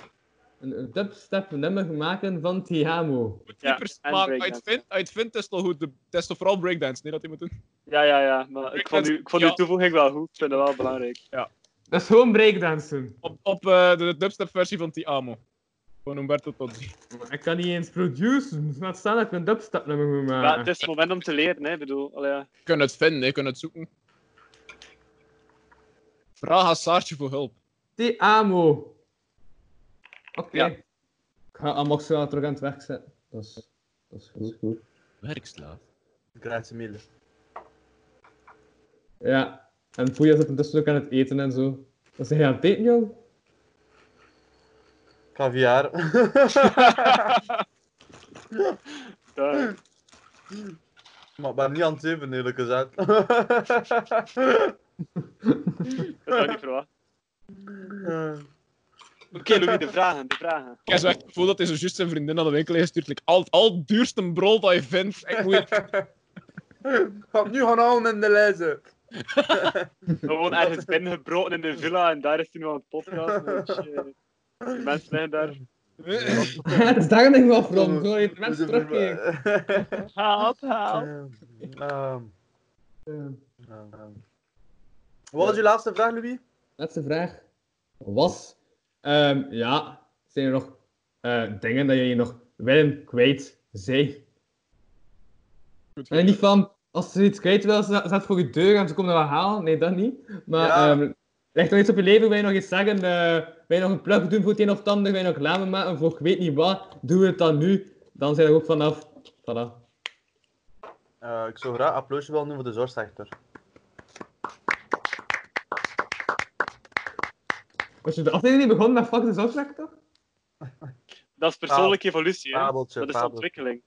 [SPEAKER 3] Een een dubstep nummer maken van Tiamo.
[SPEAKER 5] Moet
[SPEAKER 6] Ja,
[SPEAKER 5] keepers
[SPEAKER 6] en
[SPEAKER 5] maken.
[SPEAKER 6] breakdance.
[SPEAKER 5] Uitvind, uitvind is toch goed. de- Het is toch vooral breakdance, nee, dat hij moet doen.
[SPEAKER 6] Ja, ja, ja. Maar ik vond, u, ik vond uw
[SPEAKER 5] Ja.
[SPEAKER 6] toevoeging wel goed. Ik vind het wel belangrijk.
[SPEAKER 3] Dat is gewoon breakdansen.
[SPEAKER 5] Op, op eh, de dubstep-versie van Tiamo. Van Umberto Tozzi.
[SPEAKER 3] Maar Ik kan niet eens produceren. Dus laat staan dat ik een dubstep nummer moet
[SPEAKER 6] Ja,
[SPEAKER 3] maken.
[SPEAKER 6] het is het moment om te leren, hè. Ik bedoel, allee, ja.
[SPEAKER 5] Je kunt het vinden, je kunt het zoeken. Vraag aan Saartje voor hulp.
[SPEAKER 3] Tiamo. Oké.
[SPEAKER 6] Ja.
[SPEAKER 3] Ik ga Amox wel terug aan het werk zetten. Dat is, dat is goed.
[SPEAKER 5] Werkslaaf.
[SPEAKER 4] Grazie mille.
[SPEAKER 3] Ja. En Poeja zit ondertussen ook aan het eten en zo. Wat zeg je aan het eten, jong?
[SPEAKER 4] Caviar. [laughs]
[SPEAKER 6] Daar.
[SPEAKER 4] maar ik ben niet aan het zeven, eerlijk gezegd. [laughs]
[SPEAKER 6] dat had ik niet verwacht.
[SPEAKER 4] Eh,
[SPEAKER 6] Oké, Louis, de vragen, de vragen.
[SPEAKER 5] Ik heb zo echt het gevoel dat hij zo juist zijn vriendin naar de winkel heeft gestuurd. Like, al, het- al het duurste brol dat je vindt. Ik
[SPEAKER 3] [laughs]
[SPEAKER 5] moet je-
[SPEAKER 4] Ga nu gaan houden in de lijzen.
[SPEAKER 6] Gewoon ergens binnengebroken in de villa en daar is hij nu aan het podcast. De mensen liggen daar.
[SPEAKER 3] [laughs] Het is daar denk ik wel from.
[SPEAKER 4] Oh,
[SPEAKER 3] Gewoon even eh, mensen terugkijken.
[SPEAKER 6] Help, help.
[SPEAKER 4] eh, [laughs] Ehm,
[SPEAKER 3] Eh,
[SPEAKER 4] ehm. Wat was je laatste vraag, Louis?
[SPEAKER 3] Laatste vraag. Was. ehm, ja. Zijn er nog eh, dingen dat jullie nog willen kwijt zijn?
[SPEAKER 5] Goed.
[SPEAKER 3] En niet van, als ze iets kwijt wil, ze staat voor je deur en ze komt dat wel halen. Nee, dat niet. Maar
[SPEAKER 4] Ja.
[SPEAKER 3] ehm leg nog iets op je leven, wil je nog iets zeggen? eh wil je nog een plug doen voor het een of het ander? Wil je nog reclame maken voor ik weet niet wat? Doe het dan nu. Dan zijn we er ook vanaf. Voilà.
[SPEAKER 4] Eh, ik zou graag applausje willen doen voor de zorgsector.
[SPEAKER 3] Was je de aflevering niet begonnen met fuck de zorgsector? toch?
[SPEAKER 6] Dat is persoonlijke evolutie, hè.
[SPEAKER 4] Fabeltje,
[SPEAKER 6] Dat is
[SPEAKER 4] fabeltje,
[SPEAKER 6] ontwikkeling.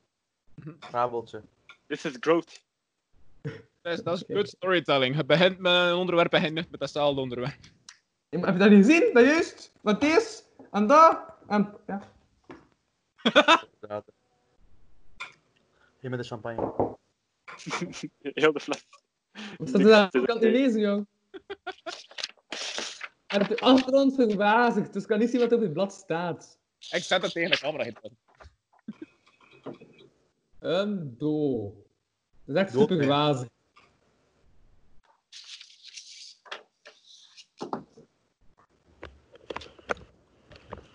[SPEAKER 4] fabeltje.
[SPEAKER 6] This is growth.
[SPEAKER 5] Dat is, dat is good storytelling. Je begint met een onderwerp en eindigt met hetzelfde onderwerp.
[SPEAKER 3] Ja, maar Heb je dat niet gezien? Dat juist? Dat is? En dat? En... Ja.
[SPEAKER 4] Inderdaad. Hier met de champagne.
[SPEAKER 6] Heel de fles.
[SPEAKER 3] Wat staat er daar?
[SPEAKER 6] Niks.
[SPEAKER 3] Ik kan het niet lezen, jong. Hij heeft de achtergrond verbazigd, dus ik kan niet zien wat er op dit blad staat.
[SPEAKER 5] Ik zet het tegen de camera. Hitler.
[SPEAKER 3] Een do. Dat is echt
[SPEAKER 4] Dood,
[SPEAKER 3] super wazig.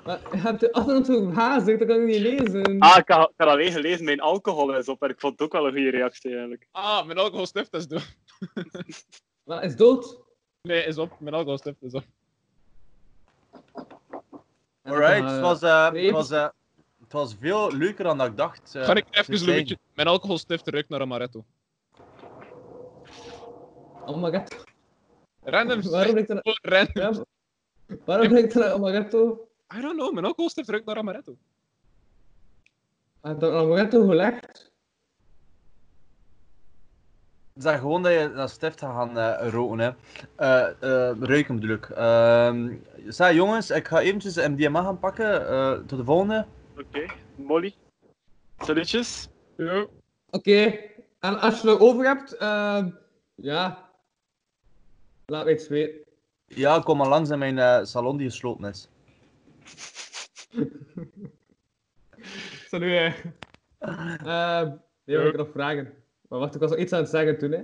[SPEAKER 3] Maar je hebt de achtergrond verbazigd, dat kan ik niet lezen.
[SPEAKER 6] Ah, ik had, ik had alleen gelezen, mijn alcohol is op. En ik vond het ook wel een goede reactie eigenlijk.
[SPEAKER 5] Ah, mijn alcoholstift is door.
[SPEAKER 3] Maar hij is dood.
[SPEAKER 5] Nee, is op. Mijn alcoholstift is op.
[SPEAKER 4] Alright,
[SPEAKER 3] Ah,
[SPEAKER 4] het was, eh,
[SPEAKER 3] nee,
[SPEAKER 4] het, was, eh, het was veel leuker dan dat ik dacht. eh,
[SPEAKER 5] Ga ik
[SPEAKER 4] te
[SPEAKER 5] even,
[SPEAKER 4] zijn.
[SPEAKER 5] Louietje. Mijn alcoholstift ruikt naar amaretto.
[SPEAKER 3] Oh my god. [laughs] Waarom
[SPEAKER 5] Random. zeg-
[SPEAKER 3] lijkt er...
[SPEAKER 5] Oh, Random.
[SPEAKER 3] Ja, waarom lijkt er een amaretto?
[SPEAKER 5] I don't know. Mijn alcoholstift ruikt naar amaretto.
[SPEAKER 3] Hij heeft een amaretto gelegd.
[SPEAKER 4] Het is dan gewoon dat je dat stift gaat gaan eh, roken, hè. Eh, eh, ruiken bedoel ik. Ehm, zeg, jongens, ik ga eventjes de MDMA gaan pakken. eh, tot de volgende.
[SPEAKER 6] Oké, Molly. Salutjes.
[SPEAKER 5] Yo.
[SPEAKER 3] Oké. En als je er over hebt, ehm, ja. Laat me iets weten.
[SPEAKER 4] Ja, kom maar langs in mijn eh, salon die gesloten is.
[SPEAKER 3] Salut. hè. Ehm, nee, maar eh, ik heb nog vragen. Maar wacht, ik was nog iets aan het zeggen toen, hè.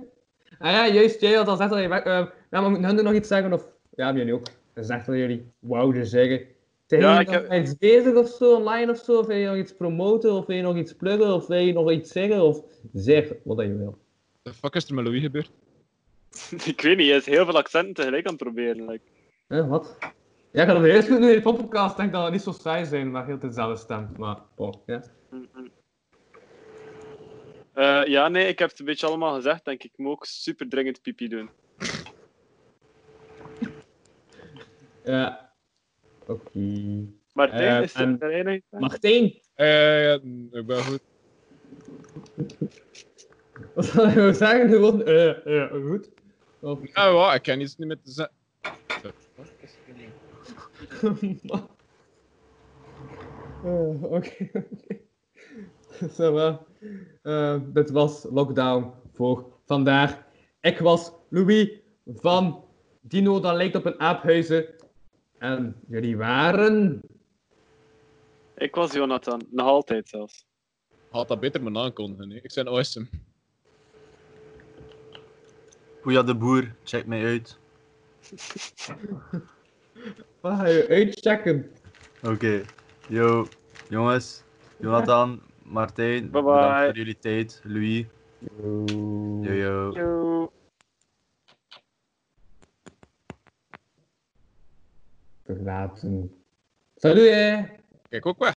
[SPEAKER 3] Ah ja, juist, jij had al gezegd dat je... weg- ehm, ja, maar moeten hun nog iets zeggen, of... Ja, hebben jullie ook. Dat is echt wat jullie wouden zeggen. Zijn
[SPEAKER 6] Ja,
[SPEAKER 3] jullie
[SPEAKER 6] ik
[SPEAKER 3] nog
[SPEAKER 6] heb-
[SPEAKER 3] met iets bezig of zo, online of zo? Of wil je nog iets promoten, of wil je nog iets pluggen, of wil je nog iets zeggen, of... Zeg wat dat je wil.
[SPEAKER 5] The fuck is er met Louis gebeurd?
[SPEAKER 6] [laughs] ik weet niet, hij is heel veel accenten tegelijk aan het proberen. Like.
[SPEAKER 3] Hè, wat? Ja, ik had het eerst moeten doen in de podcast. denk dat het niet zo saai zijn, maar heel dezelfde stem. Maar, bon, ja.
[SPEAKER 6] Eh, ja, nee, ik heb het een beetje allemaal gezegd, denk ik. Ik moet ook super dringend pipi doen.
[SPEAKER 3] Ja. Eh, Oké.
[SPEAKER 6] Martijn,
[SPEAKER 3] Eh,
[SPEAKER 6] is er
[SPEAKER 3] en-
[SPEAKER 6] er een?
[SPEAKER 3] Martijn!
[SPEAKER 5] Eh, ik ben goed.
[SPEAKER 3] Wat zou je nou zeggen? Gewoon, eh, eh, goed. Oh, Of...
[SPEAKER 5] Ah, ja, ik kan iets niet meer te zeggen.
[SPEAKER 3] Eh, Oké, oké. Ça va. Eh, dit was Lockdown voor vandaag. Ik was Louis van Dino, dat lijkt op een aaphuizen. En jullie waren...
[SPEAKER 6] Ik was Jonathan, nog altijd zelfs.
[SPEAKER 5] Had dat beter me aankondigen. hè. Ik ben awesome.
[SPEAKER 4] Goeia de boer, check mij uit.
[SPEAKER 3] Wat ga je uitchecken?
[SPEAKER 4] Oké, yo, jongens, Jonathan, Martijn,
[SPEAKER 6] Bye-bye.
[SPEAKER 4] bedankt voor jullie tijd, Louis, yo yo.
[SPEAKER 6] Yo.
[SPEAKER 3] Verlaten. Salut hè!
[SPEAKER 5] Kijk ook wel.